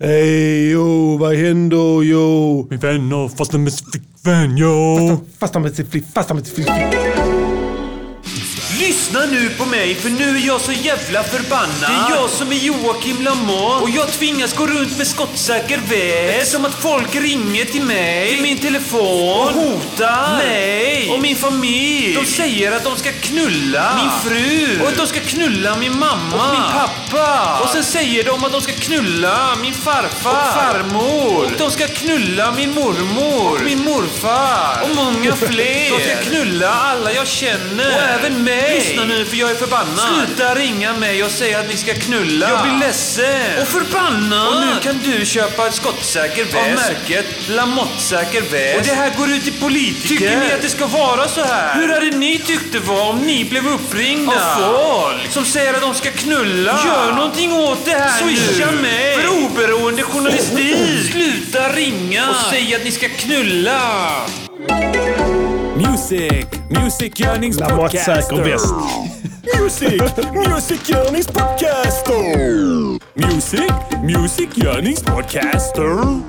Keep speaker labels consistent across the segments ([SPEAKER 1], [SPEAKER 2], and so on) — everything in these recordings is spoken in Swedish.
[SPEAKER 1] Hej, jo, vad händer, jo?
[SPEAKER 2] Min vänner, fast med sin flickvän, yo!
[SPEAKER 1] Fasta med sitt flipp, fasta med sitt flipp.
[SPEAKER 3] Lyssna nu på mig för nu är jag så jävla förbannad. Det är jag som är Joakim Lamotte och jag tvingas gå runt med skottsäker väst. Som att folk ringer till mig, till min telefon och hotar mig och min familj. De säger att de ska knulla min fru och att de ska knulla min mamma och min pappa. Och sen säger de att de ska knulla min farfar och farmor. Och de ska knulla min mormor och min morfar och många fler. De ska knulla alla jag känner och även mig. Lyssna nu för jag är förbannad. Sluta ringa mig och säga att ni ska knulla. Jag blir ledsen. Och förbannad. Och nu kan du köpa ett skottsäker väst. Av märket Lamottsäker väst. Och det här går ut till politiker. Tycker ni att det ska vara så här? Hur hade ni tyckt det var om ni blev uppringda? Av folk. Som säger att de ska knulla. Gör någonting åt det här Swisha nu. mig. För oberoende journalistik. Sluta ringa. Och säg att ni ska knulla.
[SPEAKER 4] Music, Music Yearnings
[SPEAKER 1] Lamotte säker väst.
[SPEAKER 4] Music, Music Yearnings Podcaster. Music, Music Yearnings Podcaster.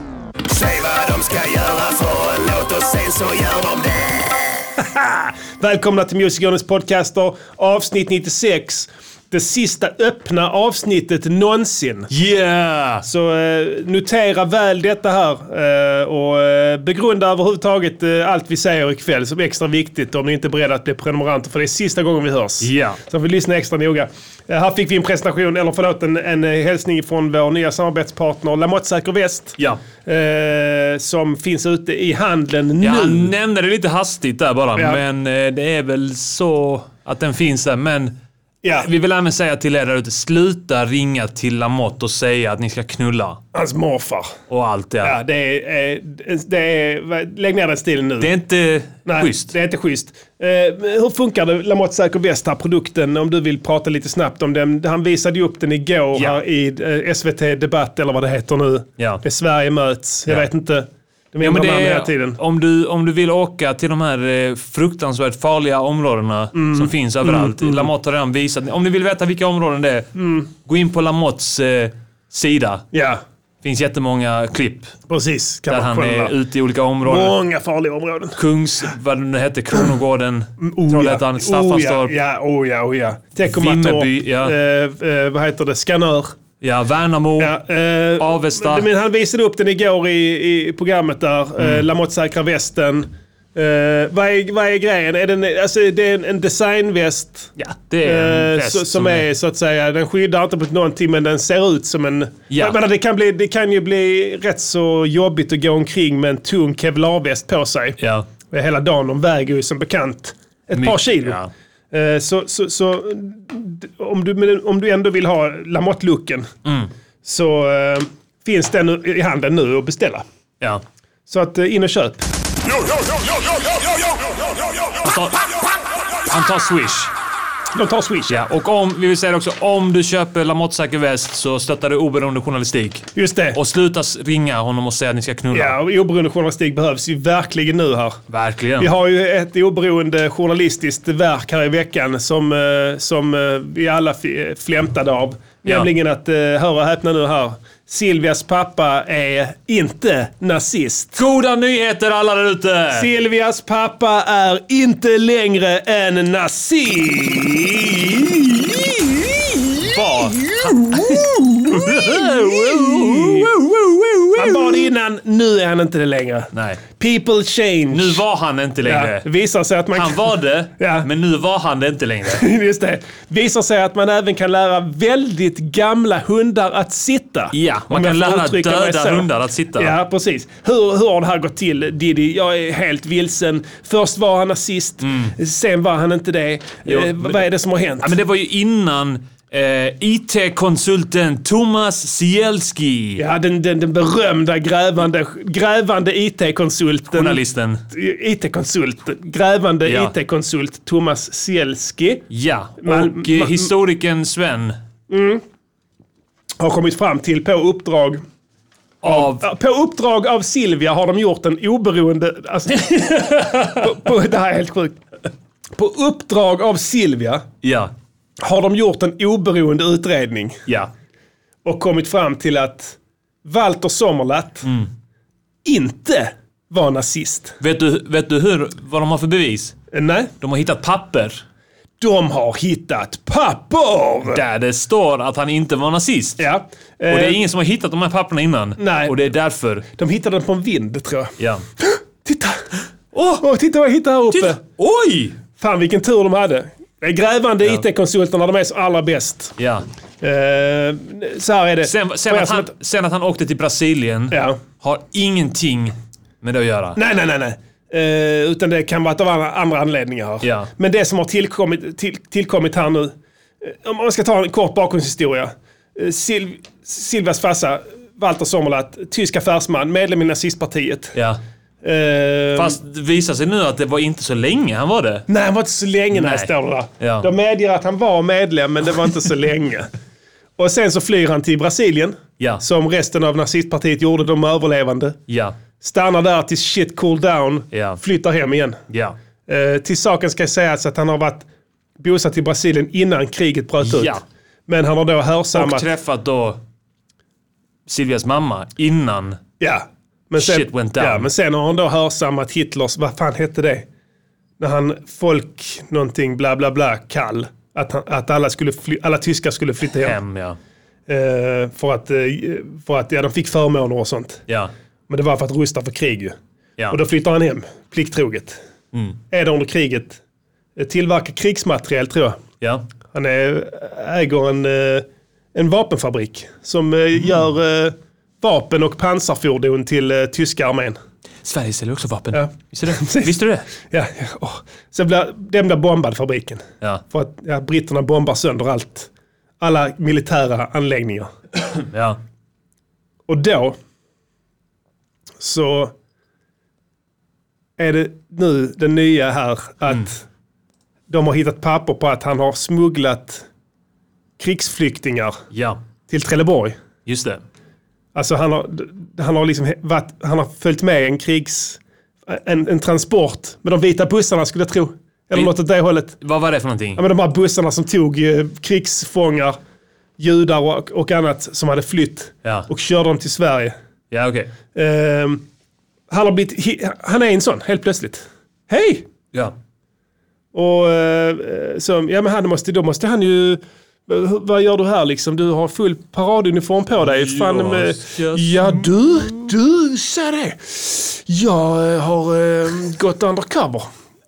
[SPEAKER 4] Säg vad de ska göra för en låt och sen så gör de det.
[SPEAKER 1] Välkomna till Music Journeys podcaster, avsnitt 96. Det sista öppna avsnittet någonsin.
[SPEAKER 2] Yeah!
[SPEAKER 1] Så eh, notera väl detta här eh, och eh, begrunda överhuvudtaget eh, allt vi säger ikväll som är extra viktigt om ni inte är beredda att bli prenumeranter för det är sista gången vi hörs.
[SPEAKER 2] Ja.
[SPEAKER 1] Så vi lyssnar extra noga. Eh, här fick vi en presentation, eller förlåt, en, en eh, hälsning från vår nya samarbetspartner Lamotte Säker Väst.
[SPEAKER 2] Ja.
[SPEAKER 1] Eh, som finns ute i handeln
[SPEAKER 2] ja,
[SPEAKER 1] nu.
[SPEAKER 2] han nämnde det lite hastigt där bara,
[SPEAKER 1] Ja.
[SPEAKER 2] men eh, det är väl så att den finns där. Men
[SPEAKER 1] Ja,
[SPEAKER 2] vi vill även säga till er där ute, sluta ringa till Lamotte och säga att ni ska knulla
[SPEAKER 1] hans morfar.
[SPEAKER 2] och allt det.
[SPEAKER 1] Ja, det är, eh, det är, lägg ner den stilen nu.
[SPEAKER 2] Det är inte schysst.
[SPEAKER 1] det är inte schysst. Eh, hur funkar det, Lamotte Säker Väst, här produkten, om du vill prata lite snabbt om den. Han visade ju upp den igår
[SPEAKER 2] Ja.
[SPEAKER 1] här i eh, SVT Debatt, eller vad det heter nu.
[SPEAKER 2] Ja.
[SPEAKER 1] Det är Sverige möts, jag
[SPEAKER 2] Ja.
[SPEAKER 1] vet inte. De
[SPEAKER 2] Ja, men
[SPEAKER 1] ändrar
[SPEAKER 2] det
[SPEAKER 1] namn hela
[SPEAKER 2] är,
[SPEAKER 1] tiden.
[SPEAKER 2] om, du, om du vill åka till de här eh, fruktansvärt farliga områdena
[SPEAKER 1] Mm.
[SPEAKER 2] som finns överallt. Lamotte har redan visat. Om ni vill veta vilka områden det är,
[SPEAKER 1] Mm.
[SPEAKER 2] gå in på Lamottes eh, sida.
[SPEAKER 1] Ja,
[SPEAKER 2] finns jättemånga klipp
[SPEAKER 1] precis. Kan
[SPEAKER 2] där
[SPEAKER 1] man
[SPEAKER 2] han
[SPEAKER 1] kolla.
[SPEAKER 2] är ute i olika områden.
[SPEAKER 1] Många farliga områden.
[SPEAKER 2] Kungs, vad det nu hette, Kronogården, Trollhättan, Staffanstorp.
[SPEAKER 1] Mm, Oh
[SPEAKER 2] ja.
[SPEAKER 1] ja, oh ja, oh ja. Teckomatorp.
[SPEAKER 2] Vimmerby, ja.
[SPEAKER 1] Eh, eh, vad heter det? Skanör.
[SPEAKER 2] Värnamo.
[SPEAKER 1] Ja, eh,
[SPEAKER 2] Avesta.
[SPEAKER 1] Men han visade upp den igår i, i programmet där.
[SPEAKER 2] Mm.
[SPEAKER 1] Eh, Lamotte säkra västen. Eh, vad, är, vad är grejen? Är den, alltså, det är en, en designväst.
[SPEAKER 2] Ja, det är en
[SPEAKER 1] eh,
[SPEAKER 2] fest
[SPEAKER 1] så, som, är så att säga, den skyddar inte mot någonting men den ser ut som en...
[SPEAKER 2] Ja.
[SPEAKER 1] Jag menar, det, kan bli, det kan ju bli rätt så jobbigt att gå omkring med en tung kevlarväst på sig.
[SPEAKER 2] Ja.
[SPEAKER 1] Hela dagen, de väger ju som bekant ett par
[SPEAKER 2] Mycket,
[SPEAKER 1] kilo.
[SPEAKER 2] ja.
[SPEAKER 1] Eh, Så, så, så d- om, du, men om du ändå vill ha Lamotte-looken
[SPEAKER 2] Mm.
[SPEAKER 1] så eh, finns den i handeln nu att beställa.
[SPEAKER 2] Ja.
[SPEAKER 1] Så att eh, in och köp.
[SPEAKER 2] Han tar Swish.
[SPEAKER 1] De tar Swish.
[SPEAKER 2] Ja, och om, vi vill säga det också, om du köper Lamotte Säker Väst så stöttar du oberoende journalistik.
[SPEAKER 1] Just det.
[SPEAKER 2] Och sluta s- ringa honom och säga att ni ska knulla.
[SPEAKER 1] Ja, och oberoende journalistik behövs ju verkligen nu här.
[SPEAKER 2] Verkligen.
[SPEAKER 1] Vi har ju ett oberoende journalistiskt verk här i veckan som, eh, som eh, vi alla f- flämtade av.
[SPEAKER 2] Ja.
[SPEAKER 1] Nämligen att, eh, hör och häpna nu här, Silvias pappa är inte nazist.
[SPEAKER 2] Goda nyheter alla där ute!
[SPEAKER 1] Silvias pappa är inte längre en nazist.
[SPEAKER 2] Vad?
[SPEAKER 1] Han var det innan, nu är han inte det längre.
[SPEAKER 2] Nej.
[SPEAKER 1] People change.
[SPEAKER 2] Nu var han inte längre.
[SPEAKER 1] ja, det visar sig att man
[SPEAKER 2] Han var det,
[SPEAKER 1] Ja.
[SPEAKER 2] men nu var han det inte längre.
[SPEAKER 1] Just det. Visar sig att man även kan lära väldigt gamla hundar att sitta.
[SPEAKER 2] Ja, man
[SPEAKER 1] Om jag
[SPEAKER 2] kan
[SPEAKER 1] får
[SPEAKER 2] lära
[SPEAKER 1] uttrycka mig
[SPEAKER 2] döda
[SPEAKER 1] så.
[SPEAKER 2] hundar att sitta.
[SPEAKER 1] Ja, precis. Hur, hur har det här gått till Diddy? Jag är helt vilsen. Först var han nazist, sen var han inte det.
[SPEAKER 2] Mm. Jo,
[SPEAKER 1] eh,
[SPEAKER 2] men-
[SPEAKER 1] vad är det som har hänt?
[SPEAKER 2] Ja, men det var ju innan eh, IT-konsulten Thomas Sielski,
[SPEAKER 1] Ja, den, den, den berömda grävande, grävande IT-konsulten.
[SPEAKER 2] journalisten.
[SPEAKER 1] IT-konsult. Grävande
[SPEAKER 2] Ja.
[SPEAKER 1] IT-konsult Thomas Sielski
[SPEAKER 2] Ja,
[SPEAKER 1] Man-
[SPEAKER 2] och eh,
[SPEAKER 1] man-
[SPEAKER 2] historikern Sven
[SPEAKER 1] har kommit fram till på uppdrag
[SPEAKER 2] av...
[SPEAKER 1] Ja, På uppdrag av Silvia har de gjort en oberoende... Alltså, på, på, det här är helt sjukt. På uppdrag av Silvia
[SPEAKER 2] Ja,
[SPEAKER 1] har de gjort en oberoende utredning
[SPEAKER 2] ja.
[SPEAKER 1] och kommit fram till att Walter Sommerlath inte var nazist.
[SPEAKER 2] Vet du, vet du hur, vad de har för bevis?
[SPEAKER 1] Eh, Nej,
[SPEAKER 2] De har hittat papper
[SPEAKER 1] de har hittat papper!
[SPEAKER 2] där det står att han inte var nazist.
[SPEAKER 1] Ja.
[SPEAKER 2] Och det är
[SPEAKER 1] Eh,
[SPEAKER 2] ingen som har hittat de här papperna innan.
[SPEAKER 1] Nej.
[SPEAKER 2] Och det är därför.
[SPEAKER 1] De hittade den på en vind, tror jag.
[SPEAKER 2] Ja.
[SPEAKER 1] Titta! Åh, titta vad jag hittade här uppe!
[SPEAKER 2] Titta! Oj!
[SPEAKER 1] Fan vilken tur de hade. Eh, Grävande IT-konsulterna, de är så allra bäst.
[SPEAKER 2] Ja.
[SPEAKER 1] Eh, så här är det.
[SPEAKER 2] Sen,
[SPEAKER 1] Får
[SPEAKER 2] sen,
[SPEAKER 1] jag
[SPEAKER 2] att han,
[SPEAKER 1] som ett-
[SPEAKER 2] sen att han åkte till Brasilien
[SPEAKER 1] Ja.
[SPEAKER 2] har ingenting med det att göra.
[SPEAKER 1] Nej, nej, nej. nej. Eh, utan det kan vara av andra, andra anledningar. här.
[SPEAKER 2] Ja.
[SPEAKER 1] Men det som har tillkommit, till, tillkommit här nu. eh, Om man ska ta en kort bakgrundshistoria. Eh, Sil, Silvias farsa, Walter Sommerlath, tysk affärsman, medlem i nazistpartiet.
[SPEAKER 2] Ja.
[SPEAKER 1] Eh,
[SPEAKER 2] Fast det visar sig nu att det var inte så länge han var det.
[SPEAKER 1] Nej, han var inte så länge när jag
[SPEAKER 2] Nej.
[SPEAKER 1] står där.
[SPEAKER 2] Ja.
[SPEAKER 1] De medger att han var medlem, men det var inte så länge. Och sen så flyr han till Brasilien,
[SPEAKER 2] Ja.
[SPEAKER 1] som resten av nazistpartiet gjorde, de överlevande.
[SPEAKER 2] Ja.
[SPEAKER 1] Stannar där tills shit cool down,
[SPEAKER 2] Ja.
[SPEAKER 1] flyttar hem igen.
[SPEAKER 2] Ja.
[SPEAKER 1] Eh, till saken ska sägas att han har varit bosatt i Brasilien innan kriget bröt ut.
[SPEAKER 2] Ja.
[SPEAKER 1] Men han har då
[SPEAKER 2] Och
[SPEAKER 1] hörsammat...
[SPEAKER 2] träffat då Silvias mamma innan.
[SPEAKER 1] ja. Men sen,
[SPEAKER 2] Shit went down.
[SPEAKER 1] Ja, men sen har han då hörsammat Hitlers, vad fan hette det? När han, folk någonting bla bla bla kall. Att, han, att alla, skulle fly, alla tyskar skulle flytta hem.
[SPEAKER 2] Hem, ja.
[SPEAKER 1] Eh, för att, eh, för att ja, de fick förmåner och sånt.
[SPEAKER 2] Ja.
[SPEAKER 1] Men det var för att rusta för krig ju.
[SPEAKER 2] Ja.
[SPEAKER 1] Och då flyttar han hem, plikttroget.
[SPEAKER 2] Mm.
[SPEAKER 1] Är där under kriget. Eh, Tillverkar krigsmateriel tror jag.
[SPEAKER 2] ja.
[SPEAKER 1] Han är, äger en, eh, en vapenfabrik som eh,
[SPEAKER 2] Mm.
[SPEAKER 1] gör eh, vapen och pansarfordon till eh, tyska armén.
[SPEAKER 2] Sverige säljer också vapen.
[SPEAKER 1] Ja.
[SPEAKER 2] Visste du det? Visste du det?
[SPEAKER 1] Ja, ja, åh. Sen blir, den blir bombad, fabriken.
[SPEAKER 2] Ja.
[SPEAKER 1] För att ja, britterna bombar sönder allt. Alla militära anläggningar.
[SPEAKER 2] Ja.
[SPEAKER 1] Och då så är det nu det nya här att de har hittat papper på att han har smugglat krigsflyktingar
[SPEAKER 2] Ja.
[SPEAKER 1] till Trelleborg.
[SPEAKER 2] Just det.
[SPEAKER 1] Alltså han har, han har, liksom varit, han har följt med en krigs... En, en transport med de vita bussarna skulle jag tro. Eller
[SPEAKER 2] Vi-
[SPEAKER 1] något åt det hållet.
[SPEAKER 2] Vad var det för någonting?
[SPEAKER 1] Ja, men de här bussarna som tog eh, krigsfångar, judar och, och annat som hade flytt
[SPEAKER 2] Ja.
[SPEAKER 1] och körde dem till Sverige.
[SPEAKER 2] Ja, okej.
[SPEAKER 1] Ehm, han, har blivit, hi- han är en sån helt plötsligt. Hej!
[SPEAKER 2] Ja.
[SPEAKER 1] Och eh, så, ja men han måste, då måste han ju... "Hur- Vad gör du här liksom? Du har full paraduniform på dig. Fan,
[SPEAKER 2] Ja,
[SPEAKER 1] med,
[SPEAKER 2] jag-
[SPEAKER 1] ja du, du, säg det. Jag eh, har eh, gått undercover.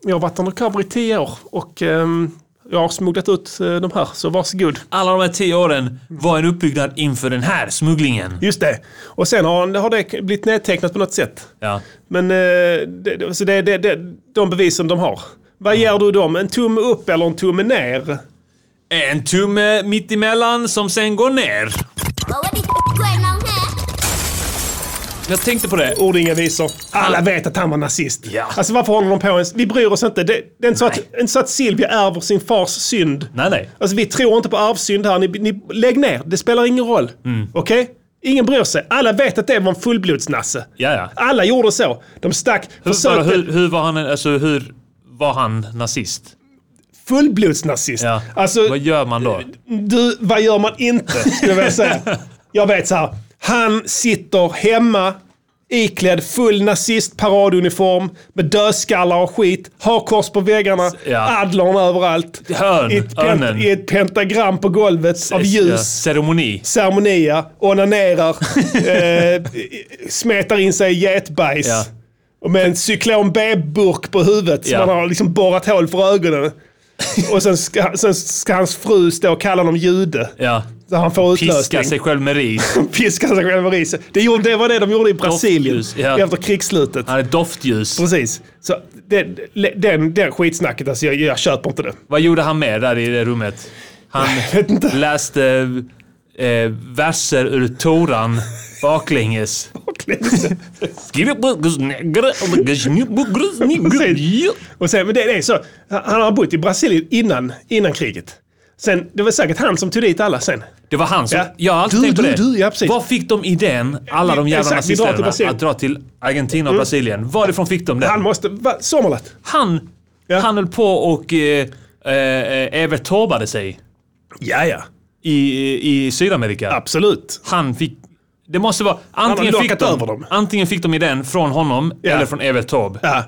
[SPEAKER 1] Jag har varit undercover i tio år och ehm, jag har smugglat ut eh, de här, så varsågod.
[SPEAKER 2] Alla de här tio åren var en uppbyggnad inför den här smugglingen.
[SPEAKER 1] Just det. Och sen har, han- har det blivit nedtecknat på något sätt.
[SPEAKER 2] Ja.
[SPEAKER 1] Men eh, det, det- så det är det, det, de bevisen de har. Vad ger du dem? En tumme upp eller en tumme ner?
[SPEAKER 2] En tumme mittemellan som sen går ner.
[SPEAKER 5] 我我的怪能呢？
[SPEAKER 2] Jag tänkte på det.
[SPEAKER 1] Ord inga visor. Alla vet att han var nazist.
[SPEAKER 2] Ja.
[SPEAKER 1] Alltså varför håller de på ens? Vi bryr oss inte. Det, det är inte så att,
[SPEAKER 2] Nej.
[SPEAKER 1] inte så att Silvia ärver sin fars synd.
[SPEAKER 2] Nej, nej.
[SPEAKER 1] Alltså vi tror inte på arvsynd här. Ni, ni, lägg ner. Det spelar ingen roll.
[SPEAKER 2] Mm.
[SPEAKER 1] Okej? Ingen bryr sig. Alla vet att det var en fullblodsnasse.
[SPEAKER 2] Ja, ja.
[SPEAKER 1] Alla gjorde så. De stack,
[SPEAKER 2] Hur, vadå,
[SPEAKER 1] försökte...
[SPEAKER 2] hur, hur var han, en- alltså hur var han nazist?
[SPEAKER 1] Fullblodsnazist.
[SPEAKER 2] Ja.
[SPEAKER 1] Alltså,
[SPEAKER 2] Vad gör man då?
[SPEAKER 1] Du, vad gör man inte? Skulle jag vilja säga. Jag vet så här. Han sitter hemma iklädd full nazistparaduniform med dödskallar och skit, hakkors på väggarna,
[SPEAKER 2] Ja.
[SPEAKER 1] adlern överallt.
[SPEAKER 2] Hörn,
[SPEAKER 1] I ett, pent-
[SPEAKER 2] örnen.
[SPEAKER 1] I ett pentagram på golvet av
[SPEAKER 2] Ja,
[SPEAKER 1] ljus.
[SPEAKER 2] ceremoni.
[SPEAKER 1] Ceremonia, onanerar, eh, smetar in sig i getbajs.
[SPEAKER 2] Ja.
[SPEAKER 1] Och med en cyklon B-burk på huvudet
[SPEAKER 2] Ja.
[SPEAKER 1] som han har liksom borrat hål för ögonen. Och sen ska, sen ska hans fru stå och kalla honom jude.
[SPEAKER 2] Ja.
[SPEAKER 1] Så han får utlösning.
[SPEAKER 2] Piska sig själv med ris.
[SPEAKER 1] Piskar sig själv i riset. Det, gjorde- det var det de gjorde i Brasilien
[SPEAKER 2] Doftljus, ja.
[SPEAKER 1] efter krigsslutet.
[SPEAKER 2] Han är doftljus.
[SPEAKER 1] Precis. Så det, det, den, den skitsnacket, alltså, jag, jag köper inte det.
[SPEAKER 2] Vad gjorde han med där i det rummet? Han
[SPEAKER 1] vet inte.
[SPEAKER 2] läste eh, verser ur Toran baklänges.
[SPEAKER 1] Precis. Och sen, men det, det är så. Han har bott i Brasilien innan, innan kriget. Sen, det var säkert han som tog dit alla sen.
[SPEAKER 2] Det var han som...
[SPEAKER 1] Ja.
[SPEAKER 2] Jag har alltid
[SPEAKER 1] Du,
[SPEAKER 2] tänkt på
[SPEAKER 1] du,
[SPEAKER 2] det.
[SPEAKER 1] du, ja, precis.
[SPEAKER 2] Var fick de idén, alla de jävla
[SPEAKER 1] Exakt, vi drar till
[SPEAKER 2] nazisterna,
[SPEAKER 1] Brasilien. Mm.
[SPEAKER 2] att dra till Argentina och Brasilien? Varifrån fick de det?
[SPEAKER 1] Han måste... Va, Sommarlath?
[SPEAKER 2] Han,
[SPEAKER 1] Ja.
[SPEAKER 2] han höll på och eh, eh, eh, evertobade sig
[SPEAKER 1] Ja, ja.
[SPEAKER 2] i, i Sydamerika.
[SPEAKER 1] Absolut.
[SPEAKER 2] Han fick Det måste vara... Antingen
[SPEAKER 1] Han har
[SPEAKER 2] fick,
[SPEAKER 1] lockat
[SPEAKER 2] de,
[SPEAKER 1] över dem.
[SPEAKER 2] antingen fick de idén från honom
[SPEAKER 1] Ja.
[SPEAKER 2] eller från Evert Taube.
[SPEAKER 1] Ja.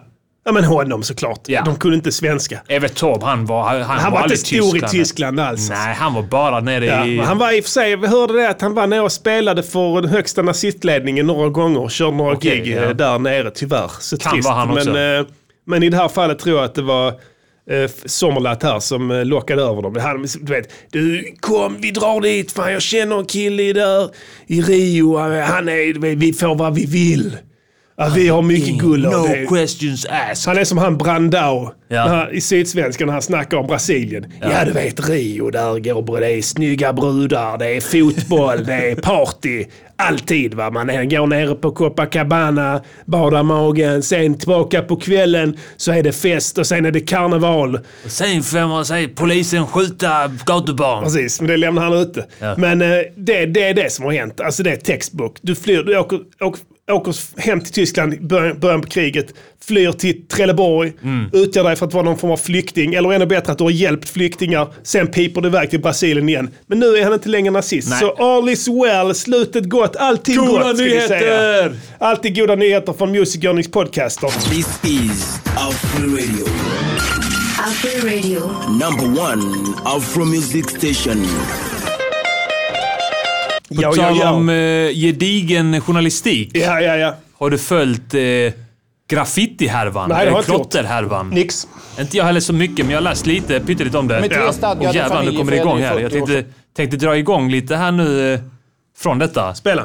[SPEAKER 1] ja, men honom såklart.
[SPEAKER 2] Ja.
[SPEAKER 1] De kunde inte svenska.
[SPEAKER 2] Evert Taube, han var, han,
[SPEAKER 1] Han var inte
[SPEAKER 2] aldrig
[SPEAKER 1] stor i Tyskland alls.
[SPEAKER 2] Nej, han var bara nere
[SPEAKER 1] Ja,
[SPEAKER 2] i...
[SPEAKER 1] men han var i och för sig, vi hörde det att han var nere och spelade för den högsta nazistledningen några gånger och körde några
[SPEAKER 2] Okej,
[SPEAKER 1] gig
[SPEAKER 2] ja.
[SPEAKER 1] eh, där nere tyvärr. Så
[SPEAKER 2] Kan
[SPEAKER 1] trist.
[SPEAKER 2] vara han också.
[SPEAKER 1] Men, eh, men i det här fallet tror jag att det var eh, Sommerlath här som eh, lockade över dem. Han, du vet, du kom vi drar dit, fan jag känner en kille i där i Rio, han är, du vet, vi får vad vi vill. Ja, vi har mycket guld av det.
[SPEAKER 2] No questions asked.
[SPEAKER 1] Han är som han Brandao
[SPEAKER 2] Ja.
[SPEAKER 1] när han, i Sydsvenskan när han snackar om Brasilien. Ja. du vet Rio, där går det är snygga brudar, det är fotboll, det är party. Alltid va. Man är- går nere på Copacabana, badar magen, sen tillbaka på kvällen så är det fest och sen är det karneval.
[SPEAKER 2] Sen får man säga polisen skjuta gatubarn.
[SPEAKER 1] Precis, men det lämnar han ute.
[SPEAKER 2] Ja.
[SPEAKER 1] Men eh, det, det är det som har hänt. Alltså det är textbook. Du flyr, du åker, åker, åker hem till Tyskland i början, början på kriget, flyr till Trelleborg,
[SPEAKER 2] Mm.
[SPEAKER 1] utger dig för att vara någon form av flykting, eller ännu bättre att du har hjälpt flyktingar, sen piper du iväg till Brasilien igen. Men nu är han inte längre nazist.
[SPEAKER 2] Nej.
[SPEAKER 1] Så all is well, slutet gott, allting
[SPEAKER 2] Goda
[SPEAKER 1] gott ska vi
[SPEAKER 2] nyheter!
[SPEAKER 1] säga. Alltid goda nyheter från Music Earnings Podcaster.
[SPEAKER 4] This is Afro Radio.
[SPEAKER 6] Afro Radio.
[SPEAKER 4] Number one Afro Music Station.
[SPEAKER 2] På
[SPEAKER 1] Ja, ja,
[SPEAKER 2] tal
[SPEAKER 1] ja.
[SPEAKER 2] om eh, gedigen journalistik.
[SPEAKER 1] Ja, ja, ja.
[SPEAKER 2] Har du följt eh, graffiti-härvan?
[SPEAKER 1] Nej, det har jag
[SPEAKER 2] Eller
[SPEAKER 1] inte gjort.
[SPEAKER 2] klotterhärvan?
[SPEAKER 1] Nix.
[SPEAKER 2] Inte jag heller så mycket, men jag har läst lite, pyttelite om det.
[SPEAKER 7] Med tre stadgade
[SPEAKER 2] Och jävlar, nu
[SPEAKER 7] familjer
[SPEAKER 2] kommer det
[SPEAKER 7] så är det
[SPEAKER 2] igång
[SPEAKER 7] ju
[SPEAKER 2] här. Jag
[SPEAKER 7] 40 år
[SPEAKER 2] tänkte, tänkte dra igång lite här nu eh, från detta.
[SPEAKER 1] Spela.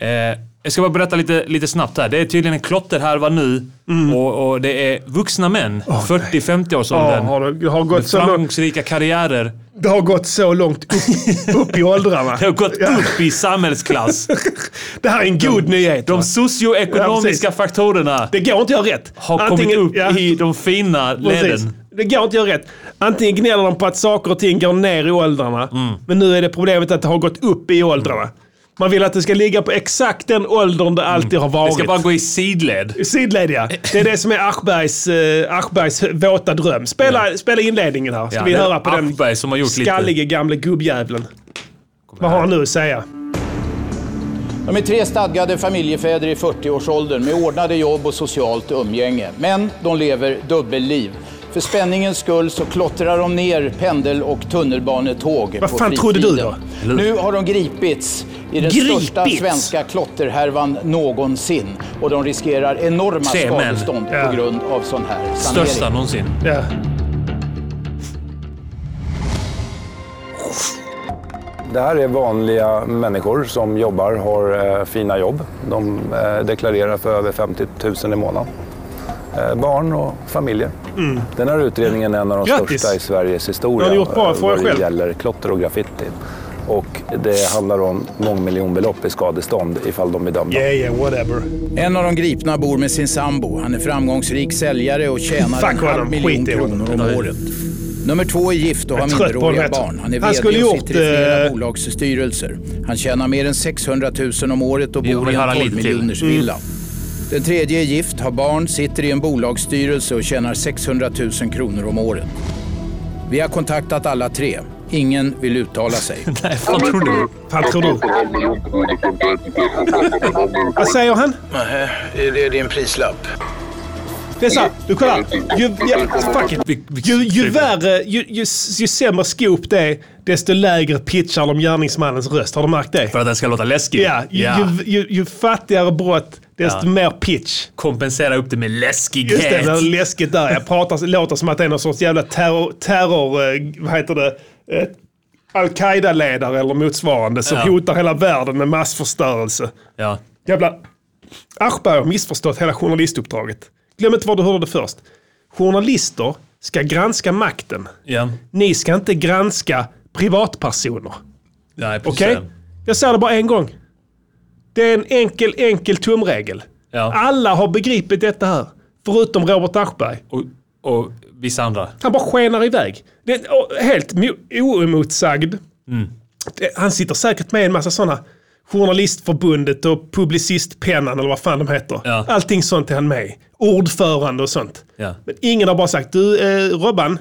[SPEAKER 2] Eh, jag ska bara berätta lite, lite snabbt här. Det är tydligen en klotterhärva nu och, och det är vuxna män, 40-50-årsåldern.
[SPEAKER 1] Mm. Ja, har, det- har gått
[SPEAKER 2] med
[SPEAKER 1] så långt,
[SPEAKER 2] framgångsrika karriärer.
[SPEAKER 1] det har gått så långt upp, upp i åldrarna.
[SPEAKER 2] De har gått upp i samhällsklass.
[SPEAKER 1] Det här är en god nyhet.
[SPEAKER 2] De
[SPEAKER 1] va? Ja, precis.
[SPEAKER 2] socioekonomiska faktorerna
[SPEAKER 1] det går inte att göra rätt.
[SPEAKER 2] har kommit upp i de fina
[SPEAKER 1] Precis.
[SPEAKER 2] leden.
[SPEAKER 1] Det går inte att göra rätt. Antingen gnäller de på att saker och ting går ner i åldrarna.
[SPEAKER 2] Mm.
[SPEAKER 1] Men nu är det problemet att det har gått upp i åldrarna. Man vill att det ska ligga på exakt den åldern det alltid har
[SPEAKER 2] Mm. Det
[SPEAKER 1] varit.
[SPEAKER 2] ska bara gå i sidled.
[SPEAKER 1] Sidled ja. Det är det som är Aschbergs, eh, Aschbergs våta dröm. Spela, spela inledningen här. Ska
[SPEAKER 2] Ja,
[SPEAKER 1] vi
[SPEAKER 2] det är
[SPEAKER 1] höra på
[SPEAKER 2] Aschberg
[SPEAKER 1] den
[SPEAKER 2] som har gjort lite.
[SPEAKER 1] skallige gamle gubbjävlen. Vad har han nu att säga?
[SPEAKER 7] De är tre stadgade familjefäder i 40-årsåldern med ordnade jobb och socialt umgänge. Men de lever dubbelliv. För spänningens skull så klottrar de ner pendel och tunnelbanetåg
[SPEAKER 1] Vad
[SPEAKER 7] på
[SPEAKER 1] fan trodde du
[SPEAKER 7] fritiden.
[SPEAKER 2] då?
[SPEAKER 7] Nu har de gripits i den
[SPEAKER 1] Gripits?
[SPEAKER 7] största svenska klotterhärvan någonsin. Och de riskerar enorma
[SPEAKER 2] Tre män.
[SPEAKER 7] skadestånd
[SPEAKER 1] Ja.
[SPEAKER 7] på grund av sån här sanering.
[SPEAKER 2] Största någonsin.
[SPEAKER 1] Ja.
[SPEAKER 8] Det här är vanliga människor som jobbar, har eh, fina jobb. De eh, deklarerar för över 50 000 i månaden. Eh, barn och familjer. Den här utredningen är en av de
[SPEAKER 1] Mm. Grattis!
[SPEAKER 8] största i Sveriges historia
[SPEAKER 1] Ja, det har gjort bra,
[SPEAKER 8] eh,
[SPEAKER 1] får jag
[SPEAKER 8] vad det
[SPEAKER 1] själv.
[SPEAKER 8] gäller klotter och graffiti. Och det handlar om mångmiljonbelopp i skadestånd ifall de är dömda.
[SPEAKER 1] Yeah, yeah, whatever.
[SPEAKER 7] En av de gripna bor med sin sambo. Han är framgångsrik säljare och tjänar
[SPEAKER 1] Fuck
[SPEAKER 7] en
[SPEAKER 1] honom,
[SPEAKER 7] halv miljon
[SPEAKER 1] skit i honom.
[SPEAKER 7] kronor om året. Nummer två är gift och
[SPEAKER 1] Jag
[SPEAKER 7] har
[SPEAKER 1] är trött på honom,
[SPEAKER 7] minderåriga
[SPEAKER 1] vet du.
[SPEAKER 7] barn. Han är
[SPEAKER 1] Han
[SPEAKER 7] vd
[SPEAKER 1] skulle
[SPEAKER 7] och
[SPEAKER 1] gjort,
[SPEAKER 7] sitter i flera
[SPEAKER 1] eh,
[SPEAKER 7] bolagsstyrelser. Han tjänar mer än 600 000 om året och
[SPEAKER 2] Jo,
[SPEAKER 7] bor
[SPEAKER 2] det
[SPEAKER 7] i
[SPEAKER 2] har han
[SPEAKER 7] en
[SPEAKER 2] lite
[SPEAKER 7] 12
[SPEAKER 2] till.
[SPEAKER 7] miljoners
[SPEAKER 1] Mm.
[SPEAKER 7] villa. Den tredje är gift, har barn, sitter i en bolagsstyrelse och tjänar 600 000 kronor om året. Vi har kontaktat alla tre. Ingen vill uttala sig.
[SPEAKER 2] Nej, fan tror du?
[SPEAKER 1] Fan tror du? Vad säger han?
[SPEAKER 7] Det är din prislapp.
[SPEAKER 1] Det är så här, du kollar. Ju, ja, fuck it.
[SPEAKER 2] Vi- vi-
[SPEAKER 1] Ju, ju
[SPEAKER 9] Typ.
[SPEAKER 1] värre, ju, ju, ju sämre scoop det är, desto lägre pitchar de gärningsmannens röst. Har du märkt det?
[SPEAKER 2] För att den ska låta läskig?
[SPEAKER 1] Ja, ju, ju, ju, ju fattigare brott, desto
[SPEAKER 2] Ja.
[SPEAKER 1] mer pitch.
[SPEAKER 2] Kompensera upp det med
[SPEAKER 1] Just det,
[SPEAKER 2] läskighet.
[SPEAKER 1] det är läskigt där. Jag pratar, låter som att det är någon sorts jävla terror, terror eh, vad heter det, eh, al-Qaida-ledare eller motsvarande som
[SPEAKER 2] Ja.
[SPEAKER 1] hotar hela världen med massförstörelse.
[SPEAKER 2] Ja.
[SPEAKER 1] Jävla... Aschberg har missförstått hela journalistuppdraget. Glöm inte var du hörde det först. Journalister ska granska makten.
[SPEAKER 2] ja.
[SPEAKER 1] Ni ska inte granska privatpersoner.
[SPEAKER 2] Nej, precis.
[SPEAKER 1] Okej? Jag säger det bara en gång. Det är en enkel, enkel tumregel.
[SPEAKER 2] Ja.
[SPEAKER 1] Alla har begripit detta här. Förutom Robert Aschberg.
[SPEAKER 2] Och, och vissa andra.
[SPEAKER 1] Han bara skenar iväg. Det är o- helt mo- oemotsagd.
[SPEAKER 2] Mm.
[SPEAKER 1] Det- Han sitter säkert med en massa sådana Journalistförbundet och Publicistpennan eller vad fan de heter.
[SPEAKER 2] Ja.
[SPEAKER 1] Allting sånt är han med i. Ordförande och sånt.
[SPEAKER 2] Ja.
[SPEAKER 1] Men ingen har bara sagt du eh, Robban,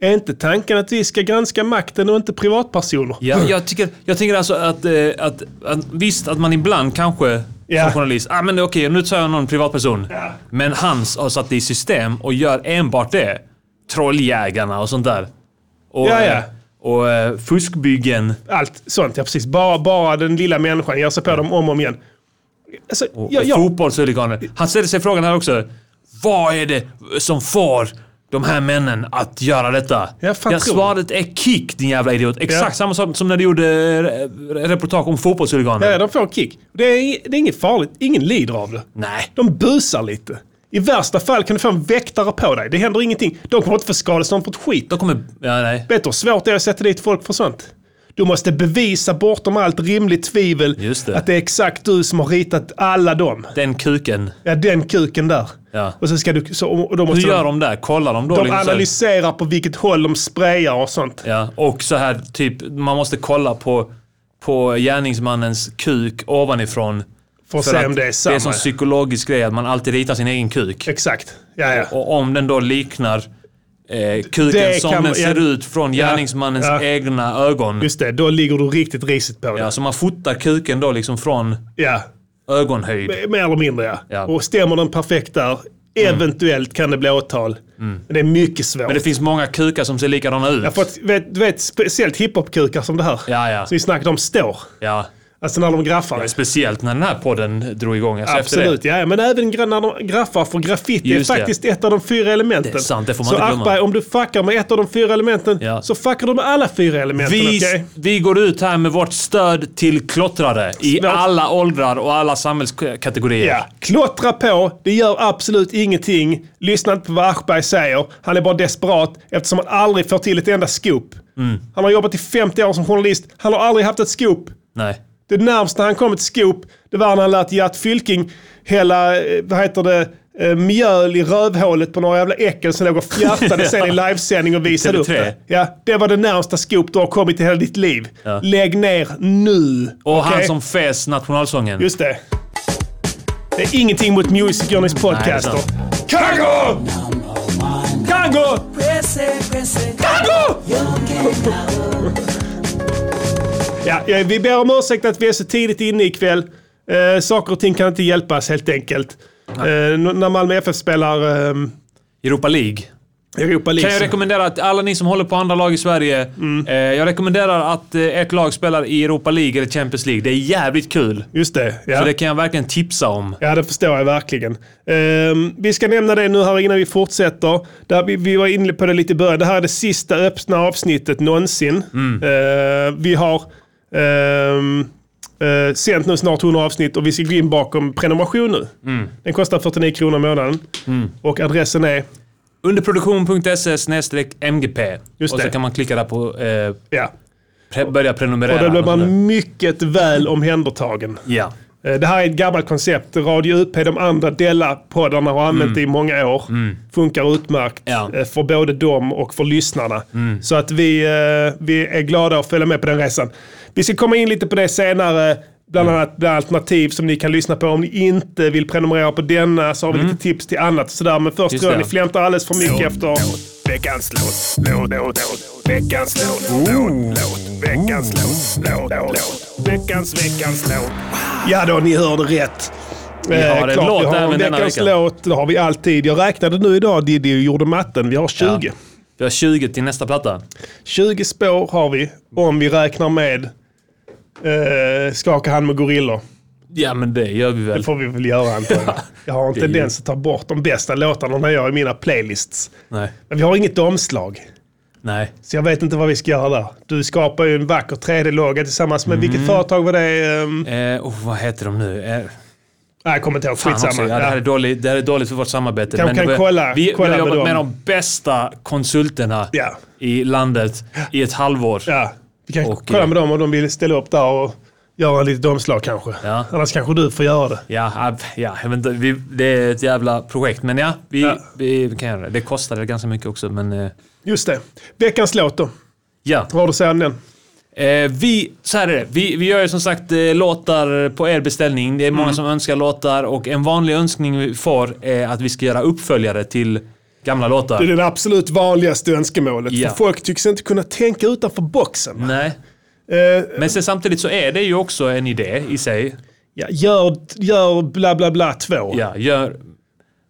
[SPEAKER 1] Är inte tanken att vi ska granska makten och inte privatpersoner?
[SPEAKER 2] Ja, jag, tycker, jag tänker alltså att, eh, att, att visst att man ibland kanske
[SPEAKER 1] Ja.
[SPEAKER 2] som journalist, ah, men okej nu tar jag någon privatperson. Men Hans har satt det i system och gör enbart det. Trolljägarna och sånt där. Och,
[SPEAKER 1] Ja, ja.
[SPEAKER 2] eh, och eh, fuskbyggen.
[SPEAKER 1] Allt sånt, ja precis. Bara, bara den lilla människan ger sig på dem om och om igen. Alltså,
[SPEAKER 2] Och,
[SPEAKER 1] ja,
[SPEAKER 2] och
[SPEAKER 1] ja.
[SPEAKER 2] fotbollshuliganer. Han ställer sig frågan här också. Vad är det som får de här männen att göra detta?
[SPEAKER 1] Ja, fan tror du?
[SPEAKER 2] svaret är kick din jävla idiot. Exakt
[SPEAKER 1] Ja.
[SPEAKER 2] samma sak som när du gjorde eh, reportage om fotbollshuliganer.
[SPEAKER 1] Ja, de får en kick. Det är, det är inget farligt. Ingen lider av det.
[SPEAKER 2] Nej.
[SPEAKER 1] De busar lite. I värsta fall kan du få en väktare på dig. Det händer ingenting. De kommer inte få skadestånd för ett skit.
[SPEAKER 2] Då kommer... Ja, nej.
[SPEAKER 1] Vet du hur svårt det är att sätta dit folk för sånt? Du måste bevisa bortom allt rimligt tvivel
[SPEAKER 2] Just det.
[SPEAKER 1] att det är exakt du som har ritat alla dem.
[SPEAKER 2] Den kuken.
[SPEAKER 1] Ja, den kuken där.
[SPEAKER 2] Ja.
[SPEAKER 1] Och så ska du... Så, och då
[SPEAKER 2] Hur
[SPEAKER 1] måste
[SPEAKER 2] gör de där? Kollar de då?
[SPEAKER 1] de, de
[SPEAKER 2] liksom så här-
[SPEAKER 1] analyserar på vilket håll de sprayar och sånt.
[SPEAKER 2] Ja, och så här typ, man måste kolla på, på gärningsmannens kuk ovanifrån.
[SPEAKER 1] För att se om det är samma.
[SPEAKER 2] Det är en sån psykologisk grej att man alltid ritar sin egen kuk.
[SPEAKER 1] Exakt. Ja, ja.
[SPEAKER 2] Och om den då liknar eh, kuken
[SPEAKER 1] Det
[SPEAKER 2] som
[SPEAKER 1] kan-
[SPEAKER 2] den
[SPEAKER 1] ja.
[SPEAKER 2] ser ut från
[SPEAKER 1] Ja,
[SPEAKER 2] gärningsmannens
[SPEAKER 1] ja.
[SPEAKER 2] egna ögon.
[SPEAKER 1] Just det, då ligger du riktigt risigt på det.
[SPEAKER 2] Ja, så man fotar kuken då liksom från
[SPEAKER 1] Ja.
[SPEAKER 2] ögonhöjd.
[SPEAKER 1] eh, Mer eller mindre ja.
[SPEAKER 2] Ja. Mm.
[SPEAKER 1] Och stämmer den perfekt där, eventuellt kan det bli åtal. Men det är mycket svårt.
[SPEAKER 2] Men det finns många kukar som ser likadana ut.
[SPEAKER 1] Ja, för att, vet, du vet, speciellt hiphopkukar som det här.
[SPEAKER 2] Ja, ja.
[SPEAKER 1] Som vi snackade om står.
[SPEAKER 2] Ja.
[SPEAKER 1] Alltså när de graffar.
[SPEAKER 2] Speciellt när den här podden drog igång. Alltså efter det.
[SPEAKER 1] Absolut, ja, ja. men även gra- när de graffar för graffiti
[SPEAKER 2] Just det.
[SPEAKER 1] är faktiskt ett av de fyra elementen.
[SPEAKER 2] Det är sant, det får man
[SPEAKER 1] så
[SPEAKER 2] inte glömma.
[SPEAKER 1] Akberg, om du fuckar med ett av de fyra elementen
[SPEAKER 2] Ja.
[SPEAKER 1] så fuckar du med alla fyra elementen.
[SPEAKER 2] Vi,
[SPEAKER 1] okej?
[SPEAKER 2] vi går ut här med vårt stöd till klottrare i
[SPEAKER 1] Svårt.
[SPEAKER 2] alla åldrar och alla samhällskategorier.
[SPEAKER 1] Ja. Klottra på, det gör absolut ingenting. Lyssna inte på vad Aschberg säger. Han är bara desperat eftersom han aldrig får till ett enda scoop.
[SPEAKER 2] Mm.
[SPEAKER 1] Han har jobbat i 50 år som journalist. Han har aldrig haft ett scoop.
[SPEAKER 2] Nej.
[SPEAKER 1] Det närmsta han kom ett scoop, det var när han lät Gert Fylking hälla, eh, vad heter det, eh, mjöl i rövhålet på några jävla äckel som låg och fjärtade sen i livesändning och visade upp
[SPEAKER 2] TV3.
[SPEAKER 1] det. Ja, det var det närmsta scoop du har kommit i hela ditt liv.
[SPEAKER 2] Ja.
[SPEAKER 1] Lägg ner nu.
[SPEAKER 2] Och han
[SPEAKER 1] okej?
[SPEAKER 2] som fes nationalsången.
[SPEAKER 1] Just det. Det är ingenting mot Music Journeys podcaster.
[SPEAKER 2] Nej,
[SPEAKER 1] Kango! Kango! Kango! Ja, ja, vi ber om ursäkt att vi är så tidigt inne ikväll. Eh, saker och ting kan inte hjälpas helt enkelt. Eh, n- när Malmö FF spelar ehm,
[SPEAKER 2] Europa League.
[SPEAKER 1] Europa
[SPEAKER 2] Kan
[SPEAKER 1] League.
[SPEAKER 2] jag rekommendera att alla ni som håller på andra lag i Sverige.
[SPEAKER 1] Mm.
[SPEAKER 2] Eh, jag rekommenderar att eh, ert lag spelar i Europa League eller Champions League. Det är jävligt kul.
[SPEAKER 1] Just det. Ja.
[SPEAKER 2] Så det kan jag verkligen tipsa om.
[SPEAKER 1] Ja, det förstår jag verkligen. Ehm, vi ska nämna det nu här innan vi fortsätter. Där vi, vi var inne på det lite i början. Det här är det sista öppna avsnittet någonsin. Ehm, vi har um, sänt nu snart 100 avsnitt och vi ska gå in bakom prenumeration nu. Den kostar 49 kronor i månaden. Och adressen är...
[SPEAKER 2] Underproduktion.se snedstreck MGP.
[SPEAKER 1] Just
[SPEAKER 2] och så
[SPEAKER 1] det.
[SPEAKER 2] kan man klicka där på eh,
[SPEAKER 1] Ja.
[SPEAKER 2] pre- börja prenumerera.
[SPEAKER 1] Och då blir
[SPEAKER 2] Eller-
[SPEAKER 1] man mycket väl omhändertagen.
[SPEAKER 2] Ja.
[SPEAKER 1] Eh, Det här är ett gammalt koncept. Radio UP, de andra Della-poddarna har använt det i många år. Funkar utmärkt
[SPEAKER 2] Mm. Ja. Mm.
[SPEAKER 1] eh, för både dem och för lyssnarna. Så att vi, eh, vi är glada att följa med på den resan. Vi ska komma in lite på det senare. Bland
[SPEAKER 2] Mm.
[SPEAKER 1] annat bland alternativ som ni kan lyssna på om ni inte vill prenumerera på denna. Så har vi lite tips till annat och sådär. Men först
[SPEAKER 2] Mm. Just
[SPEAKER 1] tror jag
[SPEAKER 2] det.
[SPEAKER 1] ni flämtar alldeles för mycket efter...
[SPEAKER 4] Veckans låt, låt, låt, låt. Veckans låt, låt, låt. Veckans låt, låt, låt. Veckans, veckans låt.
[SPEAKER 1] Ja då, ni hörde rätt. Vi
[SPEAKER 2] har en låt
[SPEAKER 1] vi har
[SPEAKER 2] även denna
[SPEAKER 1] veckans
[SPEAKER 2] veckan.
[SPEAKER 1] låt. Det har vi alltid. Jag räknade nu idag, Diddy, och gjorde matten. Vi har 20.
[SPEAKER 2] Ja. Vi har 20 till nästa platta.
[SPEAKER 1] 20 spår har vi, om vi räknar med eh, Skaka hand med gorillor.
[SPEAKER 2] Ja, men det gör vi
[SPEAKER 1] Det
[SPEAKER 2] väl.
[SPEAKER 1] får vi väl göra antar jag. Jag har en
[SPEAKER 2] Det är ju-
[SPEAKER 1] tendens att ta bort de bästa låtarna när jag gör i mina playlists.
[SPEAKER 2] Nej.
[SPEAKER 1] Men vi har inget omslag,
[SPEAKER 2] Nej.
[SPEAKER 1] så jag vet inte vad vi ska göra där. Du skapar ju en vacker 3D-logga tillsammans med vilket företag var det? ehm?
[SPEAKER 2] Mm. Eh, oh, vad heter de nu? Eh,
[SPEAKER 1] Nej, jag kommer inte ihåg.
[SPEAKER 2] fan också,
[SPEAKER 1] Skitsamma.
[SPEAKER 2] ja, det, här är
[SPEAKER 1] Ja.
[SPEAKER 2] dåligt, det här är dåligt för vårt samarbete.
[SPEAKER 1] Kanske kan
[SPEAKER 2] det var-
[SPEAKER 1] kolla-
[SPEAKER 2] vi
[SPEAKER 1] kolla
[SPEAKER 2] vi
[SPEAKER 1] med
[SPEAKER 2] har jobbat med
[SPEAKER 1] dem.
[SPEAKER 2] de bästa konsulterna
[SPEAKER 1] Ja.
[SPEAKER 2] i landet i ett halvår.
[SPEAKER 1] Ja. Vi kan
[SPEAKER 2] Och,
[SPEAKER 1] kolla
[SPEAKER 2] eh,
[SPEAKER 1] med dem om de vill ställa upp där och göra ett litet omslag kanske.
[SPEAKER 2] Ja.
[SPEAKER 1] Annars kanske du får göra det.
[SPEAKER 2] Ja, ja, ja, jag vet inte, vi, det är ett jävla projekt. Men ja, vi,
[SPEAKER 1] Ja.
[SPEAKER 2] vi kan göra det. Det kostade ganska mycket också, men... eh,
[SPEAKER 1] Just det. Veckans låt då.
[SPEAKER 2] Ja.
[SPEAKER 1] Vad har du att säga om den?
[SPEAKER 2] Eh, vi, så här är det. Vi, vi gör ju som sagt eh, låtar på er beställning. Det
[SPEAKER 1] Mm.
[SPEAKER 2] är många som önskar låtar och en vanlig önskning vi får är att vi ska göra uppföljare till Gamla låtar.
[SPEAKER 1] Det är det absolut vanligaste önskemålet.
[SPEAKER 2] Ja.
[SPEAKER 1] För folk tycks inte kunna tänka utanför boxen.
[SPEAKER 2] Nej.
[SPEAKER 1] Eh,
[SPEAKER 2] Men sen samtidigt så är det ju också en idé i sig.
[SPEAKER 1] ja, gör, gör bla bla bla två.
[SPEAKER 2] Ja, gör...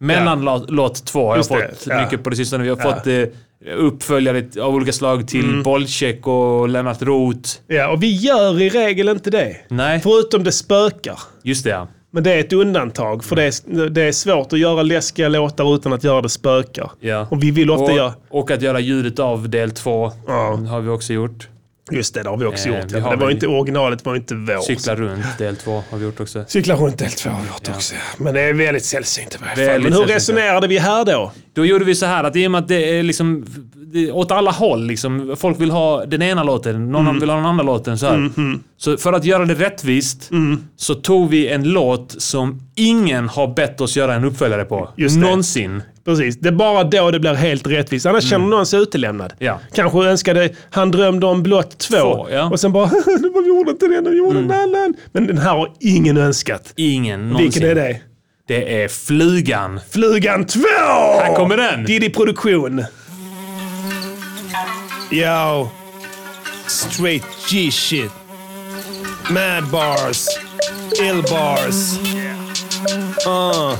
[SPEAKER 2] Mellanlåt två har jag
[SPEAKER 1] Just det,
[SPEAKER 2] fått
[SPEAKER 1] ja. Mm.
[SPEAKER 2] mycket på det sistone. Vi har fått eh, uppföljare av olika slag till Bollcheck och Lennart Roth.
[SPEAKER 1] Ja, och vi gör i regel inte det.
[SPEAKER 2] Nej,
[SPEAKER 1] Förutom det spökar.
[SPEAKER 2] just det ja.
[SPEAKER 1] Men det är ett undantag, för det är, det är svårt att göra läskiga låtar utan att göra det spökar.
[SPEAKER 2] ja.
[SPEAKER 1] Och vi vill ofta göra...
[SPEAKER 2] och, och att göra ljudet av del två
[SPEAKER 1] Ja.
[SPEAKER 2] har vi också gjort.
[SPEAKER 1] Just det, det har vi också
[SPEAKER 2] Eh,
[SPEAKER 1] gjort.
[SPEAKER 2] vi
[SPEAKER 1] Ja.
[SPEAKER 2] har
[SPEAKER 1] Det var
[SPEAKER 2] väl-
[SPEAKER 1] inte, originalet var inte vår.
[SPEAKER 2] Cykla runt del två har vi gjort också.
[SPEAKER 1] Cyklar runt helt två har vi gjort också. Men det är väldigt sällsynt i varje fall.
[SPEAKER 2] Väldigt
[SPEAKER 1] Men hur
[SPEAKER 2] sällsynt, ja.
[SPEAKER 1] resonerade vi här då?
[SPEAKER 2] Då gjorde vi så här att i och med att det är liksom det är åt alla håll liksom. Folk vill ha den ena låten, någon
[SPEAKER 1] Mm.
[SPEAKER 2] vill ha den andra låten så här. Så för att göra det rättvist
[SPEAKER 1] Mm.
[SPEAKER 2] så tog vi en låt som ingen har bett oss göra en uppföljare på.
[SPEAKER 1] Just det.
[SPEAKER 2] Någonsin.
[SPEAKER 1] Precis, det är bara då det blir helt rättvist. Annars känner någon sig utelämnad.
[SPEAKER 2] Ja.
[SPEAKER 1] Kanske önskade han drömde om blott två. Mm.
[SPEAKER 2] Två, ja.
[SPEAKER 1] Och sen bara, nu var vi gjorde inte den, vi gjorde en annan. Men den här har ingen önskat.
[SPEAKER 2] Ingen någonsin.
[SPEAKER 1] Vilken är det?
[SPEAKER 2] Det är Flugan.
[SPEAKER 1] Flugan 2!
[SPEAKER 2] Här kommer den!
[SPEAKER 1] Diddy Produktion. Yo. Straight G-shit. Mad bars. Ill bars. Uh.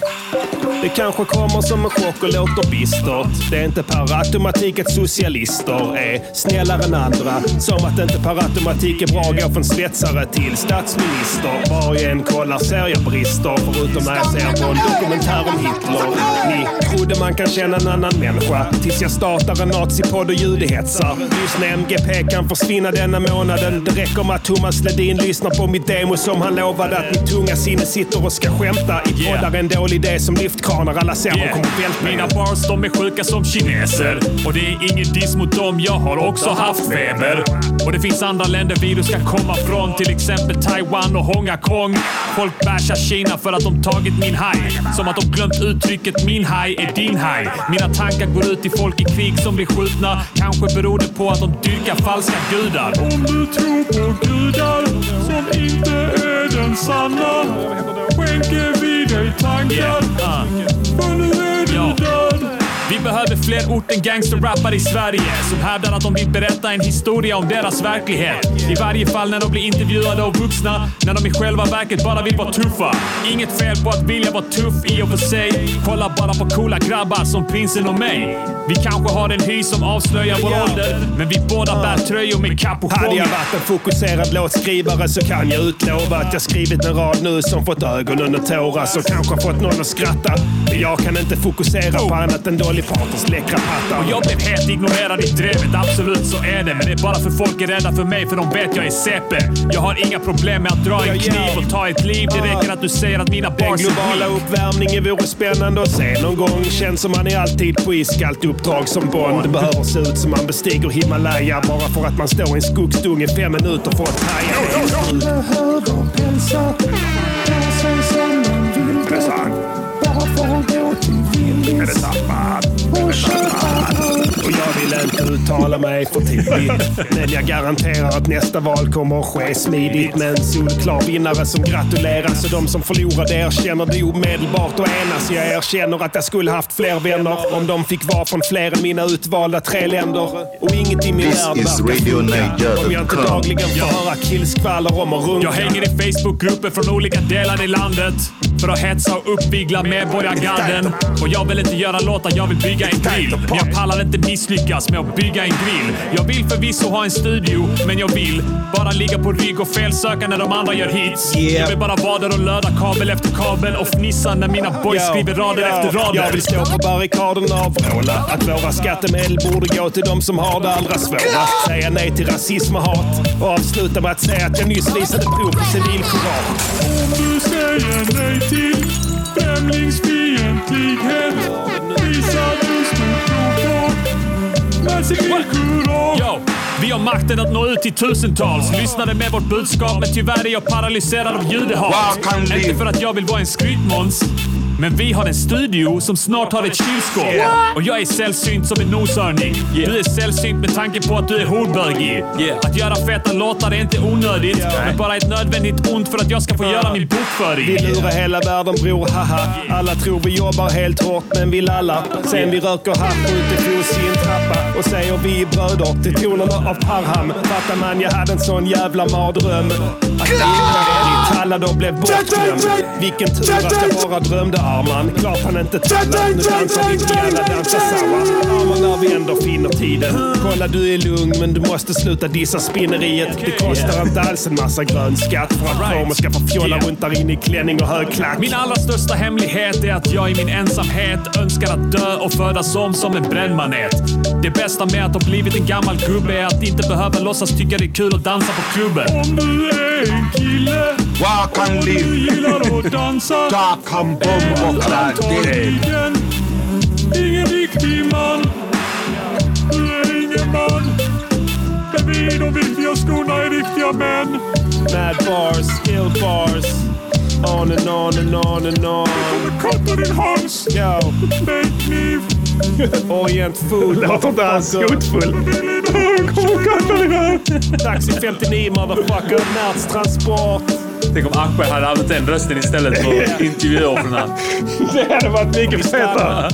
[SPEAKER 1] Det kanske kommer som en chock och låter bistert. Det är inte per automatik att socialister är snällare än andra. Som att inte per automatik är bra att gå från svetsare till statsminister. Var jag än kollar ser jag brister, förutom när jag ser på en dokumentär om Hitler. Ni trodde man kan känna en annan människa, tills jag startar en nazipodd och judehetsar. Lyssna MGP kan försvinna denna månaden. Det räcker med att Thomas Ledin lyssnar på mitt demo som han lovade att mitt tunga sinne sitter och ska skämta i
[SPEAKER 9] Yeah.
[SPEAKER 1] poddar en dålig idé som lyftkranar. Alla ser yeah. kommer välta mig.
[SPEAKER 9] Mina bars de är sjuka som kineser Och det är ingen diss mot dem, jag har också haft feber Och det finns andra länder virus kan komma från Till exempel Taiwan och Hong Kong Folk bashar Kina för att de tagit min haj Som att de glömt uttrycket min haj är din haj Mina tankar går ut till folk i krig som blir skjutna Kanske beror det på att de dyrkar falska gudar Om du tror på gudar som inte är den sanna Skänker vi dig tankar Ah. Ja. Vi behöver fler orten gangsterrappare i Sverige som hävdar att de vill berätta en historia om deras verklighet. I varje fall när de blir intervjuade av vuxna, när de i själva verket bara vill vara tuffa. Inget fel på att vilja vara tuff i och för sig. Kolla bara på coola grabbar som prinsen och mig. Vi kanske har en hy som avslöjar vår ålder, men vi båda bär tröjor med
[SPEAKER 1] Hade jag
[SPEAKER 9] kapuchonger.
[SPEAKER 1] varit en fokuserad låtskrivare så kan jag utlova att jag skrivit en rad nu som fått ögonen att tåras och kanske fått någon att skratta. Men jag kan inte fokusera på annat än Dolly Partons läckra pattar.
[SPEAKER 9] Och jag blev helt ignorerad i drevet, absolut så är det. Men det är bara för folk är rädda för mig för de vet jag är CP. Jag har inga problem med att dra en kniv och ta ett liv. Det räcker att du säger att mina
[SPEAKER 1] Den
[SPEAKER 9] bars är
[SPEAKER 1] globala
[SPEAKER 9] weak.
[SPEAKER 1] uppvärmningen vore spännande att se någon gång. Känns som man är alltid på iskallt uppdrag som Bond. Behöver se ut som man bestiger Himalaya bara för att man står i en skogsdunge fem minuter för att haja. Och jag vill inte uttala mig för tidigt. Men jag garanterar att nästa val kommer att ske smidigt. Med en solklar vinnare som gratuleras. Och de som förlorade erkänner det omedelbart. Och enas. Jag erkänner att jag skulle haft fler vänner. Om de fick vara från fler än mina utvalda tre länder. Och inget i min värld verkar Om jag inte dagligen får höra killskvaller om och runka.
[SPEAKER 9] Jag hänger i Facebookgrupper från olika delar i landet för att hetsa och uppvigla medborgargarden. Och jag vill inte göra låtar, jag vill bygga en grill. Men jag pallar inte misslyckas med att bygga en grill. Jag vill förvisso ha en studio, men jag vill bara ligga på rygg och felsöka när de andra gör hits. Jag vill bara vara där och löda kabel efter kabel och fnissa när mina boys
[SPEAKER 1] Ja,
[SPEAKER 9] skriver rader
[SPEAKER 1] ja.
[SPEAKER 9] efter rader.
[SPEAKER 1] Jag vill stå på barrikaderna och vråla att våra skattemedel borde gå till de som har det allra svårast. Säga nej till rasism och hat och avsluta med att säga att jag nyss visade prov på civilkurage.
[SPEAKER 9] Du säger nej till främlingsfientlighet Visar du stort prov på Men civilkurage Yo, Vi har makten att nå ut till tusentals Lyssnade med vårt budskap men tyvärr är jag paralyserad av judehat Inte för att jag vill vara en skrytmåns Men vi har en studio som snart har ett kylskåp. Och jag är sällsynt som en noshörning. Du är sällsynt med tanke på att du är horbögig. Att göra feta låtar är inte onödigt, men bara ett nödvändigt ont för att jag ska få göra min bokföring.
[SPEAKER 1] Vi lurar hela världen bror, haha. Alla tror vi jobbar helt hårt, men vi lallar. Sen vi röker hasch utefots i en trappa och säger vi är bröder till tonerna av Parham. Fattar man, jag hade en sån jävla mardröm. Att Ingvar Talla då blev bortglömd. Vilken tur att jag bara drömde Arman. Klart han inte talar. Nu dansar vi till alla dansar samma. Arman när vi ändå finner tiden. Kolla du är lugn men du måste sluta dissa spinneriet. Det kostar inte alls en massa grön skatt för att
[SPEAKER 9] Alright.
[SPEAKER 1] romer ska få fjolla
[SPEAKER 9] Yeah.
[SPEAKER 1] runt där inne i klänning och högklack.
[SPEAKER 9] Min allra största hemlighet är att jag i min ensamhet önskar att dö och födas om som en brännmanet. Det bästa med att ha blivit en gammal gubbe är att inte behöva låtsas tycka det är kul att dansa på klubben. Om du är en kille
[SPEAKER 4] Walk and live.
[SPEAKER 9] gillar att dansa
[SPEAKER 4] Ta kan bomb och klark.
[SPEAKER 9] Ingen riktig man. Du är ingen man. Men vi i de viktiga skorna är riktiga män.
[SPEAKER 1] Mad bars, ill bars. On and on and on and on.
[SPEAKER 9] Katta din hals
[SPEAKER 1] Yo,
[SPEAKER 9] med en kniv.
[SPEAKER 1] Orient food. Låter inte alls hotfull. Taxi 59 motherfucker. Närtransport.
[SPEAKER 2] Tänk om Akbe hade använt den rösten istället för intervjuoffren.
[SPEAKER 1] Det hade varit mycket fetare.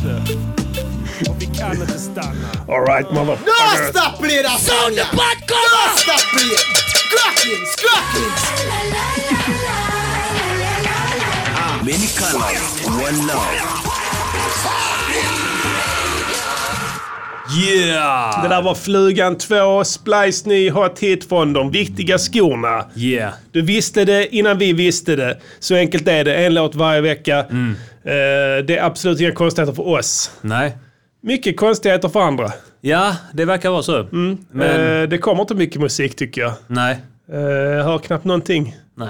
[SPEAKER 1] Och vi kan inte stanna. Alright motherfucker.
[SPEAKER 4] Many colors, one love.
[SPEAKER 2] Yeah!
[SPEAKER 1] Det där var Flugan 2, Splice ny hot hit från De viktiga skorna.
[SPEAKER 2] Yeah.
[SPEAKER 1] Du visste det innan vi visste det. Så enkelt är det. En låt varje vecka.
[SPEAKER 2] Mm.
[SPEAKER 1] Eh, det är absolut inga konstigheter för oss.
[SPEAKER 2] Nej.
[SPEAKER 1] Mycket konstigheter för andra.
[SPEAKER 2] Ja, Ah, det verkar vara så. Men Mm.
[SPEAKER 1] Eh, det kommer inte mycket musik tycker jag.
[SPEAKER 2] nej.
[SPEAKER 1] Eh, hör knappt någonting.
[SPEAKER 2] Nej.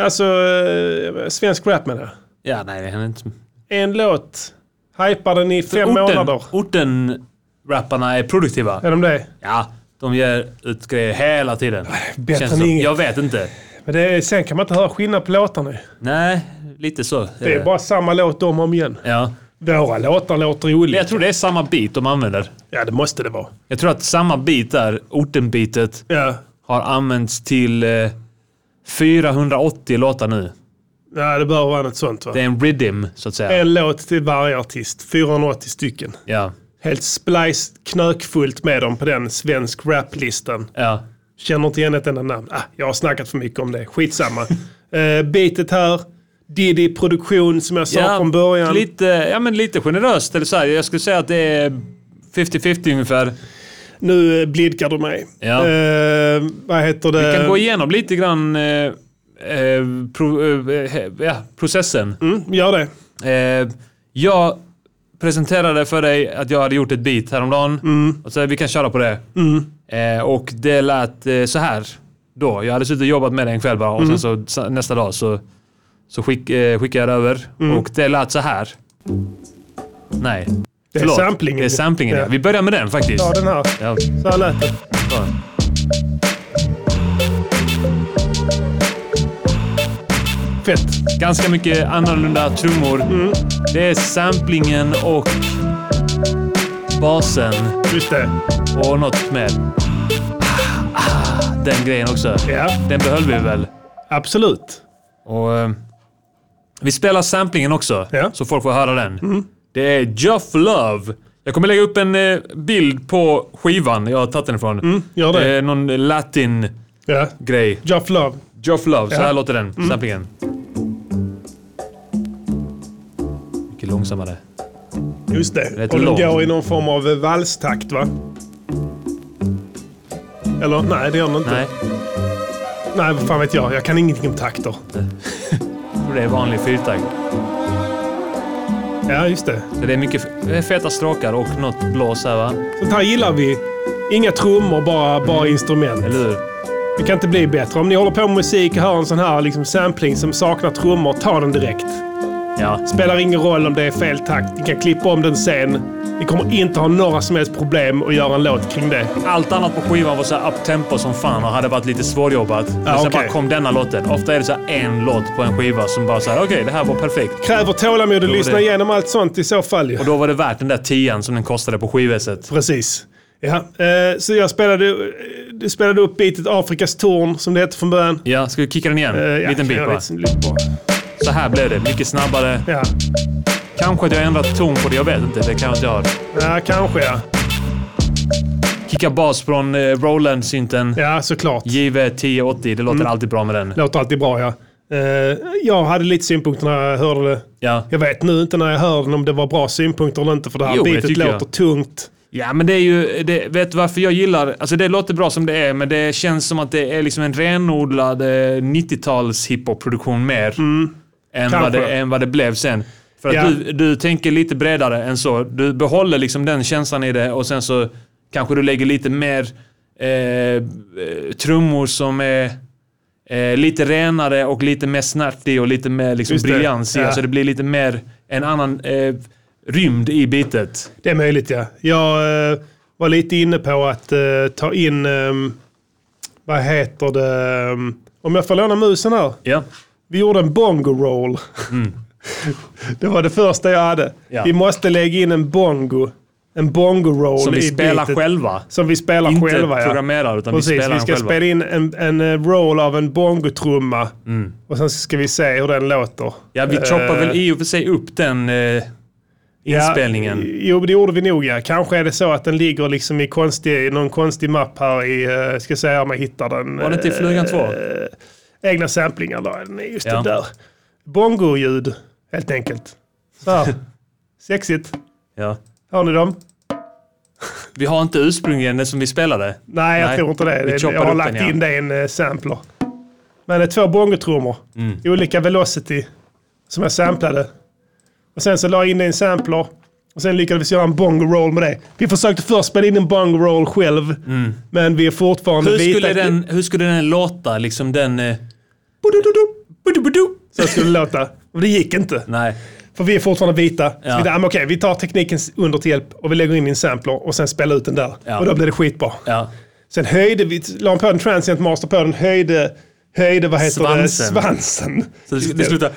[SPEAKER 1] Alltså, eh, svensk rap menar jag.
[SPEAKER 2] Ja, nej det händer inte.
[SPEAKER 1] En låt. Hypar den i fem månader.
[SPEAKER 2] orten rapparna är produktiva.
[SPEAKER 1] Är de det?
[SPEAKER 2] Ja, de ger ut grejer hela tiden.
[SPEAKER 1] bättre
[SPEAKER 2] Känns
[SPEAKER 1] än
[SPEAKER 2] som.
[SPEAKER 1] inget.
[SPEAKER 2] Jag vet inte.
[SPEAKER 1] Men det är, sen kan man inte höra skillnad på låtarna.
[SPEAKER 2] Nej, lite så. är
[SPEAKER 1] Det är bara samma låt om och om igen.
[SPEAKER 2] Ja.
[SPEAKER 1] Våra låtar låter
[SPEAKER 2] Men
[SPEAKER 1] olika.
[SPEAKER 2] jag tror det är samma beat de använder.
[SPEAKER 1] Ja, det måste det vara.
[SPEAKER 2] Jag tror att samma beat där, ortenbeatet,
[SPEAKER 1] Ja.
[SPEAKER 2] har använts till eh, 480 låtar nu.
[SPEAKER 1] Ja, det bör vara något sånt va?
[SPEAKER 2] Det är en rhythm, så att säga.
[SPEAKER 1] En låt till varje artist. 480 stycken.
[SPEAKER 2] Ja.
[SPEAKER 1] Helt splice knökfullt med dem på den svensk raplistan.
[SPEAKER 2] Ja.
[SPEAKER 1] Känner inte igen ett enda namn. Ah, jag har snackat för mycket om det. Skitsamma. uh, beatet här. Diddy Produktion som jag sa
[SPEAKER 2] ja,
[SPEAKER 1] från början.
[SPEAKER 2] Lite, ja, men lite generöst. Eller så här, jag skulle säga att det är 50-50 ungefär.
[SPEAKER 1] Nu eh, blidkar du mig.
[SPEAKER 2] Ja.
[SPEAKER 1] Eh, vad heter det?
[SPEAKER 2] Vi kan gå igenom lite grann eh, eh, pro, eh, he- ja, processen.
[SPEAKER 1] mm, gör det.
[SPEAKER 2] Eh, jag presenterade för dig att jag hade gjort ett beat häromdagen.
[SPEAKER 1] Mm.
[SPEAKER 2] Och så vi kan köra på det. Eh, och det lät eh, så här då. Jag hade suttit och jobbat med det en kväll bara och
[SPEAKER 1] Mm.
[SPEAKER 2] sen så sa- nästa dag så, så skick, eh, skickade jag det över.
[SPEAKER 1] Mm.
[SPEAKER 2] Och det lät så här. Nej.
[SPEAKER 1] Det är
[SPEAKER 2] Förlåt.
[SPEAKER 1] samplingen.
[SPEAKER 2] Det är samplingen, ja.
[SPEAKER 1] Ja.
[SPEAKER 2] Vi börjar med den faktiskt.
[SPEAKER 1] Ta den här.
[SPEAKER 2] Ja.
[SPEAKER 1] Så här lät det. Fett.
[SPEAKER 2] Ganska mycket annorlunda trummor.
[SPEAKER 1] Mm.
[SPEAKER 2] Det är samplingen och basen
[SPEAKER 1] Just det.
[SPEAKER 2] och något med den grejen också.
[SPEAKER 1] Ja,
[SPEAKER 2] Den behöll vi väl.
[SPEAKER 1] absolut.
[SPEAKER 2] Och, eh, vi spelar samplingen också,
[SPEAKER 1] Ja. Mm.
[SPEAKER 2] så folk får höra den. Det är Jeff Love. Jag kommer lägga upp en eh, bild på skivan jag har tagit den ifrån.
[SPEAKER 1] Mm, gör det.
[SPEAKER 2] är någon latin-grej.
[SPEAKER 1] Ja. Jeff Love.
[SPEAKER 2] Geoff Love, så
[SPEAKER 1] Ja. Mm.
[SPEAKER 2] här låter den. Samplingen. Mycket långsammare.
[SPEAKER 1] Just det.
[SPEAKER 2] Rätt
[SPEAKER 1] Och
[SPEAKER 2] lång.
[SPEAKER 1] de går i någon form av eh, valstakt va? Eller nej, det gör de inte.
[SPEAKER 2] Nej,
[SPEAKER 1] Nej, vad fan vet jag. Jag kan ingenting om takter.
[SPEAKER 2] jag tror det är vanlig fyrtakt.
[SPEAKER 1] Ja, just det.
[SPEAKER 2] Så det är mycket f- feta stråkar och något blås här va?
[SPEAKER 1] Sånt här gillar vi. Inga trummor, bara, bara instrument.
[SPEAKER 2] Eller hur?
[SPEAKER 1] Det kan inte bli bättre. Om ni håller på med musik och hör en sån här liksom sampling som saknar trummor, ta den direkt.
[SPEAKER 2] Ja.
[SPEAKER 1] Spelar ingen roll om det är fel takt. Ni kan klippa om den sen. Ni kommer inte ha några som helst problem att göra en låt kring det.
[SPEAKER 2] Allt annat på skivan var så här uptempo som fan och hade varit lite svårjobbat. Men sen
[SPEAKER 1] okej.
[SPEAKER 2] bara kom denna låten. Ofta är det så här en låt på en skiva som bara så här, okej, det här var perfekt.
[SPEAKER 1] Kräver tålamod att lyssna
[SPEAKER 2] det-
[SPEAKER 1] igenom allt sånt i så fall ju.
[SPEAKER 2] Och då var det värt den där tian som den kostade på skivesset.
[SPEAKER 1] Precis. Ja, eh, så jag spelade, eh, du spelade upp bitet Afrikas torn, som det hette från början.
[SPEAKER 2] Ja, ska vi kicka den igen?
[SPEAKER 1] Eh, ja,
[SPEAKER 2] Liten bit
[SPEAKER 1] jag
[SPEAKER 2] bara.
[SPEAKER 1] vet inte, lite bra.
[SPEAKER 2] Så här blev det. Mycket snabbare.
[SPEAKER 1] Ja.
[SPEAKER 2] Kanske att jag ändrat ton på det, jag vet inte. Det kan jag inte ha.
[SPEAKER 1] ja, kanske ja.
[SPEAKER 2] Kicka bas från eh, Roland-synten.
[SPEAKER 1] Ja, såklart.
[SPEAKER 2] JV1080. Det
[SPEAKER 1] Mm.
[SPEAKER 2] låter alltid bra med den.
[SPEAKER 1] Låter alltid bra ja. Eh, jag hade lite synpunkter när jag hörde det.
[SPEAKER 2] Ja.
[SPEAKER 1] Jag vet nu inte när jag hör den om det var bra synpunkter eller inte för det här
[SPEAKER 2] Jo, det
[SPEAKER 1] beatet
[SPEAKER 2] tycker
[SPEAKER 1] låter
[SPEAKER 2] jag.
[SPEAKER 1] tungt.
[SPEAKER 2] Ja, men det är ju... Det, vet du varför jag gillar... Alltså det låter bra som det är, men det känns som att det är liksom en renodlad eh, 90-tals hiphop-produktion mer. Än, vad
[SPEAKER 1] Mm. Kanske.
[SPEAKER 2] det, än vad det blev sen. För att
[SPEAKER 1] Ja.
[SPEAKER 2] du, du tänker lite bredare än så. Du behåller liksom den känslan i det och sen så kanske du lägger lite mer eh, eh, trummor som är eh, lite renare och lite mer snärtig och lite mer liksom
[SPEAKER 1] Just det.
[SPEAKER 2] briljans i.
[SPEAKER 1] Ja.
[SPEAKER 2] Så det blir lite mer en annan eh, rymd i bitet.
[SPEAKER 1] Det är möjligt ja. Jag eh, var lite inne på att eh, ta in, ehm, vad heter det, ehm, om jag får låna musen här.
[SPEAKER 2] Ja.
[SPEAKER 1] Vi gjorde en bongo roll. det var det första jag hade.
[SPEAKER 2] Mm. Ja.
[SPEAKER 1] Vi måste lägga in en bongo. En bongo roll
[SPEAKER 2] Som vi
[SPEAKER 1] i
[SPEAKER 2] spelar
[SPEAKER 1] beatet.
[SPEAKER 2] själva.
[SPEAKER 1] Som vi spelar
[SPEAKER 2] Inte
[SPEAKER 1] själva. ja.
[SPEAKER 2] programmerar, utan vi
[SPEAKER 1] Precis,
[SPEAKER 2] spelar
[SPEAKER 1] vi
[SPEAKER 2] den
[SPEAKER 1] ska
[SPEAKER 2] själva.
[SPEAKER 1] spela in en, en eh, roll av en bongotrumma.
[SPEAKER 2] Mm.
[SPEAKER 1] Och sen ska vi se hur den låter.
[SPEAKER 2] Ja, vi
[SPEAKER 1] Eh,
[SPEAKER 2] choppar väl i och för sig upp den eh, inspelningen.
[SPEAKER 1] Ja, jo, det gjorde vi nog ja. Kanske är det så att den ligger liksom i konstig, någon konstig mapp här i, eh, ska se om jag hittar den.
[SPEAKER 2] Var det inte i
[SPEAKER 1] Eh,
[SPEAKER 2] Flugan 2?
[SPEAKER 1] egna samplingar då. Den är Just
[SPEAKER 2] Ja.
[SPEAKER 1] det där. Bongo-ljud, helt enkelt. Så här. Sexigt.
[SPEAKER 2] Ja.
[SPEAKER 1] Hör ni dem?
[SPEAKER 2] Vi har inte ursprungligen den som vi spelade.
[SPEAKER 1] Nej, jag
[SPEAKER 2] Nej,
[SPEAKER 1] tror inte det.
[SPEAKER 2] vi
[SPEAKER 1] det
[SPEAKER 2] choppar
[SPEAKER 1] jag har
[SPEAKER 2] upp
[SPEAKER 1] lagt
[SPEAKER 2] den, ja.
[SPEAKER 1] in det i en eh, sampler. Men det är två bongotrummor.
[SPEAKER 2] Mm.
[SPEAKER 1] i Olika velocity. Som jag samplade. Och sen så la jag in det i en sampler. Och sen lyckades vi göra en bongo-roll med det. Vi försökte först spela in en bongo-roll själv. Men vi är fortfarande
[SPEAKER 2] Mm. Hur skulle,
[SPEAKER 1] vita-
[SPEAKER 2] den, hur skulle den låta? Liksom den... Eh,
[SPEAKER 1] Budududu.
[SPEAKER 2] budu-budu.
[SPEAKER 1] Så skulle det låta. Och det gick inte.
[SPEAKER 2] Nej.
[SPEAKER 1] För vi är fortfarande vita. Så
[SPEAKER 2] Ja.
[SPEAKER 1] vi, där, men okej, vi tar tekniken under till hjälp och vi lägger in i en sampler och sen spelar ut den där.
[SPEAKER 2] Ja.
[SPEAKER 1] Och då blir det skitbra.
[SPEAKER 2] Ja.
[SPEAKER 1] Sen höjde vi, la han på en transient master på den, höjde, höjde vad heter
[SPEAKER 2] Svansen.
[SPEAKER 1] det? Svansen.
[SPEAKER 2] Så det, det slutar...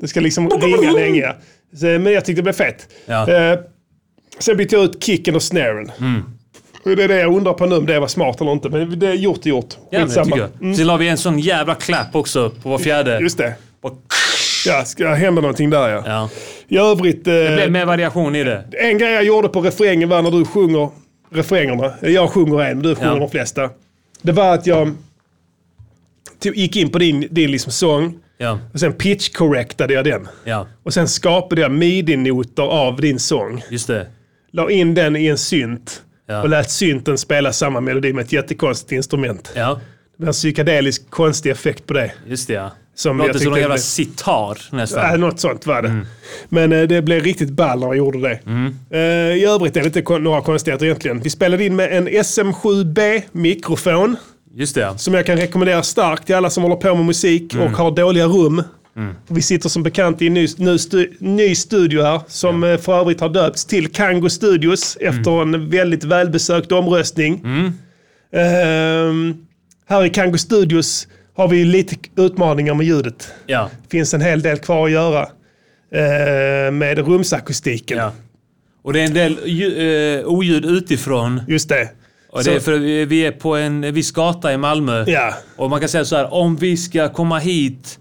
[SPEAKER 1] Det ska liksom ringa länge. Så, men jag tyckte det blev fett.
[SPEAKER 2] Ja.
[SPEAKER 1] Eh, sen bytte jag ut kicken och snaren.
[SPEAKER 2] Mm.
[SPEAKER 1] Och Det är det jag undrar på nu, om det var smart eller inte. Men det är gjort är gjort.
[SPEAKER 2] Ja, men det
[SPEAKER 1] Skitsamma.
[SPEAKER 2] tycker jag. Sen la vi en sån jävla clap också på vår fjärde.
[SPEAKER 1] Just det. Ja, ska hända någonting där ja.
[SPEAKER 2] Ja.
[SPEAKER 1] I övrigt... eh,
[SPEAKER 2] Det blev mer variation i det.
[SPEAKER 1] En grej jag gjorde på refrängen var när du sjunger refrängerna. Jag sjunger en, du sjunger
[SPEAKER 2] Ja.
[SPEAKER 1] de flesta. Det var att jag tog, gick in på din, din liksom sång
[SPEAKER 2] Ja.
[SPEAKER 1] och sen pitch-correctade jag den.
[SPEAKER 2] Ja.
[SPEAKER 1] Och sen skapade jag midi-noter av din sång.
[SPEAKER 2] Just det.
[SPEAKER 1] La in den i en synt
[SPEAKER 2] Ja.
[SPEAKER 1] och lät synten spela samma melodi med ett jättekonstigt instrument.
[SPEAKER 2] Ja.
[SPEAKER 1] Det var en psykedelisk konstig effekt på det.
[SPEAKER 2] Just det ja.
[SPEAKER 1] Som jag
[SPEAKER 2] Låter som
[SPEAKER 1] tyckte
[SPEAKER 2] en jävla
[SPEAKER 1] blev-
[SPEAKER 2] sitar nästan.
[SPEAKER 1] Äh, något sånt var det. Men eh, det blev riktigt ball när jag gjorde det. Eh, I övrigt är det inte kon- några konstigheter egentligen. Vi spelade in med en SM7B-mikrofon
[SPEAKER 2] Just det ja.
[SPEAKER 1] som jag kan rekommendera starkt till alla som håller på med musik och har dåliga rum. Vi sitter som bekant i en ny, ny, stu, ny studio här som eh, för övrigt har döpts till Kango Studios efter en väldigt välbesökt omröstning. Ehm, här i Kango Studios har vi lite utmaningar med ljudet
[SPEAKER 2] Ja.
[SPEAKER 1] finns en hel del kvar att göra eh, med rumsakustiken.
[SPEAKER 2] ja. Och det är en del lju- eh, oljud utifrån.
[SPEAKER 1] Just det.
[SPEAKER 2] Och
[SPEAKER 1] Så-
[SPEAKER 2] det är för vi vi är på en viss gata i Malmö.
[SPEAKER 1] Ja.
[SPEAKER 2] Och man kan säga så här, om vi ska komma hit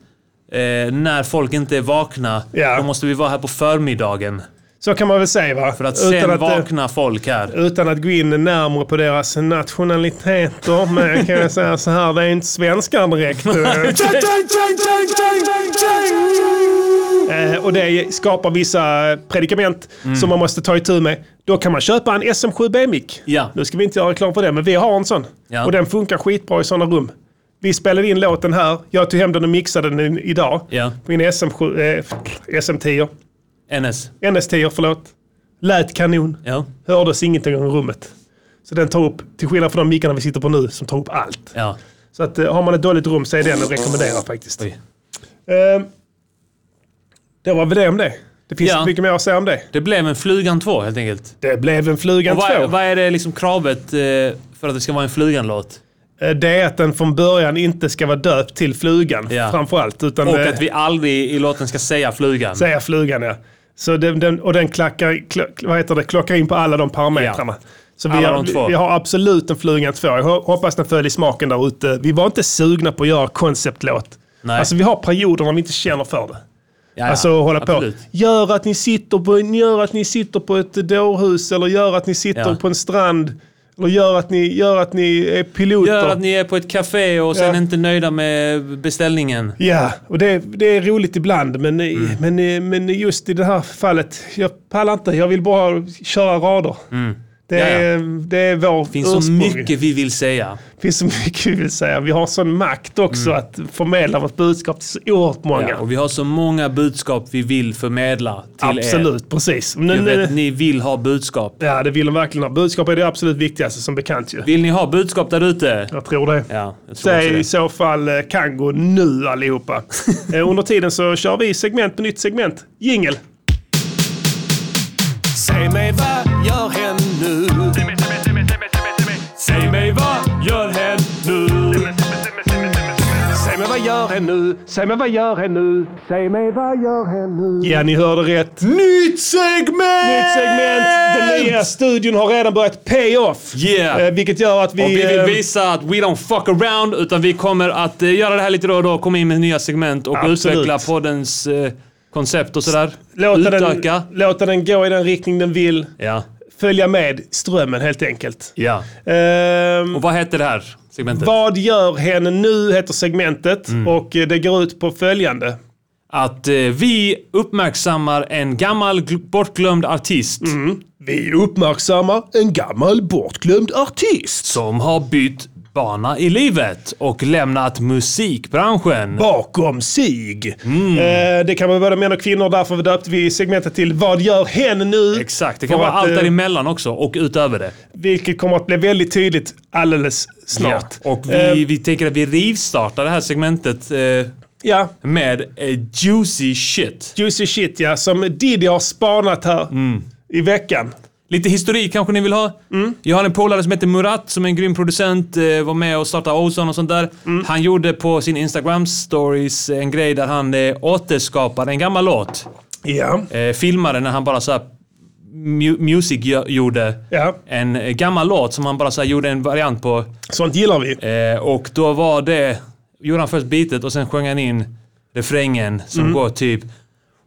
[SPEAKER 2] eh, när folk inte är vakna,
[SPEAKER 1] Ja.
[SPEAKER 2] då måste vi vara här på förmiddagen.
[SPEAKER 1] Så kan man väl säga va?
[SPEAKER 2] För att sen
[SPEAKER 1] eh,
[SPEAKER 2] vakna folk här.
[SPEAKER 1] utan att gå in närmare på deras nationaliteter. Men jag kan väl säga så här, det är inte svenskar direkt. Eh, och det skapar vissa predikament
[SPEAKER 2] Mm.
[SPEAKER 1] som man måste ta itu med. Då kan man köpa en SM7B-mick.
[SPEAKER 2] Ja.
[SPEAKER 1] Nu ska vi inte göra reklam för det, men vi har en sån.
[SPEAKER 2] Ja.
[SPEAKER 1] Och den funkar skitbra i sådana rum. Vi spelade in låten här. Jag tog hem den och mixade den i- idag.
[SPEAKER 2] Ja.
[SPEAKER 1] Min SM7, eh, SM10.
[SPEAKER 2] NS.
[SPEAKER 1] NS10, förlåt. Lät kanon
[SPEAKER 2] Ja.
[SPEAKER 1] hördes ingenting i rummet. Så den tar upp, till skillnad från de mickarna vi sitter på nu, som tar upp allt.
[SPEAKER 2] Ja.
[SPEAKER 1] Så att, eh, har man ett dåligt rum så är den att rekommendera faktiskt.
[SPEAKER 2] Oj.
[SPEAKER 1] Eh, Det var väl det om det. Det finns
[SPEAKER 2] Ja.
[SPEAKER 1] inte mycket mer att säga om det.
[SPEAKER 2] Det blev en Flugan 2 helt enkelt.
[SPEAKER 1] Det blev en Flugan
[SPEAKER 2] Och vad, är-
[SPEAKER 1] 2.
[SPEAKER 2] vad är det liksom kravet eh, för att det ska vara en Flugan-låt?
[SPEAKER 1] Eh, Det är att den från början inte ska vara döpt till Flugan
[SPEAKER 2] Ja.
[SPEAKER 1] framförallt. Utan
[SPEAKER 2] Och
[SPEAKER 1] det-
[SPEAKER 2] att vi aldrig i låten ska säga Flugan.
[SPEAKER 1] säga flugan ja. Så den, den, och den klackar, kl- vad heter det, klockar in på alla de parametrarna. Så vi
[SPEAKER 2] Alla
[SPEAKER 1] har,
[SPEAKER 2] de två.
[SPEAKER 1] vi- vi har absolut en flugan två. Jag ho- hoppas den följer smaken där ute. Vi var inte sugna på att göra konceptlåt.
[SPEAKER 2] Nej.
[SPEAKER 1] Alltså vi har perioder när vi inte känner för det.
[SPEAKER 2] Ja, ja.
[SPEAKER 1] Alltså hålla på.
[SPEAKER 2] Absolut.
[SPEAKER 1] Gör att, ni sitter på. gör att ni sitter på ett dårhus eller gör att ni sitter
[SPEAKER 2] Ja.
[SPEAKER 1] på en strand. Eller gör att ni, gör att ni är piloter.
[SPEAKER 2] Gör att ni är på ett café och sen
[SPEAKER 1] Ja.
[SPEAKER 2] inte nöjda med beställningen.
[SPEAKER 1] Ja, och det, det är roligt ibland, men, eh,
[SPEAKER 2] Mm.
[SPEAKER 1] men, men just i det här fallet, jag pallar inte. Jag vill bara köra rader. Det, är, det är vår
[SPEAKER 2] Det Mm. finns så
[SPEAKER 1] ursprung.
[SPEAKER 2] mycket vi vill säga.
[SPEAKER 1] Det finns så mycket vi vill säga. Vi har sån makt också att förmedla vårt budskap till så oerhört många.
[SPEAKER 2] Mm. Ja, och vi har så många budskap vi vill förmedla till er.
[SPEAKER 1] Absolut, precis. Men,
[SPEAKER 2] Jag vet,
[SPEAKER 1] eh,
[SPEAKER 2] ni vill ha budskap.
[SPEAKER 1] ja, det vill de verkligen ha. Budskap är det absolut viktigaste som bekant ju.
[SPEAKER 2] Vill ni ha budskap där ute?
[SPEAKER 1] Jag tror det.
[SPEAKER 2] Ja, jag tror också
[SPEAKER 1] Säg i
[SPEAKER 2] det.
[SPEAKER 1] så fall eh, Kango nu allihopa. Eh, Under tiden så kör vi segment på nytt segment. Jingel!
[SPEAKER 4] Säg mig vad gör hen nu? Säg mig vad gör hen nu? Säg mig vad gör hen nu? Säg mig vad gör hen nu? Säg mig vad gör hen nu?
[SPEAKER 1] Ja, ni hörde rätt.
[SPEAKER 4] Nytt segment!
[SPEAKER 1] Nytt segment! Den nya studion har redan börjat pay off.
[SPEAKER 2] Yeah.
[SPEAKER 1] Eh, vilket gör att vi...
[SPEAKER 2] Och vi vill
[SPEAKER 1] eh,
[SPEAKER 2] visa att we don't fuck around, utan vi kommer att eh, göra det här lite då och då, komma in med nya segment och
[SPEAKER 1] Absolut.
[SPEAKER 2] utveckla poddens eh, koncept och sådär.
[SPEAKER 1] låta,
[SPEAKER 2] Utöka.
[SPEAKER 1] den, låta den gå i den riktning den vill.
[SPEAKER 2] Ja.
[SPEAKER 1] Följa med strömmen helt enkelt.
[SPEAKER 2] ja.
[SPEAKER 1] Ehm,
[SPEAKER 2] Och vad heter det här segmentet?
[SPEAKER 1] vad gör hen nu heter segmentet och eh, det går ut på följande.
[SPEAKER 2] Att eh, vi uppmärksammar en gammal gl- bortglömd artist
[SPEAKER 1] Vi uppmärksammar en gammal bortglömd artist.
[SPEAKER 2] som har bytt bana i livet och lämnat musikbranschen.
[SPEAKER 1] bakom sig.
[SPEAKER 2] Mm.
[SPEAKER 1] Eh, det kan vara både män och kvinnor, därför döpte vi segmentet till Vad gör hen nu?
[SPEAKER 2] Exakt, det kan
[SPEAKER 1] För
[SPEAKER 2] vara
[SPEAKER 1] att,
[SPEAKER 2] allt
[SPEAKER 1] eh,
[SPEAKER 2] däremellan också och utöver det.
[SPEAKER 1] Vilket kommer att bli väldigt tydligt alldeles snart.
[SPEAKER 2] Ja. Och
[SPEAKER 1] Eh,
[SPEAKER 2] vi, vi tänker att vi rivstartar det här segmentet eh,
[SPEAKER 1] ja,
[SPEAKER 2] med eh, juicy shit.
[SPEAKER 1] Juicy Shit ja, som Diddy har spanat här
[SPEAKER 2] Mm.
[SPEAKER 1] i veckan.
[SPEAKER 2] Lite historik kanske ni vill ha? Jag har en polare som heter Murat som är en grym producent, eh, var med och startade Ozone och sånt där. Han gjorde på sin Instagram stories en grej där han eh, återskapade en gammal låt.
[SPEAKER 1] Ja.
[SPEAKER 2] Eh, filmade när han bara såhär mu- music gö- gjorde.
[SPEAKER 1] Ja.
[SPEAKER 2] En eh, gammal låt som han bara såhär gjorde en variant på.
[SPEAKER 1] Sånt gillar vi.
[SPEAKER 2] Eh, och då var det, gjorde han först beatet och sen sjöng han in refrängen som
[SPEAKER 1] Mm.
[SPEAKER 2] går typ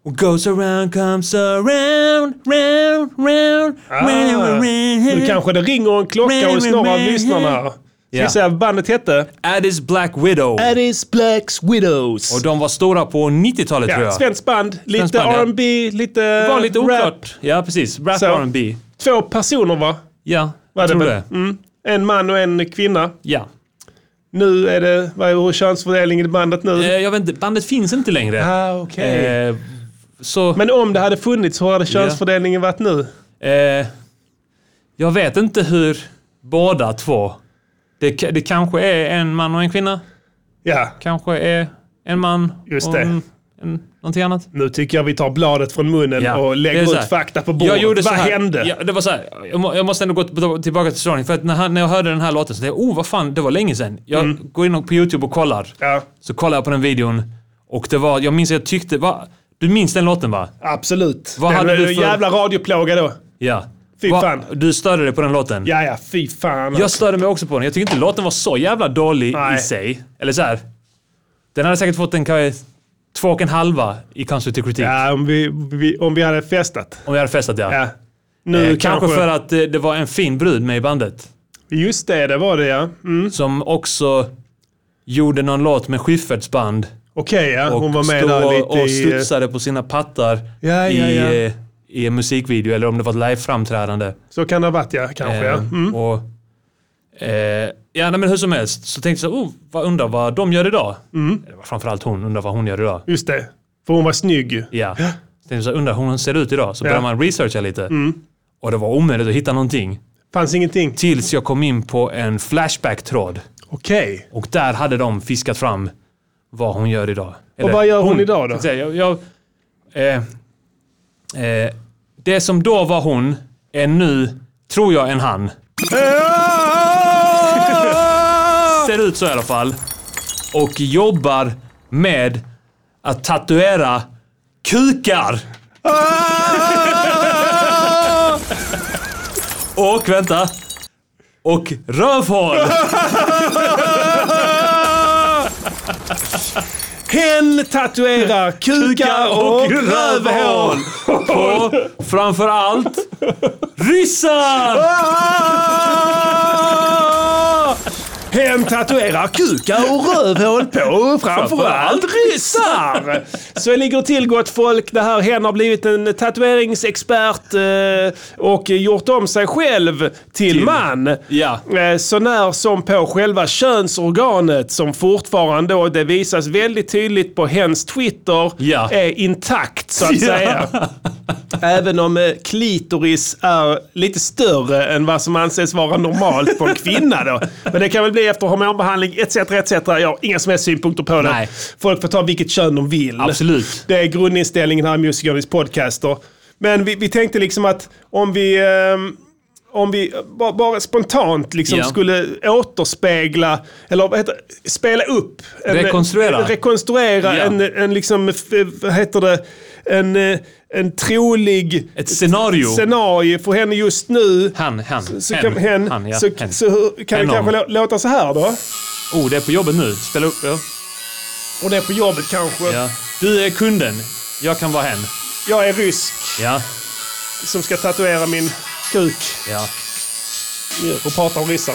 [SPEAKER 2] What goes around comes around, round, round, round,
[SPEAKER 1] Ah. Nu
[SPEAKER 2] round.
[SPEAKER 1] kanske det ringer en klocka hos några av lyssnarna. Ska vi
[SPEAKER 2] Ja.
[SPEAKER 1] säga vad bandet hette?
[SPEAKER 2] Addis Black Widow.
[SPEAKER 1] Addis Blacks Widows.
[SPEAKER 2] Och de var stora på 90-talet tror
[SPEAKER 1] ja,
[SPEAKER 2] jag.
[SPEAKER 1] svenskt band. Lite
[SPEAKER 2] band, ja.
[SPEAKER 1] R&B, lite
[SPEAKER 2] Det var lite
[SPEAKER 1] rap.
[SPEAKER 2] oklart. Ja, precis. Rap
[SPEAKER 1] Så.
[SPEAKER 2] R&B.
[SPEAKER 1] Två personer va?
[SPEAKER 2] Ja,
[SPEAKER 1] Var
[SPEAKER 2] jag tror
[SPEAKER 1] väl?
[SPEAKER 2] det.
[SPEAKER 1] Mm. En man och en kvinna.
[SPEAKER 2] Ja.
[SPEAKER 1] Nu är det, vad är hur är könsfördelningen i bandet nu?
[SPEAKER 2] Eh, jag vet inte, bandet finns inte längre.
[SPEAKER 1] ah, okej.
[SPEAKER 2] Eh, så,
[SPEAKER 1] Men om det hade funnits, hur hade könsfördelningen varit nu?
[SPEAKER 2] eh, jag vet inte hur båda två. Det, ka- det kanske är en man och en kvinna.
[SPEAKER 1] Ja,
[SPEAKER 2] Kanske är en man
[SPEAKER 1] Just
[SPEAKER 2] och
[SPEAKER 1] det.
[SPEAKER 2] En, en, någonting annat.
[SPEAKER 1] nu tycker jag vi tar bladet från munnen
[SPEAKER 2] Ja,
[SPEAKER 1] och lägger
[SPEAKER 2] det är så
[SPEAKER 1] ut
[SPEAKER 2] här.
[SPEAKER 1] fakta på bordet.
[SPEAKER 2] Jag gjorde så
[SPEAKER 1] vad
[SPEAKER 2] här.
[SPEAKER 1] hände?
[SPEAKER 2] Ja, det var så här. Jag, må, jag måste ändå gå t- tillbaka till storyn. För att när, han, när jag hörde den här låten så tänkte jag, oh vad fan, det var länge sedan. Jag går in och på YouTube och kollar.
[SPEAKER 1] Ja,
[SPEAKER 2] Så kollar jag på den videon och det var, jag minns att jag tyckte, va? Du minns den låten va?
[SPEAKER 1] absolut.
[SPEAKER 2] Vad
[SPEAKER 1] det
[SPEAKER 2] hade
[SPEAKER 1] var
[SPEAKER 2] du
[SPEAKER 1] en
[SPEAKER 2] för-
[SPEAKER 1] jävla radioplåga då.
[SPEAKER 2] Ja.
[SPEAKER 1] Fy
[SPEAKER 2] Va-
[SPEAKER 1] fan.
[SPEAKER 2] Du störde dig på den låten?
[SPEAKER 1] Ja, ja, fy fan.
[SPEAKER 2] Jag störde mig också på den. Jag tycker inte låten var så jävla dålig
[SPEAKER 1] Nej.
[SPEAKER 2] i sig. Eller så här. Den hade säkert fått en kanske två och en halva i konstruktiv kritik.
[SPEAKER 1] Ja, om vi, vi, om vi hade festat.
[SPEAKER 2] Om vi hade festat ja.
[SPEAKER 1] Ja. Nu
[SPEAKER 2] eh, kanske,
[SPEAKER 1] kanske...
[SPEAKER 2] för att eh, det var en fin brud med i bandet.
[SPEAKER 1] Just det, det var det ja. Mm.
[SPEAKER 2] Som också gjorde någon låt med Schyfferts band.
[SPEAKER 1] Okej ja,
[SPEAKER 2] Och
[SPEAKER 1] hon var med
[SPEAKER 2] stod
[SPEAKER 1] där
[SPEAKER 2] och,
[SPEAKER 1] lite
[SPEAKER 2] och
[SPEAKER 1] i... eh,
[SPEAKER 2] studsade på sina pattar
[SPEAKER 1] Ja, ja,
[SPEAKER 2] i,
[SPEAKER 1] ja.
[SPEAKER 2] eh, i en musikvideo. Eller om det var ett liveframträdande.
[SPEAKER 1] Så kan det ha varit ja, kanske ja.
[SPEAKER 2] Eh,
[SPEAKER 1] Mm.
[SPEAKER 2] och, eh, ja, nej, men hur som helst så tänkte jag så, här, oh, vad undrar vad de gör idag? Mm. Framförallt hon, undrar vad hon gör idag.
[SPEAKER 1] Just det. För hon var snygg ju.
[SPEAKER 2] Ja. Så tänkte jag så här, undrar hur hon ser ut idag? Så började man researcha lite.
[SPEAKER 1] Mm.
[SPEAKER 2] Och det var omöjligt att hitta någonting.
[SPEAKER 1] Fanns ingenting.
[SPEAKER 2] Tills jag kom in på en Flashback-tråd.
[SPEAKER 1] Okej.
[SPEAKER 2] Och där hade de fiskat fram vad hon gör idag.
[SPEAKER 1] vad gör hon idag då?
[SPEAKER 2] så att säga, Jag, jag, Eh, eh, det som då var hon är nu, tror jag, en han. Ser ut så i alla fall. Och jobbar med att tatuera kukar.
[SPEAKER 1] Ah!
[SPEAKER 2] Och vänta. Och rövhål.
[SPEAKER 1] Hen tatuerar kukar och rövhål.
[SPEAKER 2] På framför allt ryssar!
[SPEAKER 1] Hen tatuerar kukar och rövhål på framförallt ryssar. Så ligger det till gott folk. Det här hen har blivit en tatueringsexpert eh, och gjort om sig själv till man.
[SPEAKER 2] Ja.
[SPEAKER 1] Eh, Så när som på själva könsorganet som fortfarande, och det visas väldigt tydligt på hens Twitter,
[SPEAKER 2] Ja.
[SPEAKER 1] är intakt så att
[SPEAKER 2] Ja.
[SPEAKER 1] säga. Även om eh, klitoris är lite större än vad som anses vara normalt på en kvinna då. Men det kan väl bli efter hormonbehandling etc. etc. Jag har inga som helst synpunkter på det.
[SPEAKER 2] Nej.
[SPEAKER 1] Folk får ta vilket kön de vill.
[SPEAKER 2] Absolut.
[SPEAKER 1] Det är grundinställningen här i Music Journeys podcaster. Men vi, vi tänkte liksom att om vi, ehm, om vi bara, bara spontant liksom
[SPEAKER 2] Ja.
[SPEAKER 1] skulle återspegla, eller vad heter det? spela upp. en-
[SPEAKER 2] Rekonstruera.
[SPEAKER 1] Rekonstruera
[SPEAKER 2] Ja.
[SPEAKER 1] en, en liksom, f- vad heter det, en, eh, en trolig
[SPEAKER 2] Ett scenario.
[SPEAKER 1] scenario för henne just nu.
[SPEAKER 2] Han, han,
[SPEAKER 1] Så
[SPEAKER 2] hen,
[SPEAKER 1] kan, hen,
[SPEAKER 2] han, ja,
[SPEAKER 1] så,
[SPEAKER 2] hen.
[SPEAKER 1] så hur, kan det
[SPEAKER 2] Henom.
[SPEAKER 1] kanske lå- låta så här då.
[SPEAKER 2] Oh, det är på jobbet nu. Spela upp. Ja.
[SPEAKER 1] Och det är på jobbet kanske.
[SPEAKER 2] Ja. Du är kunden. Jag kan vara hen.
[SPEAKER 1] Jag är rysk
[SPEAKER 2] Ja,
[SPEAKER 1] som ska tatuera min kuk
[SPEAKER 2] ja.
[SPEAKER 1] och pratar om ryssar.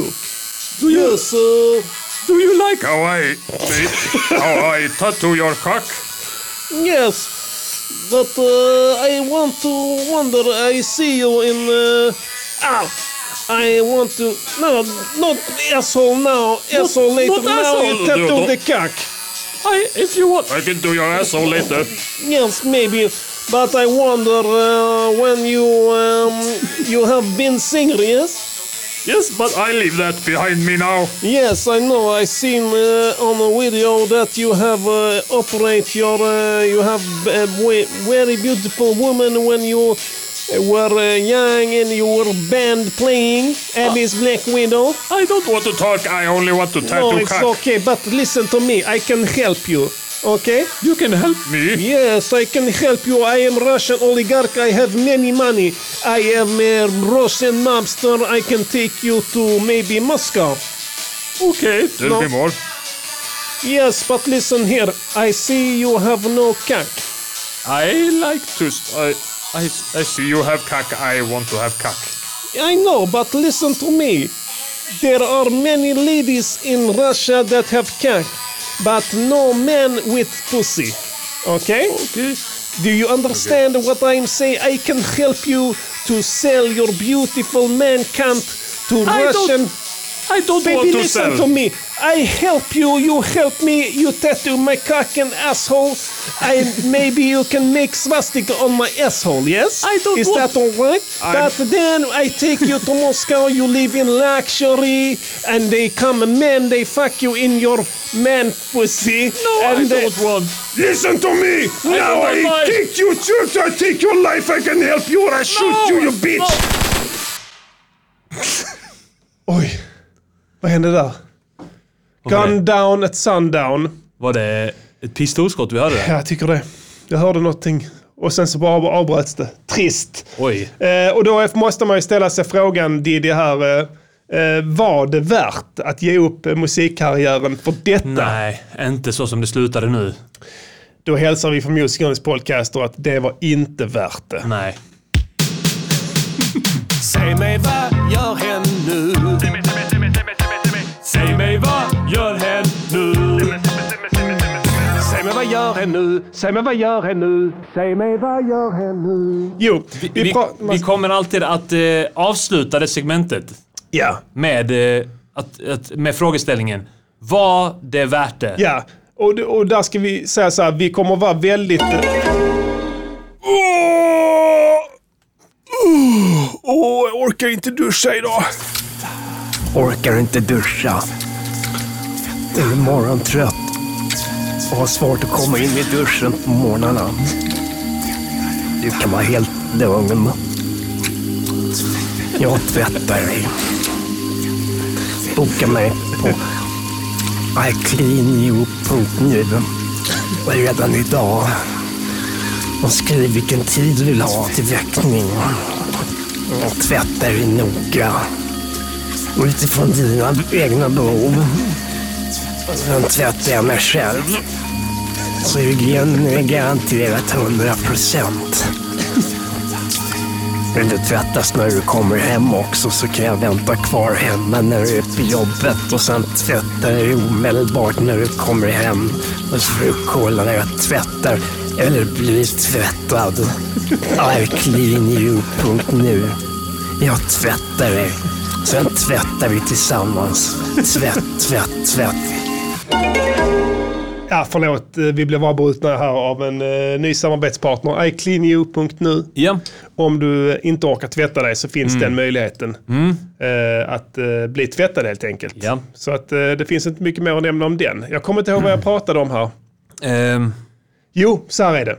[SPEAKER 1] Yes, sir.
[SPEAKER 9] Do you like how I, how I tattoo your cock?
[SPEAKER 1] Yes. But uh, I want to wonder. I see you in. Uh, ah, I want to. No, not asshole now. Asshole later.
[SPEAKER 9] not
[SPEAKER 1] now you
[SPEAKER 9] asshole.
[SPEAKER 1] tattoo
[SPEAKER 9] No,
[SPEAKER 1] the cock.
[SPEAKER 2] I, if you want.
[SPEAKER 9] I can do your asshole later.
[SPEAKER 1] Yes, maybe. But I wonder uh, when you um, you have been singer, yes?
[SPEAKER 9] Yes, but I leave that behind me now.
[SPEAKER 1] Yes, I know. I seen uh, on a video that you have uh, operate your uh, you have a we- very beautiful woman when you were uh, young and you were band playing Abby's Black Widow.
[SPEAKER 9] I don't want to talk, I only want to tattoo
[SPEAKER 1] No, it's
[SPEAKER 9] cock.
[SPEAKER 1] okay. But listen to me. I can help you. Okay?
[SPEAKER 2] You can help
[SPEAKER 9] Me?
[SPEAKER 1] Yes, I can help you. I am Russian oligarch. I have many money. I am a Russian mobster. I can take you to maybe Moscow.
[SPEAKER 9] Okay, tell
[SPEAKER 1] No.
[SPEAKER 9] me more.
[SPEAKER 1] Yes, but listen here. I see you have no cock.
[SPEAKER 9] I like to... s- I, I, I see you have cock, I want to have cock.
[SPEAKER 1] I know, but listen to me. There are many ladies in Russia that have cock, but no men with pussy. Okay?
[SPEAKER 9] Okay.
[SPEAKER 1] Do you understand what I'm saying? I can help you to sell your beautiful man cunt to
[SPEAKER 9] I don't-
[SPEAKER 1] Russian.
[SPEAKER 9] I don't
[SPEAKER 1] Baby,
[SPEAKER 9] want to
[SPEAKER 1] listen
[SPEAKER 9] sell.
[SPEAKER 1] to me. I help you. You help me. You tattoo my cock and asshole. I maybe you can make swastika on my asshole. Yes.
[SPEAKER 9] I don't
[SPEAKER 1] Is
[SPEAKER 9] want-
[SPEAKER 1] that all right?
[SPEAKER 9] I'm-
[SPEAKER 1] But then I take you to Moscow. You live in luxury, and they come and men. They fuck you in your man pussy.
[SPEAKER 9] No,
[SPEAKER 1] and uh,
[SPEAKER 9] I
[SPEAKER 1] they-
[SPEAKER 9] don't want.
[SPEAKER 4] Listen to me! now
[SPEAKER 9] want
[SPEAKER 4] I
[SPEAKER 9] life.
[SPEAKER 4] kick you, shoot, I take your life, I can help you, or I shoot you, you bitch!
[SPEAKER 1] Oj, vad hände där?
[SPEAKER 2] var det?
[SPEAKER 1] Gun down at sundown.
[SPEAKER 2] Var det ett pistolskott vi hörde? där?
[SPEAKER 1] Ja, jag tycker det. Jag hörde någonting och sen så bara avbröts det. Trist.
[SPEAKER 2] Oj.
[SPEAKER 1] Eh, och då måste man ju ställa sig frågan, Diddy här. Eh, eh, var det värt att ge upp eh, musikkarriären för detta?
[SPEAKER 2] Nej, inte så som det slutade nu.
[SPEAKER 1] Då hälsar vi från Music Journeys podcaster att det var inte värt det.
[SPEAKER 2] Nej.
[SPEAKER 3] Säg mig vad gör hen nu?
[SPEAKER 9] Säg mig vad gör hen nu?
[SPEAKER 3] Säg mig vad gör hen nu? Säg mig vad gör hen nu? Säg mig vad gör hen nu?
[SPEAKER 1] Jo, vi,
[SPEAKER 2] Vi,
[SPEAKER 1] pra- man-
[SPEAKER 2] vi kommer alltid att eh, avsluta det segmentet
[SPEAKER 1] ja.
[SPEAKER 2] med, eh, att, att, med frågeställningen. Var det värt det?
[SPEAKER 1] Ja, och, och där ska vi säga så här, vi kommer vara väldigt... Åh, oh, jag orkar inte duscha idag.
[SPEAKER 4] Orkar inte duscha. Du är morgontrött.
[SPEAKER 10] och har svårt att komma in i duschen på morgnarna. Du kan vara helt lugn. Jag tvättar dig. Boka mig på icleanyou.nu och redan idag. Och skriv vilken tid du vill ha till väckning. Och tvätta dig noga. Och utifrån dina egna behov. Sen tvättar jag mig själv. Så är det garanterat 100 procent. Vill du tvättas när du kommer hem också så kan jag vänta kvar hemma när du är på jobbet och sen tvättar jag dig omedelbart när du kommer hem. Och så får du kolla när jag tvättar eller blir tvättad. iCleanU.nu Jag tvättar dig. Sen tvättar vi tillsammans. Tvätt, tvätt, tvätt.
[SPEAKER 1] Ja, förlåt. eh, Vi blev avbrutna här av en eh, ny samarbetspartner, iCleanyou.nu.
[SPEAKER 2] Ja. Mm.
[SPEAKER 1] Om du eh, inte orkar tvätta dig så finns den möjligheten eh, att eh, bli tvättad helt enkelt.
[SPEAKER 2] Ja.
[SPEAKER 1] Så att eh, det finns inte mycket mer att nämna om den. Jag kommer inte ihåg vad jag pratade om här.
[SPEAKER 2] Mm. Ehm,
[SPEAKER 1] Jo, så här är det.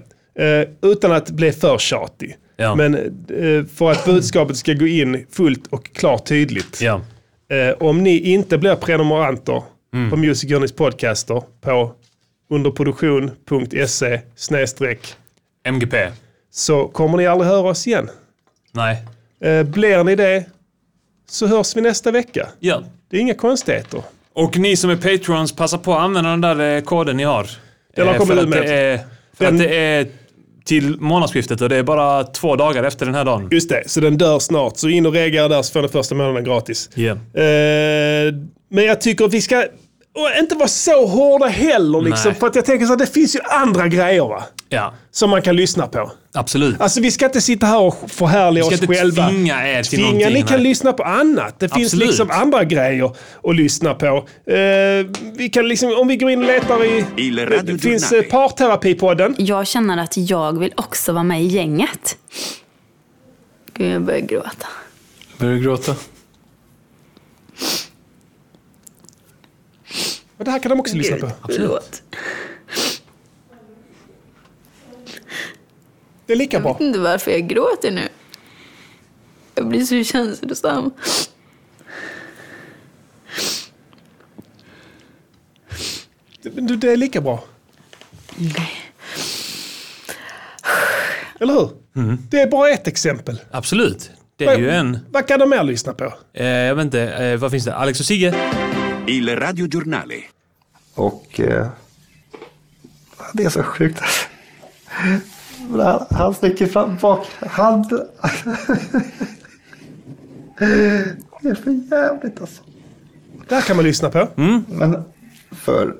[SPEAKER 1] Eh, utan att bli för tjatig.
[SPEAKER 2] Ja.
[SPEAKER 1] Men eh, för att budskapet ska gå in fullt och klart tydligt.
[SPEAKER 2] ja.
[SPEAKER 1] Eh, om ni inte blir prenumeranter
[SPEAKER 2] Mm.
[SPEAKER 1] på Music Journeys podcaster på underproduktion.se E snedstreck
[SPEAKER 2] MGP.
[SPEAKER 1] så kommer ni aldrig höra oss igen.
[SPEAKER 2] Nej.
[SPEAKER 1] Eh, blir ni det så hörs vi nästa vecka.
[SPEAKER 2] Ja.
[SPEAKER 1] Det är inga konstigheter.
[SPEAKER 2] Och ni som är patrons, passa på att använda den där eh, koden ni har.
[SPEAKER 1] Den har
[SPEAKER 2] Eh,
[SPEAKER 1] kommit
[SPEAKER 2] för
[SPEAKER 1] ut
[SPEAKER 2] att
[SPEAKER 1] med.
[SPEAKER 2] det är- För
[SPEAKER 1] Den-
[SPEAKER 2] att det är till månadsskiftet och det är bara två dagar efter den här dagen.
[SPEAKER 1] Just det, så den dör snart. Så in och reagera där så får ni första månaden gratis.
[SPEAKER 2] Ja.
[SPEAKER 1] Eh, men jag tycker att vi ska och inte vara så hårda heller. Liksom,
[SPEAKER 2] Nej.
[SPEAKER 1] för att jag tänker så här, det finns ju andra grejer va?
[SPEAKER 2] Ja,
[SPEAKER 1] som man kan lyssna på.
[SPEAKER 2] absolut.
[SPEAKER 1] Alltså vi ska inte sitta här och förhärliga
[SPEAKER 2] Vi
[SPEAKER 1] oss
[SPEAKER 2] ska inte
[SPEAKER 1] själva.
[SPEAKER 2] tvinga er till
[SPEAKER 1] Tvinga,
[SPEAKER 2] någonting.
[SPEAKER 1] ni kan
[SPEAKER 2] nej.
[SPEAKER 1] lyssna på annat. Det finns
[SPEAKER 2] Absolut.
[SPEAKER 1] liksom andra grejer att lyssna på. Eh, vi kan liksom, om vi går in och letar i... Det finns eh, parterapipodden.
[SPEAKER 11] Jag känner att jag vill också vara med i gänget. Gud, jag börjar gråta.
[SPEAKER 12] Börjar du gråta?
[SPEAKER 1] Och det här kan de också lyssna på.
[SPEAKER 11] Förlåt.
[SPEAKER 1] Det är lika
[SPEAKER 11] Jag
[SPEAKER 1] bra.
[SPEAKER 11] vet inte varför jag gråter nu. Jag blir så känslosam.
[SPEAKER 1] Du, det är lika bra. Eller hur? Det är bara ett exempel.
[SPEAKER 2] Absolut. Mm. Det är ju en...
[SPEAKER 1] Vad kan de mer lyssna på?
[SPEAKER 2] Eh, jag vet inte, eh, vad finns det? Alex och Sigge?
[SPEAKER 4] Il Radio Giornale.
[SPEAKER 10] Och eh, det är så sjukt. Men Han, han sticker fram bak. Han... Det är för jävligt alltså.
[SPEAKER 1] Där kan man lyssna på.
[SPEAKER 13] Mm.
[SPEAKER 10] Men för...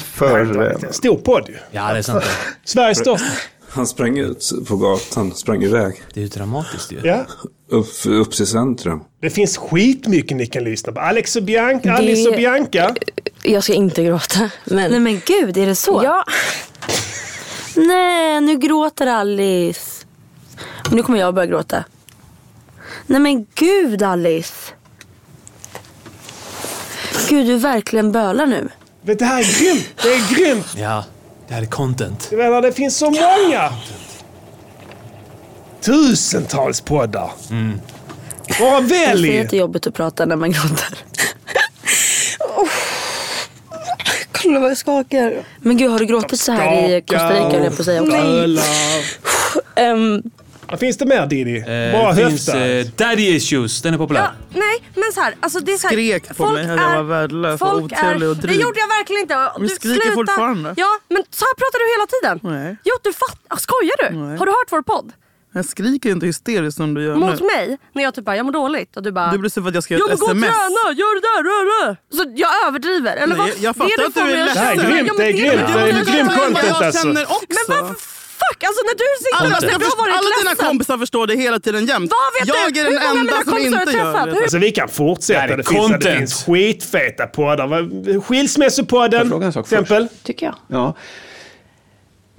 [SPEAKER 10] för eh,
[SPEAKER 1] Stor podd ju.
[SPEAKER 2] Ja, det är sant.
[SPEAKER 1] Sveriges största.
[SPEAKER 13] Han sprang ut på gatan, sprang iväg.
[SPEAKER 2] Det är ju dramatiskt ju.
[SPEAKER 1] Ja.
[SPEAKER 13] Upp, upp till centrum.
[SPEAKER 1] Det finns skitmycket ni kan lyssna på. Alex och Bianca,
[SPEAKER 14] Det-
[SPEAKER 1] Alice och Bianca.
[SPEAKER 14] Jag ska inte gråta. Men...
[SPEAKER 11] Nej men gud, är det så?
[SPEAKER 14] Ja. Nej, nu gråter Alice. Och nu kommer jag börja gråta. Nej men gud Alice. Gud, du verkligen bölar nu.
[SPEAKER 1] Men det här är grymt! Det är grymt!
[SPEAKER 2] Ja, det här är content.
[SPEAKER 1] Jag menar, det finns så många! Tusentals poddar.
[SPEAKER 2] Mm.
[SPEAKER 1] Bara välj!
[SPEAKER 14] Det är jättejobbigt att prata när man gråter.
[SPEAKER 11] Kolla vad jag skakar.
[SPEAKER 14] Men gud, har du gråtit så här i Costa Rica höll jag på att säga också? Ehm,
[SPEAKER 1] Vad finns det mer Diddy?
[SPEAKER 2] Eh,
[SPEAKER 1] Bara
[SPEAKER 2] det finns,
[SPEAKER 1] höfta.
[SPEAKER 2] eh, Daddy Issues, den är populär.
[SPEAKER 14] Ja.
[SPEAKER 15] Nej, men så här, alltså det är så här,
[SPEAKER 16] Skrek på mig att jag var värdelös och
[SPEAKER 15] folk
[SPEAKER 16] otrevlig
[SPEAKER 15] är,
[SPEAKER 16] och dryg.
[SPEAKER 15] Det gjorde jag verkligen inte.
[SPEAKER 16] Men skriker
[SPEAKER 15] sluta.
[SPEAKER 16] fortfarande.
[SPEAKER 15] Ja, men så här pratar du hela tiden.
[SPEAKER 16] Nej.
[SPEAKER 15] Jo, du fattar. Skojar du?
[SPEAKER 16] Nej.
[SPEAKER 15] Har du hört vår podd?
[SPEAKER 16] Jag skriker inte hysteriskt som du gör
[SPEAKER 15] Mot
[SPEAKER 16] nu.
[SPEAKER 15] mig? När jag typ bara, jag mår dåligt. Och du bara,
[SPEAKER 16] Du blir sur för att jag skrev
[SPEAKER 15] jag
[SPEAKER 16] ett
[SPEAKER 15] vill gå och
[SPEAKER 16] sms.
[SPEAKER 15] träna, gör det där, rör, rör. Så jag överdriver. Eller
[SPEAKER 16] Nej,
[SPEAKER 15] vad?
[SPEAKER 16] jag- jag fattar
[SPEAKER 15] det
[SPEAKER 16] att du är
[SPEAKER 15] får mig att
[SPEAKER 16] ledsen.
[SPEAKER 15] känna.
[SPEAKER 16] Det är grymt,
[SPEAKER 15] Ja, men
[SPEAKER 16] det är grymt.
[SPEAKER 15] jag
[SPEAKER 16] Det är
[SPEAKER 15] vill
[SPEAKER 16] grym
[SPEAKER 15] göra.
[SPEAKER 16] content, Jag alltså. känner också.
[SPEAKER 15] Men varför fuck? Alltså när du sitter
[SPEAKER 16] Alla,
[SPEAKER 15] och säger
[SPEAKER 16] dina,
[SPEAKER 15] att jag har varit
[SPEAKER 16] alla dina
[SPEAKER 15] ledsen.
[SPEAKER 16] kompisar förstår det hela tiden jämt.
[SPEAKER 15] Vad vet
[SPEAKER 16] jag
[SPEAKER 15] du?
[SPEAKER 16] är
[SPEAKER 15] Hur
[SPEAKER 16] den
[SPEAKER 15] många av mina
[SPEAKER 16] enda som
[SPEAKER 15] kompisar har
[SPEAKER 16] inte
[SPEAKER 15] du
[SPEAKER 16] gör
[SPEAKER 15] träffat?
[SPEAKER 16] det.
[SPEAKER 15] Hur-
[SPEAKER 1] Alltså vi kan fortsätta.
[SPEAKER 2] Det här är
[SPEAKER 1] Det finns, det
[SPEAKER 2] content.
[SPEAKER 1] finns skitfeta poddar. Vad- Skilsmässopodden
[SPEAKER 17] fråga en
[SPEAKER 1] till
[SPEAKER 17] sak
[SPEAKER 1] exempel.
[SPEAKER 17] tycker jag. Ja.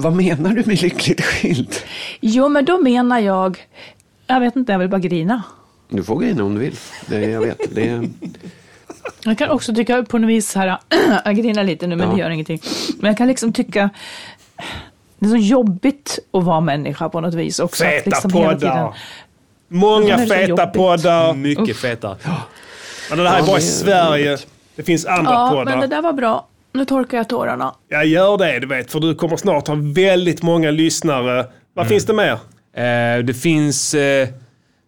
[SPEAKER 17] Vad menar du med lyckligt skild?
[SPEAKER 18] Jo, men då menar jag... Jag vet inte, jag vill bara grina.
[SPEAKER 17] Du får grina om du vill. Det, jag vet. Det,
[SPEAKER 18] Jag kan också tycka på något vis här, jag grinar lite nu men
[SPEAKER 12] Ja.
[SPEAKER 18] det gör ingenting. Men jag kan liksom tycka, det är så jobbigt att vara människa på något vis också. att
[SPEAKER 1] Feta
[SPEAKER 18] liksom hela tiden-
[SPEAKER 1] poddar. Många
[SPEAKER 18] Det är så
[SPEAKER 1] feta
[SPEAKER 18] jobbigt.
[SPEAKER 1] poddar.
[SPEAKER 2] Mycket feta.
[SPEAKER 1] Men det här är
[SPEAKER 18] Ja,
[SPEAKER 1] bara i
[SPEAKER 18] det är
[SPEAKER 1] Sverige. Det finns andra
[SPEAKER 18] Ja, men det
[SPEAKER 1] poddar.
[SPEAKER 18] där var bra. Nu torkar jag tårarna.
[SPEAKER 1] Jag gör det, du vet. För du kommer snart ha väldigt många lyssnare. Vad finns det mer?
[SPEAKER 2] Eh, det finns eh,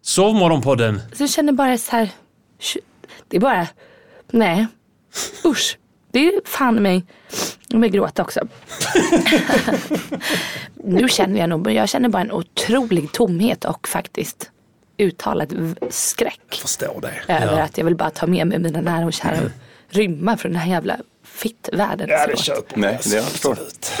[SPEAKER 2] Sovmorgonpodden.
[SPEAKER 14] Så jag känner bara så här, sh- det är bara, nej, usch. Det är fan i mig, jag vill gråta också. nu känner jag nog, jag känner bara en otrolig tomhet och faktiskt uttalad v- skräck. Jag
[SPEAKER 1] förstår det.
[SPEAKER 14] Över
[SPEAKER 1] Ja.
[SPEAKER 14] att jag vill bara ta med mig mina nära och kära och rymma från den här jävla fittvärlden.
[SPEAKER 1] Ja, det köper
[SPEAKER 4] Nej, det har jag förstått.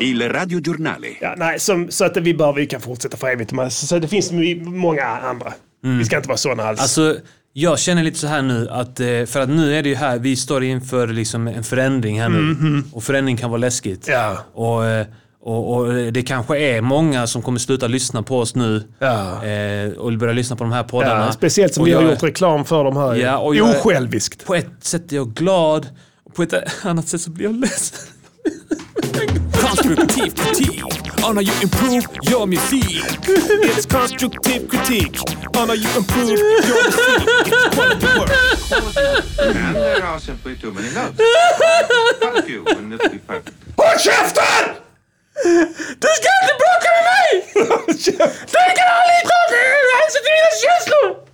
[SPEAKER 4] Il Radio Giornale.
[SPEAKER 1] Ja, nej, som, så att vi, bör, vi kan fortsätta för evigt. Men, så, så det finns my- många andra. Vi ska inte vara såna alls.
[SPEAKER 2] Alltså, jag känner lite så här nu att, eh, för att nu är det ju här, vi står inför liksom en förändring här nu.
[SPEAKER 1] Mhm.
[SPEAKER 2] Och förändring kan vara läskigt. Och, eh, och, och det kanske är många som kommer sluta lyssna på oss nu. Eh, och börja lyssna på de här poddarna.
[SPEAKER 1] ja, speciellt som
[SPEAKER 2] Och
[SPEAKER 1] vi har
[SPEAKER 2] jag-
[SPEAKER 1] gjort reklam för de här.
[SPEAKER 2] Ja, och jag-
[SPEAKER 1] Osjälviskt.
[SPEAKER 2] På ett sätt är jag glad, och på ett annat sätt så blir jag ledsen.
[SPEAKER 9] Konstruktiv kritik on how you improve your music. It's constructive critique on how you improve your music. It's quality work.
[SPEAKER 19] And there are simply too many notes. Quite a few, wouldn't it be perfect?
[SPEAKER 1] Håll käften!
[SPEAKER 4] Du ska inte bråka med mig! du kan aldrig bråka med mig! Jag sätter mina känslor!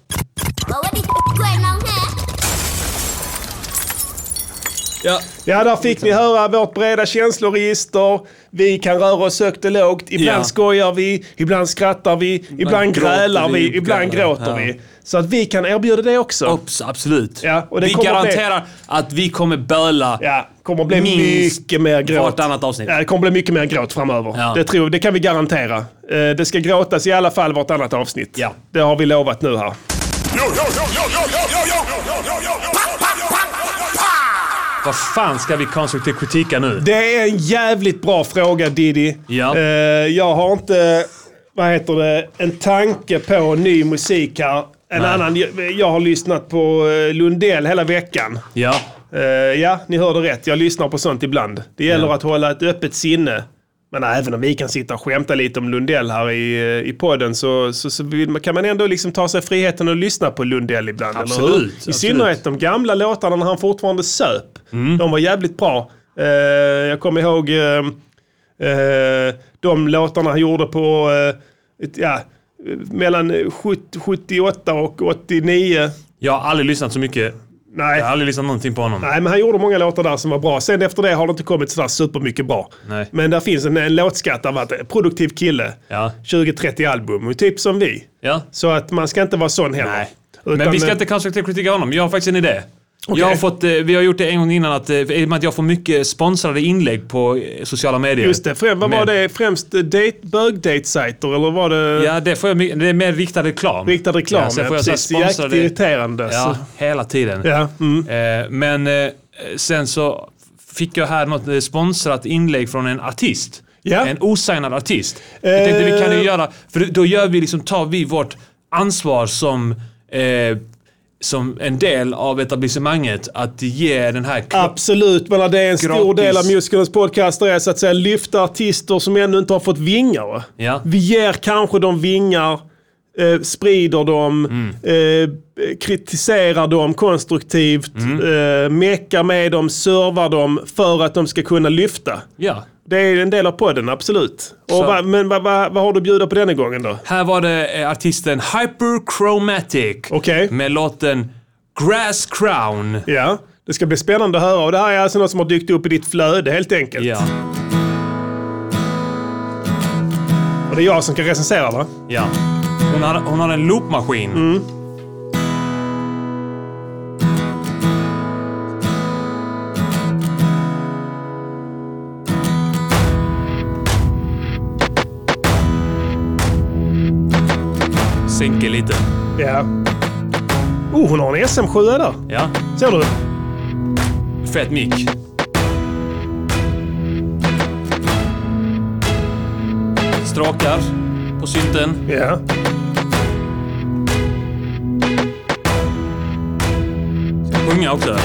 [SPEAKER 2] Ja.
[SPEAKER 1] ja, där fick ni höra vårt breda känsloregister. Vi kan röra oss högt och lågt. Ibland
[SPEAKER 2] Ja.
[SPEAKER 1] skojar vi, ibland skrattar vi, ibland
[SPEAKER 2] gråter
[SPEAKER 1] grälar vi,
[SPEAKER 2] vi,
[SPEAKER 1] ibland
[SPEAKER 2] grälar.
[SPEAKER 1] gråter
[SPEAKER 2] Ja.
[SPEAKER 1] vi. Så att vi kan erbjuda det också.
[SPEAKER 2] Ups, absolut.
[SPEAKER 1] Ja, och det
[SPEAKER 2] vi
[SPEAKER 1] kommer att bli-
[SPEAKER 2] garanterar att vi kommer böla
[SPEAKER 1] Ja, kommer bli
[SPEAKER 2] minst
[SPEAKER 1] mycket mer gråt.
[SPEAKER 2] vartannat avsnitt.
[SPEAKER 1] Ja, det kommer bli mycket mer gråt framöver.
[SPEAKER 2] Ja.
[SPEAKER 1] Det, tror, det kan vi garantera. Eh, Det ska gråtas i alla fall vartannat avsnitt. Det har vi lovat nu här.
[SPEAKER 2] Vad fan ska vi konstruktiv kritika nu?
[SPEAKER 1] Det är en jävligt bra fråga Diddy.
[SPEAKER 2] Ja.
[SPEAKER 1] Eh, jag har inte, vad heter det, en tanke på ny musik här. En
[SPEAKER 2] Nej.
[SPEAKER 1] annan, jag, jag har lyssnat på eh, Lundell hela veckan.
[SPEAKER 2] Ja.
[SPEAKER 1] Eh, ja, ni hörde rätt. Jag lyssnar på sånt ibland. Det gäller att hålla ett öppet sinne. Men även om vi kan sitta och skämta lite om Lundell här i, eh, i podden så, så, så vill man, kan man ändå liksom ta sig friheten att lyssna på Lundell ibland. eller hur?
[SPEAKER 2] Absolut,
[SPEAKER 1] I
[SPEAKER 2] absolut.
[SPEAKER 1] synnerhet de gamla låtarna när han fortfarande söp.
[SPEAKER 2] Mm.
[SPEAKER 1] De var jävligt bra. Eh, jag kommer ihåg eh, eh, de låtarna han gjorde på eh, ett, ja, eh, mellan eh, 70, 78 och 89.
[SPEAKER 2] Jag har aldrig lyssnat så mycket.
[SPEAKER 1] Nej.
[SPEAKER 2] Jag har aldrig lyssnat någonting på honom.
[SPEAKER 1] Nej, men han gjorde många låtar där som var bra. Sen efter det har det inte kommit sådär supermycket bra.
[SPEAKER 2] Nej.
[SPEAKER 1] Men där finns en, en låtskatt av att en produktiv kille. 20-30 album, och typ som vi. Så att man ska inte vara sån heller. eh,
[SPEAKER 2] Men vi ska inte konstruktiv kritika honom. Jag har faktiskt en idé. Jag har fått, eh, vi har gjort det en gång innan, att, eh, i och med att jag får mycket sponsrade inlägg på eh, sociala medier.
[SPEAKER 1] Just det, främ, vad var det? Främst eh, date, bög-date-sajter eller var det...
[SPEAKER 2] Ja, det, får jag, my- det är mer riktad reklam.
[SPEAKER 1] Riktad reklam,
[SPEAKER 2] ja. Sen
[SPEAKER 1] ja,
[SPEAKER 2] får jag så här
[SPEAKER 1] precis. Jäkligt
[SPEAKER 2] sponsrade-
[SPEAKER 1] irriterande,
[SPEAKER 2] Ja,
[SPEAKER 1] så.
[SPEAKER 2] hela tiden.
[SPEAKER 1] Ja, mm.
[SPEAKER 2] Eh, Men eh, sen så fick jag här något eh, sponsrat inlägg från en artist. En osignad artist. Jag tänkte vi kan ju
[SPEAKER 1] Eh.
[SPEAKER 2] göra, för då gör vi liksom, tar vi vårt ansvar som eh, som en del av etablissemanget att ge den här...
[SPEAKER 1] Absolut, men det är en stor
[SPEAKER 2] Gratis.
[SPEAKER 1] del av musikernas podcaster är så att säga lyfta artister som ännu inte har fått vingar. va?
[SPEAKER 2] Ja.
[SPEAKER 1] Vi ger kanske dem vingar, eh, sprider dem,
[SPEAKER 2] Mm.
[SPEAKER 1] eh, kritiserar dem konstruktivt,
[SPEAKER 2] Mm.
[SPEAKER 1] eh, meckar med dem, servar dem för att de ska kunna lyfta.
[SPEAKER 2] Ja.
[SPEAKER 1] Det är en del av podden, absolut.
[SPEAKER 2] Så.
[SPEAKER 1] Och va, men vad va, vad har du att bjuda på denna gången då?
[SPEAKER 2] Här var det eh, artisten Hyperchromatic med låten Grass Crown.
[SPEAKER 1] Ja, det ska bli spännande att höra. Och det här är alltså något som har dykt upp i ditt flöde helt enkelt.
[SPEAKER 2] Ja.
[SPEAKER 1] Och det är jag som kan recensera va?
[SPEAKER 2] Ja. Hon har, hon har en loopmaskin. Sänker lite.
[SPEAKER 1] Ja. Oh, hon har en SM7 där.
[SPEAKER 2] Ja.
[SPEAKER 1] Ser du?
[SPEAKER 2] Fet mick. Strakar på synten.
[SPEAKER 1] Ja.
[SPEAKER 2] Sjunga. sjunga också.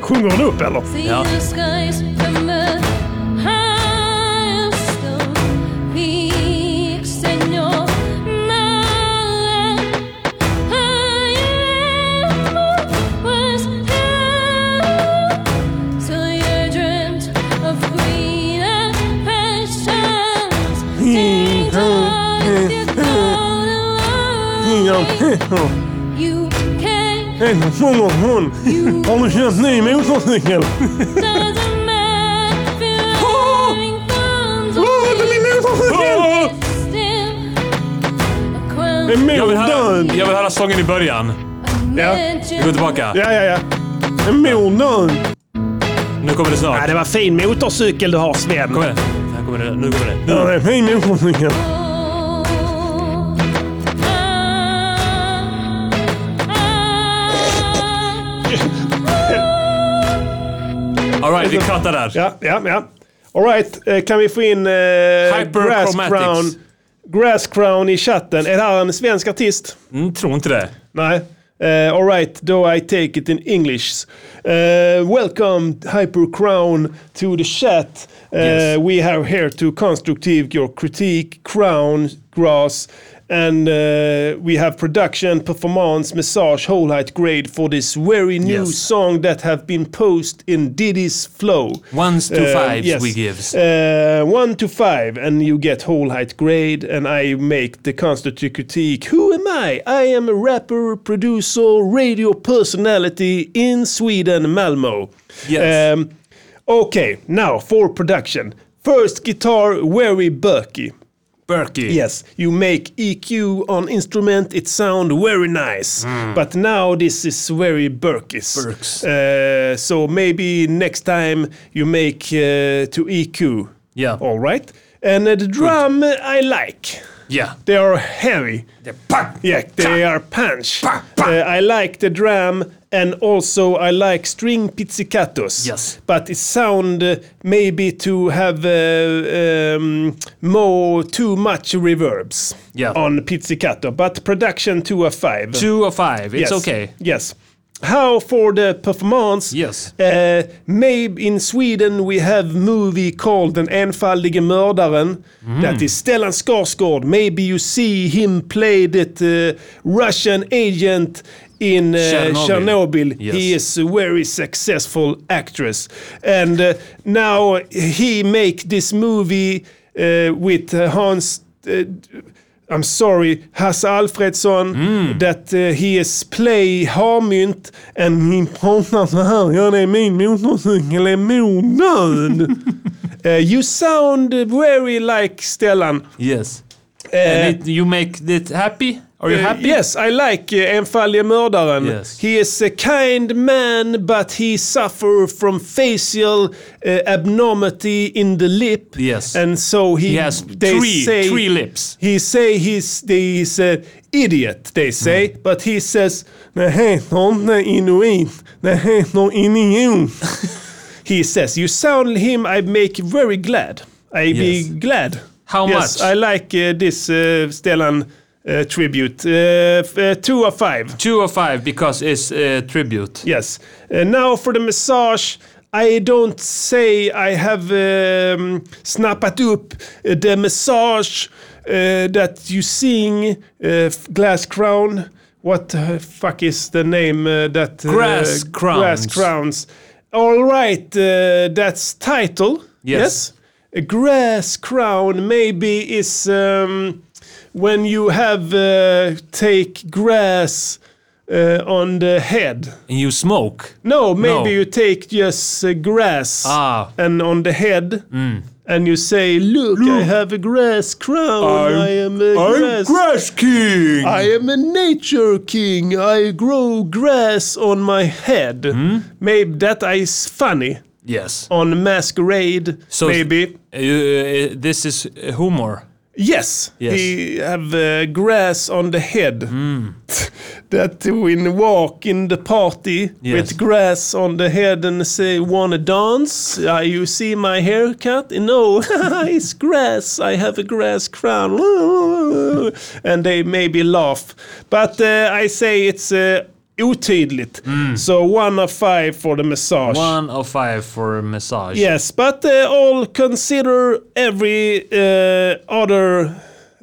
[SPEAKER 1] Sjunger hon upp eller?
[SPEAKER 2] Ja.
[SPEAKER 1] En sjunger hon. Har du köpt ny motorcykel?
[SPEAKER 2] Jag vill, höra, jag vill höra sången i början.
[SPEAKER 1] Ja.
[SPEAKER 2] Vi går tillbaka.
[SPEAKER 1] Ja, ja, ja. En mordnöd.
[SPEAKER 2] Nu kommer det snart.
[SPEAKER 1] Ja, det var fin motorcykel du har Sven.
[SPEAKER 2] Kommer det? Här kommer det. Nu kommer det.
[SPEAKER 1] Ja, det är en fin motorcykel.
[SPEAKER 15] Ah,
[SPEAKER 2] Alright, vi cuttar där.
[SPEAKER 1] Ja, ja, ja. Alright, kan vi få in eh, Grass
[SPEAKER 2] Chromatics.
[SPEAKER 1] Crown, Grass Crown i chatten? Är det här en svensk artist?
[SPEAKER 2] Mm, tror inte det.
[SPEAKER 1] Nej. Eh, all right, though I take it in English. Eh, welcome Hyper Crown to the chat. Eh,
[SPEAKER 2] Yes.
[SPEAKER 1] We have here to constructive your critique, crown, grass, and eh, we have production, performance, massage, whole height grade for this very new
[SPEAKER 2] Yes.
[SPEAKER 1] song that have been posed in Diddy's flow.
[SPEAKER 2] Ones to
[SPEAKER 1] Uh,
[SPEAKER 2] fives
[SPEAKER 1] yes.
[SPEAKER 2] we gives.
[SPEAKER 1] Uh, one to five, and you get whole height grade, and I make the constant critique. Who am I? I am a rapper, producer, radio personality in Sweden, Malmo.
[SPEAKER 2] Yes.
[SPEAKER 1] Um, okay, now for production. First guitar, very Berkey.
[SPEAKER 2] Berkey.
[SPEAKER 1] Yes, you make EQ on instrument. It sound very nice, but now this is very Berkis.
[SPEAKER 2] Hmm. Berks.
[SPEAKER 1] Uh, so maybe next time you make uh, to EQ.
[SPEAKER 2] Yeah.
[SPEAKER 1] All right. And uh, the drum uh, I like.
[SPEAKER 2] Yeah.
[SPEAKER 1] They are heavy. Yeah, they are punch. Uh, I like the drum and also I like string pizzicatos.
[SPEAKER 2] Yes.
[SPEAKER 1] But it sound uh, maybe to have uh, um, more too much reverbs
[SPEAKER 2] Yeah.
[SPEAKER 1] on pizzicato. But production two of five.
[SPEAKER 2] Two or five. It's
[SPEAKER 1] yes.
[SPEAKER 2] okay.
[SPEAKER 1] Yes. How for the performance?
[SPEAKER 2] Yes.
[SPEAKER 1] Uh, maybe in Sweden we have movie called Den enfaldige mördaren. That is Stellan Skarsgård. Maybe you see him play that uh, Russian agent in uh,
[SPEAKER 2] Chernobyl.
[SPEAKER 1] Chernobyl. He
[SPEAKER 2] Yes.
[SPEAKER 1] is a very successful actress. And uh, now he make this movie uh, with uh, Hans... Uh, I'm sorry, Hasse Alfredsson, that uh, he is play Harmynt and he pratar så här, ja det är min motorcykel, är mordnöd. uh, you sound very like Stellan.
[SPEAKER 2] Yes.
[SPEAKER 1] Eh,
[SPEAKER 2] And it, you make it happy? Are
[SPEAKER 9] Eh,
[SPEAKER 2] you
[SPEAKER 1] Uh,
[SPEAKER 2] happy?
[SPEAKER 1] Yes, I like uh, Enfaldige Mördaren.
[SPEAKER 2] Yes.
[SPEAKER 1] He is a kind man, but he suffer from facial uh, abnormality in the lip.
[SPEAKER 2] Yes.
[SPEAKER 1] And so he,
[SPEAKER 2] He has
[SPEAKER 1] they
[SPEAKER 2] three-
[SPEAKER 1] say,
[SPEAKER 2] three lips.
[SPEAKER 1] He say he's, they, he's an idiot, they say.
[SPEAKER 2] Hmm.
[SPEAKER 1] But he says, det heter inte inuit, det heter inuit. he says, you sound him, I make very glad. I
[SPEAKER 2] Yes.
[SPEAKER 1] be glad.
[SPEAKER 2] How
[SPEAKER 1] yes,
[SPEAKER 2] much?
[SPEAKER 1] I like uh, this uh, Stellan uh, tribute. Uh, f- uh, two or five.
[SPEAKER 2] Two or five because it's a tribute.
[SPEAKER 1] Yes. Uh, now for the massage. I don't say I have um, snappat up uh, the massage uh, that you sing, uh, f- Glass Crown. What the fuck is the name uh, that... uh,
[SPEAKER 2] Grass
[SPEAKER 1] Grass
[SPEAKER 2] Crowns.
[SPEAKER 1] Crowns. All right, uh, that's title.
[SPEAKER 2] Yes.
[SPEAKER 1] A grass crown maybe is um, when you have uh, take grass uh, on the head.
[SPEAKER 2] And you smoke.
[SPEAKER 1] No, maybe
[SPEAKER 2] No.
[SPEAKER 1] you take just uh, grass
[SPEAKER 2] Ah.
[SPEAKER 1] and on the head, and you say, Mm. "Look, I have a grass crown. I am a grass.
[SPEAKER 2] king!
[SPEAKER 1] I am a nature king. I grow grass on my head. Maybe that is funny
[SPEAKER 2] Yes.
[SPEAKER 1] on masquerade.
[SPEAKER 2] So-
[SPEAKER 1] maybe
[SPEAKER 2] Uh, this is humor.
[SPEAKER 1] Yes,
[SPEAKER 2] Yes. Hmm.
[SPEAKER 1] we have uh, grass on the head. that we walk in the party
[SPEAKER 2] Yes.
[SPEAKER 1] with grass on the head and say, wanna dance? Uh, you see my haircut? Uh, No, it's grass. I have a grass crown. and they maybe laugh. But uh, I say it's uh, otydligt. So one of five for the massage.
[SPEAKER 2] Hmm. One of five for massage.
[SPEAKER 1] Yes, but uh, all consider every uh, other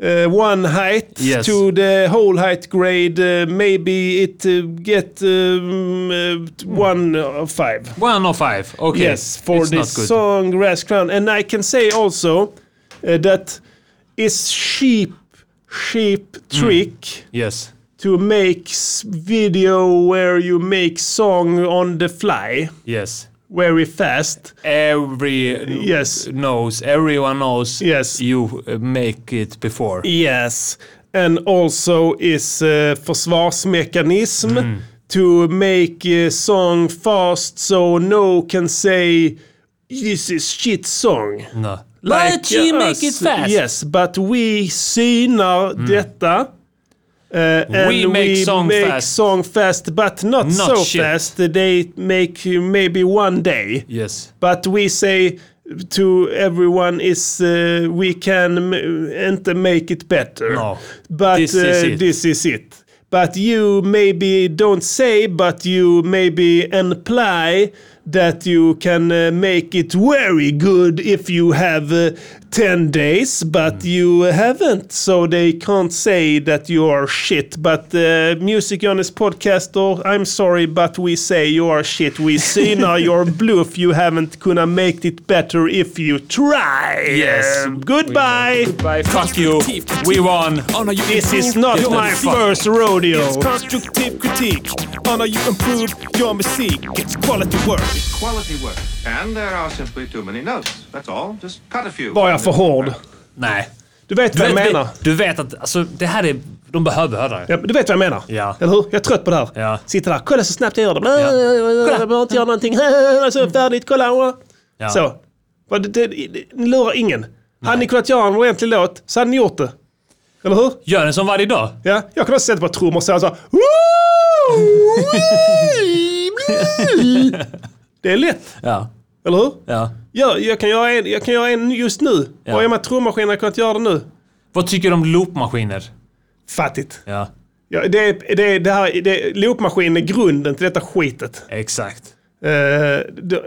[SPEAKER 1] uh, one height
[SPEAKER 2] Yes.
[SPEAKER 1] to the whole height grade. Uh, maybe it uh, get um, uh, t- one of five.
[SPEAKER 2] One of five. Okay.
[SPEAKER 1] Yes, for
[SPEAKER 2] It's not good.
[SPEAKER 1] this song Grass Crown. And I can say also uh, that is sheep sheep trick
[SPEAKER 2] Mm. Yes.
[SPEAKER 1] to make s- video where you make song on the fly
[SPEAKER 2] Yes.
[SPEAKER 1] very fast.
[SPEAKER 2] Every yes knows. Everyone knows.
[SPEAKER 1] Yes.
[SPEAKER 2] You uh, make it before.
[SPEAKER 1] Yes, and also is uh, försvarsmekanism
[SPEAKER 2] Mm.
[SPEAKER 1] to make a song fast so no can say this is shit song.
[SPEAKER 2] No.
[SPEAKER 1] Like us. Yes, but we synar detta. Uh, and
[SPEAKER 2] Mm. We make song
[SPEAKER 1] make
[SPEAKER 2] fast.
[SPEAKER 1] song fast, but not,
[SPEAKER 2] Not
[SPEAKER 1] so
[SPEAKER 2] shit.
[SPEAKER 1] fast. They make you maybe one day.
[SPEAKER 2] Yes.
[SPEAKER 1] But we say to everyone is uh, we can m- inte make it better.
[SPEAKER 2] No.
[SPEAKER 1] But
[SPEAKER 2] This
[SPEAKER 1] uh,
[SPEAKER 2] is it.
[SPEAKER 1] this is it. But you maybe don't say, but you maybe imply that you can uh, make it very good if you have uh, 10 days, but
[SPEAKER 4] Mm.
[SPEAKER 1] you haven't. So they can't say that you are shit. But uh, Music Jonas podcast, or I'm sorry, but we say you are shit. We see now your bluff. You haven't gonna make it better if you try.
[SPEAKER 2] Yes.
[SPEAKER 1] Goodbye.
[SPEAKER 2] Goodbye. Fuck you. We won.
[SPEAKER 1] This is not
[SPEAKER 2] Get the
[SPEAKER 1] my
[SPEAKER 2] fuck-
[SPEAKER 1] first rodeo.
[SPEAKER 4] It's constructive critique on how you improve your mystique. It's quality work.
[SPEAKER 19] Quality work. And there are simply too many notes. That's all. Just cut a few.
[SPEAKER 1] Var jag för hård?
[SPEAKER 2] Nej.
[SPEAKER 1] Du vet vad jag
[SPEAKER 2] du-
[SPEAKER 1] menar.
[SPEAKER 2] Du vet att alltså, det här är... De behöver höra det.
[SPEAKER 1] Ja, du vet vad jag menar?
[SPEAKER 2] Ja.
[SPEAKER 1] Eller hur? Jag är trött på det här. Sitter där, kolla så snabbt jag gör det. Bla,
[SPEAKER 2] Ja.
[SPEAKER 1] Jag behöver inte göra någonting. Så färdigt, kolla.
[SPEAKER 2] Ja.
[SPEAKER 1] Så. Vad det, det, det, ni lurar ingen. Hade ni kunnat göra en ordentlig låt så hade ni gjort det. Eller hur?
[SPEAKER 2] Gör den som varje dag.
[SPEAKER 1] Ja, jag kunde också sätta på trummor och säga så här, Det är lätt.
[SPEAKER 2] Ja.
[SPEAKER 1] Eller hur?
[SPEAKER 2] Ja.
[SPEAKER 1] Jag, jag, kan göra en, jag kan göra en just nu.
[SPEAKER 2] Ja.
[SPEAKER 1] Och är man trummaskin hade jag kunnat göra det nu.
[SPEAKER 2] Vad tycker du om loopmaskiner?
[SPEAKER 1] Fattigt.
[SPEAKER 2] Ja.
[SPEAKER 1] Ja, det, är- det, är- det här, det, loopmaskinen är grunden till detta skitet.
[SPEAKER 2] Exakt.
[SPEAKER 1] Eh, d- d-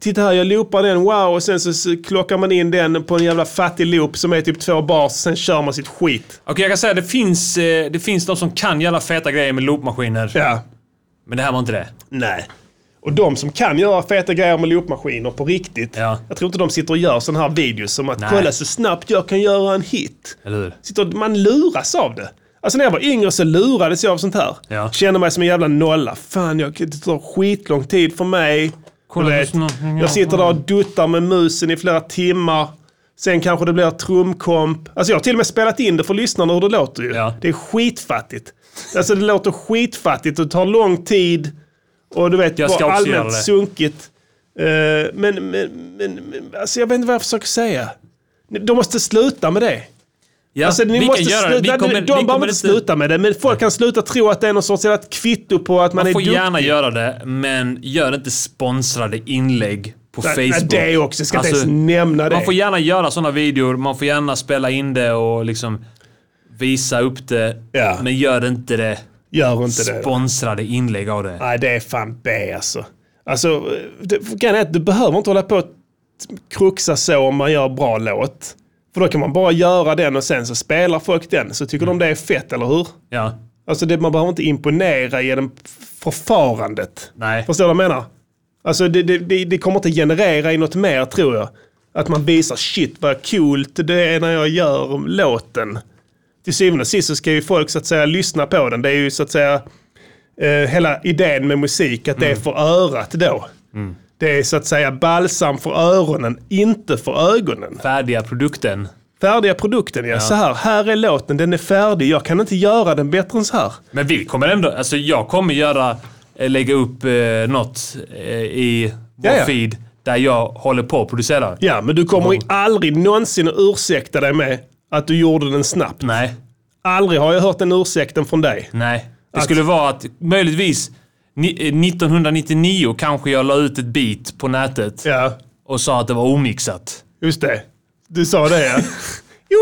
[SPEAKER 1] titta här, jag loopar den, wow, och sen så, så klockar man in den på en jävla fattig loop som är typ två bars, sen kör man sitt skit.
[SPEAKER 2] Okej, jag kan säga att det finns, eh, det finns de som kan jävla feta grejer med loopmaskiner.
[SPEAKER 1] Ja.
[SPEAKER 2] Men det här var inte det.
[SPEAKER 1] Nej. Och de som kan göra feta grejer med loopmaskiner på riktigt, jag tror inte de sitter och gör sådana här videos som att
[SPEAKER 2] Nej.
[SPEAKER 1] kolla så snabbt jag kan göra en hit.
[SPEAKER 2] Eller hur?
[SPEAKER 1] Sitter, man luras av det. Alltså när jag var yngre så lurades jag av sånt här.
[SPEAKER 2] Ja.
[SPEAKER 1] Kände mig som en jävla nolla. Fan, jag, det tar skitlång tid för mig.
[SPEAKER 2] Kolla
[SPEAKER 1] Du
[SPEAKER 2] på
[SPEAKER 1] vet,
[SPEAKER 2] snö-
[SPEAKER 1] jag sitter där och duttar med musen i flera timmar. Sen kanske det blir ett trumkomp. Alltså jag har till och med spelat in det för lyssnarna hur det låter ju. Det är skitfattigt. Alltså det låter skitfattigt och det tar lång tid. Och du vet,
[SPEAKER 2] Jag ska
[SPEAKER 1] bara
[SPEAKER 2] också göra
[SPEAKER 1] allmänt
[SPEAKER 2] det.
[SPEAKER 1] sunkigt. Eh, men, men, men, men alltså jag vet inte vad jag försöker säga. De måste sluta med det.
[SPEAKER 2] Ja,
[SPEAKER 1] Alltså, ni
[SPEAKER 2] vi
[SPEAKER 1] måste
[SPEAKER 2] kan göra det.
[SPEAKER 1] sluta,
[SPEAKER 2] Vi kommer,
[SPEAKER 1] de
[SPEAKER 2] vi kommer
[SPEAKER 1] behöver inte sluta med det, men folk kan sluta tro att det är någon sorts jävla kvitto på att man,
[SPEAKER 2] Man
[SPEAKER 1] är
[SPEAKER 2] får
[SPEAKER 1] duktig.
[SPEAKER 2] gärna göra det, men gör inte sponsrade inlägg på
[SPEAKER 1] Nej, nej,
[SPEAKER 2] Facebook. Alltså,
[SPEAKER 1] det också. Jag ska inte ens nämna det.
[SPEAKER 2] Man får gärna göra sådana videor, man får gärna spela in det och liksom visa upp det. Men gör inte det.
[SPEAKER 1] Gör inte det.
[SPEAKER 2] sponsrade inlägg av det.
[SPEAKER 1] Nej, det är fan B alltså. Alltså, det, grejen är att du behöver inte hålla på och kruxa så om man gör bra låt. För då kan man bara göra den och sen så spelar folk den. Så tycker de det är fett, eller hur?
[SPEAKER 2] Ja.
[SPEAKER 1] Alltså det, man behöver inte imponera genom förfarandet.
[SPEAKER 2] Nej.
[SPEAKER 1] Förstår du vad jag menar? Alltså det, det, det, det kommer inte generera i något mer tror jag. Att man visar shit vad coolt det är när jag gör låten. Till syvende och sist så ska ju folk så att säga lyssna på den. Det är ju så att säga eh, hela idén med musik att det är för örat då. Det är så att säga balsam för öronen, inte för ögonen.
[SPEAKER 2] Färdiga produkten.
[SPEAKER 1] Färdiga produkten, ja.
[SPEAKER 2] Ja.
[SPEAKER 1] Så här, här är låten, den är färdig. Jag kan inte göra den bättre än så här.
[SPEAKER 2] Men vi kommer ändå, alltså jag kommer göra, eh, lägga upp eh, något eh, i vår
[SPEAKER 1] Ja, ja.
[SPEAKER 2] feed där jag håller på att producera.
[SPEAKER 1] Ja, men du kommer ju aldrig någonsin att ursäkta dig med att du gjorde den snabbt.
[SPEAKER 2] Nej.
[SPEAKER 1] Aldrig har jag hört den ursäkten från dig.
[SPEAKER 2] Nej. Det skulle vara att möjligtvis ni- eh, 1999 kanske jag la ut ett beat på nätet och sa att det var omixat.
[SPEAKER 1] Just det. Du sa det ja.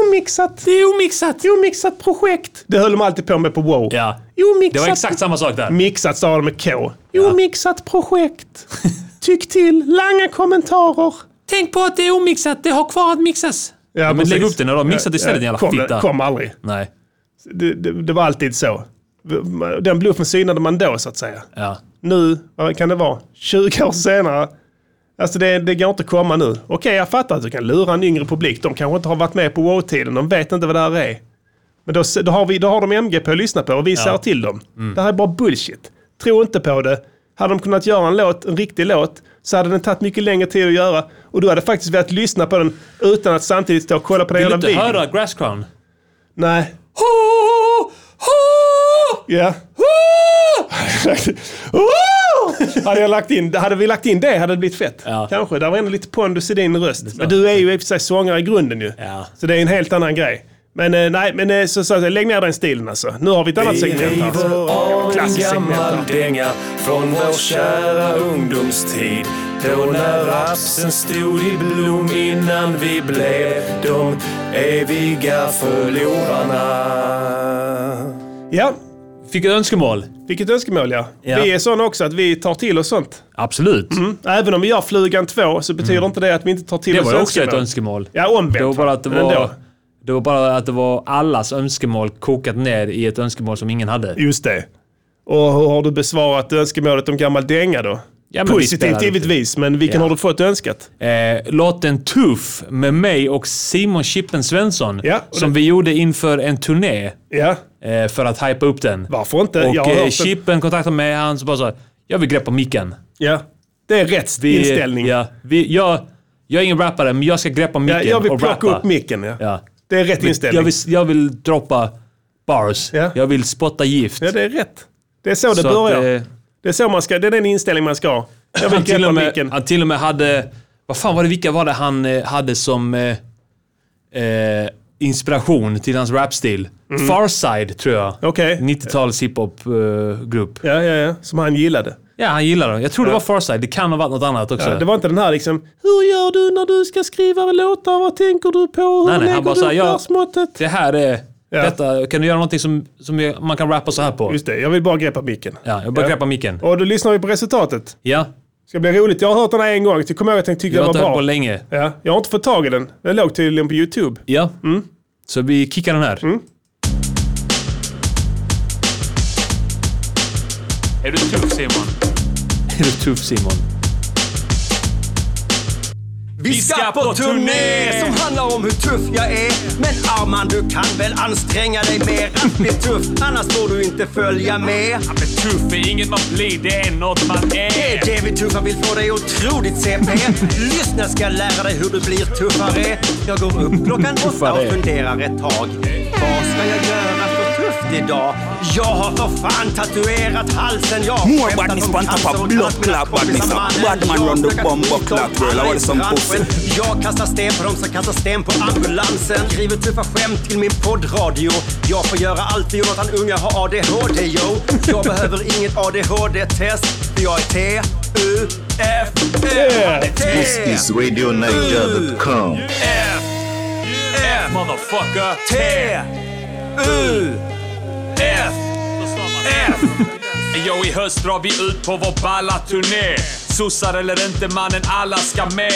[SPEAKER 1] Omixat.
[SPEAKER 2] Det är omixat.
[SPEAKER 1] Omixat projekt. Det höll de alltid på med på Wow.
[SPEAKER 2] Ja.
[SPEAKER 1] Omixat.
[SPEAKER 2] Det var exakt samma sak där.
[SPEAKER 1] Mixat sa de med K. Omixat projekt. Tyck till. Langa kommentarer.
[SPEAKER 2] Tänk på att det är omixat. Det har kvar att mixas. Ja, men
[SPEAKER 1] precis.
[SPEAKER 2] lägg upp den då. Mixat istället, din jävla
[SPEAKER 1] kom,
[SPEAKER 2] fitta.
[SPEAKER 1] Kom aldrig.
[SPEAKER 2] Nej.
[SPEAKER 1] Det, det, det var alltid så. Den bluffen synade man då så att säga.
[SPEAKER 2] Ja.
[SPEAKER 1] Nu, vad kan det vara? 20 år senare. Alltså det, det går inte att komma nu. Okej, jag fattar att du kan lura en yngre publik. De kanske inte har varit med på wow-tiden. De vet inte vad det här är. Men då, då, har, vi, då har de MGP att lyssna på och vi säger till dem.
[SPEAKER 2] Mm.
[SPEAKER 1] Det här är bara bullshit. Tro inte på det. Hade de kunnat göra en låt, en riktig låt, så hade den tagit mycket längre tid att göra. Och du hade faktiskt velat lyssna på den utan att samtidigt stå och kolla på den
[SPEAKER 2] Vill du
[SPEAKER 1] jävla
[SPEAKER 2] inte
[SPEAKER 1] videon.
[SPEAKER 2] höra Grass Crown?
[SPEAKER 1] Nej. Ja. hade, jag lagt in, hade vi lagt in det hade det blivit fett. Kanske. Där var ändå lite pondus i din röst. Men du är ju i och för sig sångare i grunden ju. Så det är en helt annan grej. Men eh, nej, men eh, så, så, så, lägg ner den stilen alltså. Nu har vi ett annat segment här. Klassiskt segment.
[SPEAKER 4] gammal
[SPEAKER 1] här.
[SPEAKER 4] dänga från vår kära ungdomstid. Då när rapsen stod i blom innan vi blev de eviga förlorarna.
[SPEAKER 1] Ja.
[SPEAKER 2] Fick ett önskemål.
[SPEAKER 1] Fick ett önskemål ja.
[SPEAKER 2] Ja.
[SPEAKER 1] Vi är sådana också att vi tar till oss sånt.
[SPEAKER 2] Absolut.
[SPEAKER 1] Mm. Även om vi gör Flugan 2 så betyder inte det att vi inte tar till
[SPEAKER 2] Mm. Det
[SPEAKER 1] oss
[SPEAKER 2] var ju också ett önskemål.
[SPEAKER 1] Ja, omvänt.
[SPEAKER 2] Det var bara att det
[SPEAKER 1] Men ändå.
[SPEAKER 2] var, det var bara att det var allas önskemål kokat ner i ett önskemål som ingen hade.
[SPEAKER 1] Just det. Och hur har du besvarat önskemålet om gammal dänga då?
[SPEAKER 2] Ja, men vi spelar
[SPEAKER 1] Positivt
[SPEAKER 2] lite.
[SPEAKER 1] givetvis, men vilken
[SPEAKER 2] Ja.
[SPEAKER 1] har du fått önskat?
[SPEAKER 2] Eh, låten Tuff med mig och Simon Chippen Svensson
[SPEAKER 1] och
[SPEAKER 2] som
[SPEAKER 1] det-
[SPEAKER 2] vi gjorde inför en turné
[SPEAKER 1] Ja.
[SPEAKER 2] eh, för att hypa upp den.
[SPEAKER 1] Varför inte?
[SPEAKER 2] Och
[SPEAKER 1] Jag har
[SPEAKER 2] eh,
[SPEAKER 1] hört det.
[SPEAKER 2] Chippen kontaktade mig han så bara så här, jag vill greppa micken.
[SPEAKER 1] Ja. Det är rätt
[SPEAKER 2] Vi-
[SPEAKER 1] inställning.
[SPEAKER 2] Ja, vi, jag, jag är ingen rappare, men jag ska greppa micken
[SPEAKER 1] jag vill
[SPEAKER 2] och
[SPEAKER 1] plocka
[SPEAKER 2] rappa.
[SPEAKER 1] upp micken. Ja.
[SPEAKER 2] Ja.
[SPEAKER 1] Det är rätt
[SPEAKER 2] Men
[SPEAKER 1] inställning.
[SPEAKER 2] Jag vill, jag vill droppa bars. Jag vill spotta gift.
[SPEAKER 1] Ja, det är rätt. Det är så det
[SPEAKER 2] Så att,
[SPEAKER 1] börjar.
[SPEAKER 2] eh,
[SPEAKER 1] Det är så man ska, det är den inställning man ska ha. Jag vill
[SPEAKER 2] Han till,
[SPEAKER 1] greppa
[SPEAKER 2] och
[SPEAKER 1] micken.
[SPEAKER 2] med, han till och med hade... Vad fan var det, vilka var det han eh, hade som eh, eh, inspiration till hans rapstil?
[SPEAKER 1] Mm.
[SPEAKER 2] Farside, tror jag. eh,
[SPEAKER 1] Okej.
[SPEAKER 2] 90-tals hiphop-grupp.
[SPEAKER 1] Ja, ja, ja. Som han gillade.
[SPEAKER 2] Ja, han gillade det. Jag tror det
[SPEAKER 1] Ja.
[SPEAKER 2] var Farside. Det kan ha varit något annat också.
[SPEAKER 1] Ja, det var inte den här liksom, hur gör du när du ska skriva låtar? Vad tänker du på? Hur
[SPEAKER 2] Nej, nej, han
[SPEAKER 1] lägger
[SPEAKER 2] bara
[SPEAKER 1] du
[SPEAKER 2] så här,
[SPEAKER 1] upp
[SPEAKER 2] jag-
[SPEAKER 1] versmåttet?
[SPEAKER 2] Det här är... Detta, kan du göra någonting som, som jag- man kan rappa så här på?
[SPEAKER 1] Just det, jag vill bara greppa micken.
[SPEAKER 2] Ja, jag bara
[SPEAKER 1] Ja.
[SPEAKER 2] greppa micken.
[SPEAKER 1] Och då lyssnar vi på resultatet.
[SPEAKER 2] Ja.
[SPEAKER 1] Ska bli roligt. Jag har hört den här en gång, så jag kommer ihåg att jag tyckte
[SPEAKER 2] Jag har
[SPEAKER 1] den
[SPEAKER 2] inte
[SPEAKER 1] var
[SPEAKER 2] hört
[SPEAKER 1] bra.
[SPEAKER 2] på länge.
[SPEAKER 1] Ja, jag har inte fått tag i den. Den låg tydligen på YouTube.
[SPEAKER 2] Ja. Så vi kickar den här.
[SPEAKER 9] Är du tuff Simon?
[SPEAKER 2] Är du tuff Simon?
[SPEAKER 12] Vi ska på turné som handlar om hur tuff jag är. Men Arman, du kan väl anstränga dig mer att bli tuff, annars får du inte följa med.
[SPEAKER 9] Ja, men tuff är inget man blir, det är något man
[SPEAKER 12] Det är
[SPEAKER 9] är.
[SPEAKER 12] det vi tuffa vill få dig otroligt CP. Lyssna ska jag lära dig hur du blir tuffare. Jag går upp klockan åtta och funderar ett tag. Vad ska jag göra för tufft idag? Jag har för fan tatuerat halsen jag.
[SPEAKER 4] More badness on top of blood clot badness. Bad man run the bomber clot world. I want some pussy.
[SPEAKER 12] Jag kastar sten på dem som kastar sten på ambulansen. Skriver tuffa skämt till min poddradio. Jag får göra allt för Jonathan Unge har ADHD, yo. Jag behöver inget ADHD-test, för jag är T-U-F-F.
[SPEAKER 20] This is RadioNiger.com.
[SPEAKER 9] F motherfucker. T. U. F. F. Jo, i höst drar vi ut på vår balla turné. Sossar eller inte mannen, alla ska med.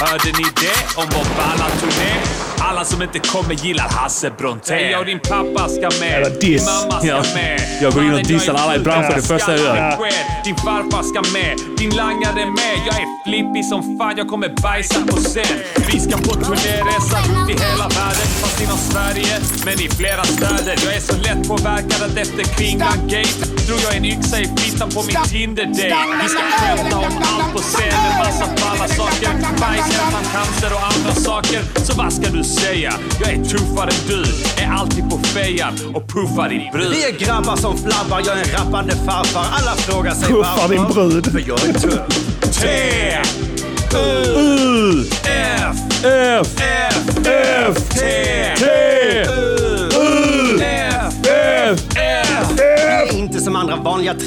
[SPEAKER 9] Hörde ni det om vår balla turné? Alla som inte kommer gillar Hasse Brontén. Jag och din pappa ska
[SPEAKER 2] Jävla
[SPEAKER 9] med.
[SPEAKER 2] diss.
[SPEAKER 9] Mamma ska
[SPEAKER 2] Ja.
[SPEAKER 9] med.
[SPEAKER 2] Jag går in och
[SPEAKER 9] Mannen,
[SPEAKER 2] dissar
[SPEAKER 9] jag är
[SPEAKER 2] alla i
[SPEAKER 9] sjuk.
[SPEAKER 2] branschen, det
[SPEAKER 9] Ska
[SPEAKER 2] första jag
[SPEAKER 9] ha
[SPEAKER 2] gör.
[SPEAKER 9] en sked. Din farfar ska med. Din langare med. Jag är flippig som fan. Jag kommer bajsa på scen. Vi ska på turnéresa runt i hela världen. Fast inom Sverige, men i flera städer. Jag är så lätt påverkad att efter Kringlan Gate drog jag en yxa i fittan på min Tinder-date. Vi ska skämta om allt på scenen. Massa balla saker. Bajs, elefanter och andra saker. Så vad ska du säga? Jag är tuffare än du. Är alltid på fejan och puffar din brud.
[SPEAKER 12] Vi är grabbar som flabbar, jag är en rappande farfar. Alla frågar sig
[SPEAKER 1] Puffar din brud.
[SPEAKER 12] För jag är tuff.
[SPEAKER 9] T. U. F.
[SPEAKER 2] F.
[SPEAKER 9] F. F. T.
[SPEAKER 2] T.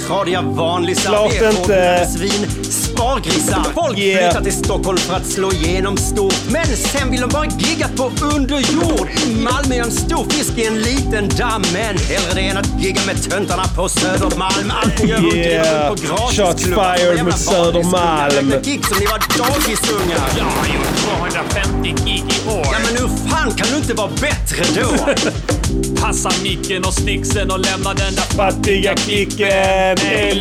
[SPEAKER 12] Tradiga vanlisar,
[SPEAKER 1] Klart
[SPEAKER 12] vedhårdnade svin, spargrisar. Folk
[SPEAKER 1] Yeah.
[SPEAKER 12] flyttar till Stockholm för att slå igenom stort. Men sen vill de bara gigga på underjord. I Malmö är en stor fisk i en liten damm. Men hellre det än att gigga med töntarna på Södermalm. Allting gör ont i
[SPEAKER 1] Yeah.
[SPEAKER 12] röven på gratisklubbar.
[SPEAKER 1] Shots fired med Södermalm.
[SPEAKER 12] Räkna gig som ni var dagisungar. Jag har gjort 250 gig i år. Ja, men hur fan kan du inte vara bättre då?
[SPEAKER 9] Passa micken och snixen och lämna den där
[SPEAKER 1] fattiga klicken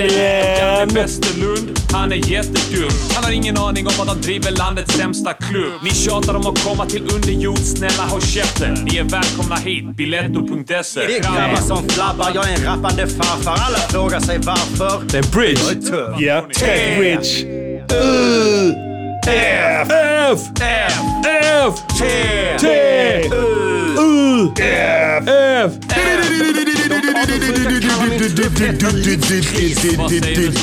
[SPEAKER 9] Janne Westerlund, han är jättedum. Han har ingen aning om att han driver landets sämsta klubb. Ni tjatar om att komma till underjord, snälla håll käften. Ni är välkomna hit, biletto.se.
[SPEAKER 12] Det är grabbar som flabbar, jag är en rappande farfar. Alla frågar sig varför.
[SPEAKER 9] Det är bridge.
[SPEAKER 12] Jag är tuff.
[SPEAKER 1] Ja,
[SPEAKER 12] T.
[SPEAKER 1] Tech Rich.
[SPEAKER 12] U.
[SPEAKER 1] F.
[SPEAKER 9] F.
[SPEAKER 12] F.
[SPEAKER 9] F.
[SPEAKER 12] T.
[SPEAKER 1] T. U.
[SPEAKER 12] F.
[SPEAKER 9] F.
[SPEAKER 12] Vad säger du?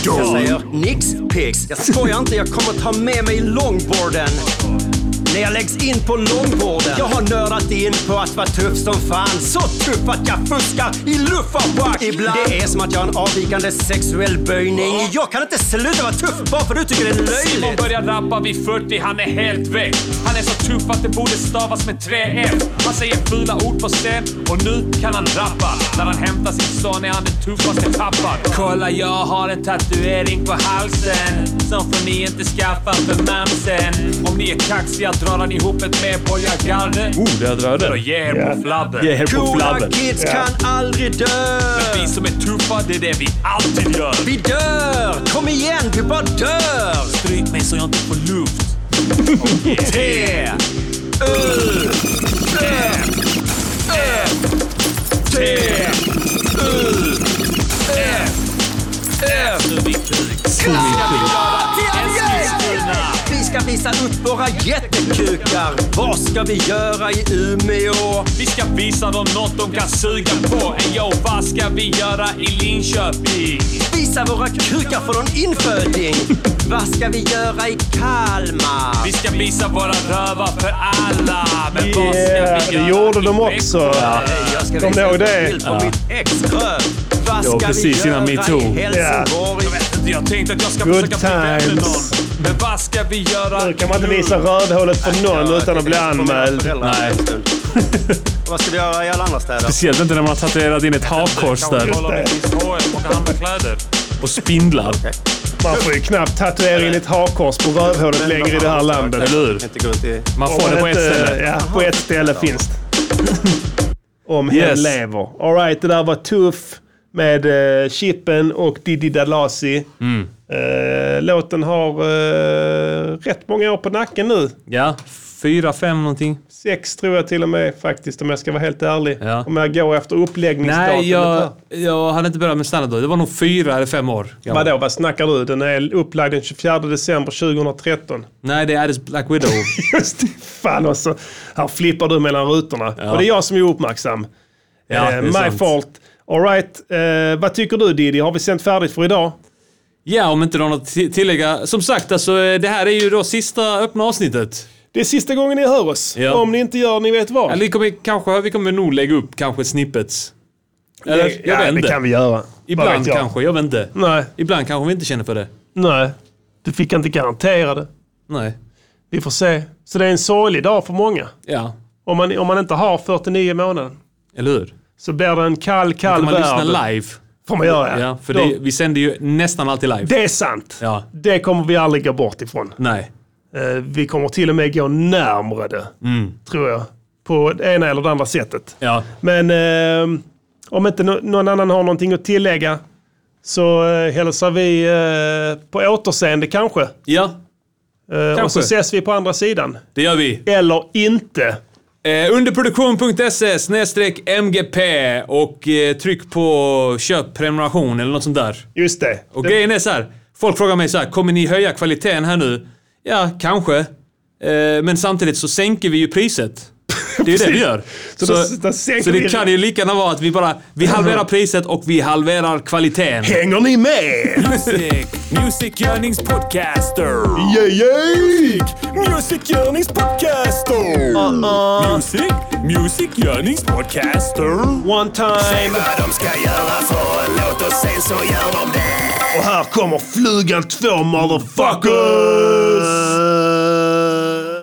[SPEAKER 12] Jag säger nix pix. Jag skojar inte, jag kommer ta med mig longboarden. När jag läggs in på långvården. Jag har nördat in på att vara tuff som fan. Så tuff att jag fuskar i luffarwack ibland. Det är som att jag har en avvikande sexuell böjning. Jag kan inte sluta vara tuff bara för du tycker det är
[SPEAKER 9] Simon
[SPEAKER 12] löjligt.
[SPEAKER 9] börjar rappa vid 40, han är helt väck. Han är så tuff att det borde stavas med 3 F. Han säger fula ord på scen och nu kan han rappa. När han hämtar sin son är han den tuffaste pappan. Kolla, jag har en tatuering på halsen som får ni inte skaffa för mamsen. Om ni är kaxiga drar han ihop ett medborgargarde.
[SPEAKER 2] Oh, där drar jag den.
[SPEAKER 9] För att ge er
[SPEAKER 2] Ja.
[SPEAKER 9] på flabben.
[SPEAKER 2] Ge er på Coola flabben. kids
[SPEAKER 12] kan aldrig dö.
[SPEAKER 9] Men vi som är tuffa, det är det vi alltid gör.
[SPEAKER 12] Vi dör! Kom igen, vi bara dör!
[SPEAKER 9] Stryk mig så jag inte får luft.
[SPEAKER 12] T. U. F. F. T. U. F. F. Vi ska visa upp våra jättekukar. Vad ska vi göra i Umeå?
[SPEAKER 9] Vi ska visa dem något de kan suga på. Ey yo, vad ska vi göra i Linköping?
[SPEAKER 12] Visa våra kukar för någon inföding. Vad ska vi göra i Kalmar?
[SPEAKER 9] Vi ska visa våra rövar för alla. Men vad
[SPEAKER 1] Yeah,
[SPEAKER 9] ska vi
[SPEAKER 1] det
[SPEAKER 9] göra?
[SPEAKER 1] gjorde de också.
[SPEAKER 12] Jag
[SPEAKER 1] Kom
[SPEAKER 12] ska
[SPEAKER 1] ni
[SPEAKER 12] visa
[SPEAKER 1] ihåg
[SPEAKER 12] en
[SPEAKER 1] det?
[SPEAKER 12] bild på mitt ex-röv. Vad
[SPEAKER 2] Det var
[SPEAKER 12] ska
[SPEAKER 2] precis
[SPEAKER 12] vi
[SPEAKER 2] innan
[SPEAKER 12] göra
[SPEAKER 2] metoo.
[SPEAKER 12] i Helsingborg?
[SPEAKER 9] Jag vet inte, jag tänkte att jag ska
[SPEAKER 1] Good
[SPEAKER 9] försöka bli vän med någon.
[SPEAKER 1] times.
[SPEAKER 9] Men vad ska vi göra
[SPEAKER 1] Nu kan man inte visa rövhålet för någon utan att bli anmäld.
[SPEAKER 12] Nej. Vad ska vi göra i alla andra städer?
[SPEAKER 2] Speciellt inte när man har tatuerat in ett hakkors där. Och spindlar.
[SPEAKER 1] Man får ju knappt tatuera in ett hakkors på rövhålet längre i det här landet.
[SPEAKER 2] Eller hur?
[SPEAKER 12] Inte gå runt i...
[SPEAKER 2] Man
[SPEAKER 1] Om
[SPEAKER 2] får det på ett eh,
[SPEAKER 1] inte-
[SPEAKER 2] ställe.
[SPEAKER 1] Ja, på ett ställe finns det. Om hen
[SPEAKER 2] Yes.
[SPEAKER 1] lever. Alright, det där var Tuff med eh, Chippen och Diddy Dalasi.
[SPEAKER 2] Mm.
[SPEAKER 1] Eh, låten har eh, rätt många år på nacken nu.
[SPEAKER 2] Ja, fyra, fem någonting.
[SPEAKER 1] Sex tror jag till och med faktiskt om jag ska vara helt ärlig. Om jag går efter uppläggningsdatumet.
[SPEAKER 2] Nej,
[SPEAKER 1] här.
[SPEAKER 2] jag, jag hade inte börjat med standup då. Det var nog fyra eller fem år gammal.
[SPEAKER 1] Vadå, vad snackar du? Den är upplagd den 24 december 2013.
[SPEAKER 2] Nej, det är Addis Black Widow.
[SPEAKER 1] Just det, fan också. Här flippar du mellan rutorna.
[SPEAKER 2] Ja.
[SPEAKER 1] Och det är jag som är uppmärksam.
[SPEAKER 2] Ja, det
[SPEAKER 1] Eh,
[SPEAKER 2] är
[SPEAKER 1] my
[SPEAKER 2] sant.
[SPEAKER 1] fault. Alright, eh, vad tycker du Diddy? Har vi sänt färdigt för idag?
[SPEAKER 2] ja, om inte du har något att ti- tillägga. Som sagt, alltså, eh, det här är ju då sista öppna avsnittet.
[SPEAKER 1] Det är sista gången ni hör oss.
[SPEAKER 2] Ja.
[SPEAKER 1] Om ni inte gör, ni vet vad.
[SPEAKER 2] Eller vi kommer, kanske, vi kommer nog lägga upp kanske snippets. Eller,
[SPEAKER 1] Det-
[SPEAKER 2] jag
[SPEAKER 1] ja,
[SPEAKER 2] vet
[SPEAKER 1] det
[SPEAKER 2] inte.
[SPEAKER 1] kan vi göra. Vad
[SPEAKER 2] Ibland
[SPEAKER 1] vet jag?
[SPEAKER 2] kanske, jag vet inte.
[SPEAKER 1] Nej.
[SPEAKER 2] Ibland kanske vi inte känner för det.
[SPEAKER 1] Nej, du fick inte garantera det.
[SPEAKER 2] Nej.
[SPEAKER 1] Vi får se. Så det är en sorglig dag för många.
[SPEAKER 2] Ja,
[SPEAKER 1] Om man, om man inte har 49 månader
[SPEAKER 2] eller hur?
[SPEAKER 1] så blir det en kall,
[SPEAKER 2] Kan
[SPEAKER 1] kall
[SPEAKER 2] man
[SPEAKER 1] värld.
[SPEAKER 2] lyssna live?
[SPEAKER 1] Får man göra,
[SPEAKER 2] Ja, för
[SPEAKER 1] Då-
[SPEAKER 2] det, vi sänder ju nästan alltid live.
[SPEAKER 1] Det är sant.
[SPEAKER 2] Ja.
[SPEAKER 1] Det kommer vi aldrig gå bort ifrån.
[SPEAKER 2] Nej.
[SPEAKER 1] Eh, Vi kommer till och med gå närmare det,
[SPEAKER 2] Mm.
[SPEAKER 1] tror jag. På det ena eller det andra sättet.
[SPEAKER 2] Ja.
[SPEAKER 1] Men eh, om inte nå- någon annan har någonting att tillägga så eh, hälsar vi eh, på återseende kanske.
[SPEAKER 2] Ja,
[SPEAKER 1] Eh, Och så
[SPEAKER 2] Kanske.
[SPEAKER 1] ses vi på andra sidan.
[SPEAKER 2] det gör vi.
[SPEAKER 1] Eller inte.
[SPEAKER 2] Eh, underproduktion.se E snedstreck MGP och eh, tryck på köp prenumeration eller något sånt där.
[SPEAKER 1] Just det.
[SPEAKER 2] Och grejen är så här. Folk frågar mig så här, kommer ni höja kvaliteten här nu? Ja, kanske. Eh, men samtidigt så sänker vi ju priset. Det är ju det vi gör.
[SPEAKER 1] Så
[SPEAKER 2] Så,
[SPEAKER 1] då-
[SPEAKER 2] så,
[SPEAKER 1] då sänker vi-
[SPEAKER 2] det kan ju lika gärna vara att vi bara, vi halverar priset och vi halverar kvaliteten.
[SPEAKER 1] Hänger ni med?
[SPEAKER 9] Music, Music Yearnings Podcaster.
[SPEAKER 1] Uh-uh.
[SPEAKER 4] Yeah, yeah! Music Yearnings Podcaster! Music,
[SPEAKER 9] Music Görningspodcaster.
[SPEAKER 1] One
[SPEAKER 9] Säg
[SPEAKER 1] time.
[SPEAKER 9] vad de ska göra för en låt och sen så gör de det.
[SPEAKER 1] Och här kommer flugan två motherfuckers!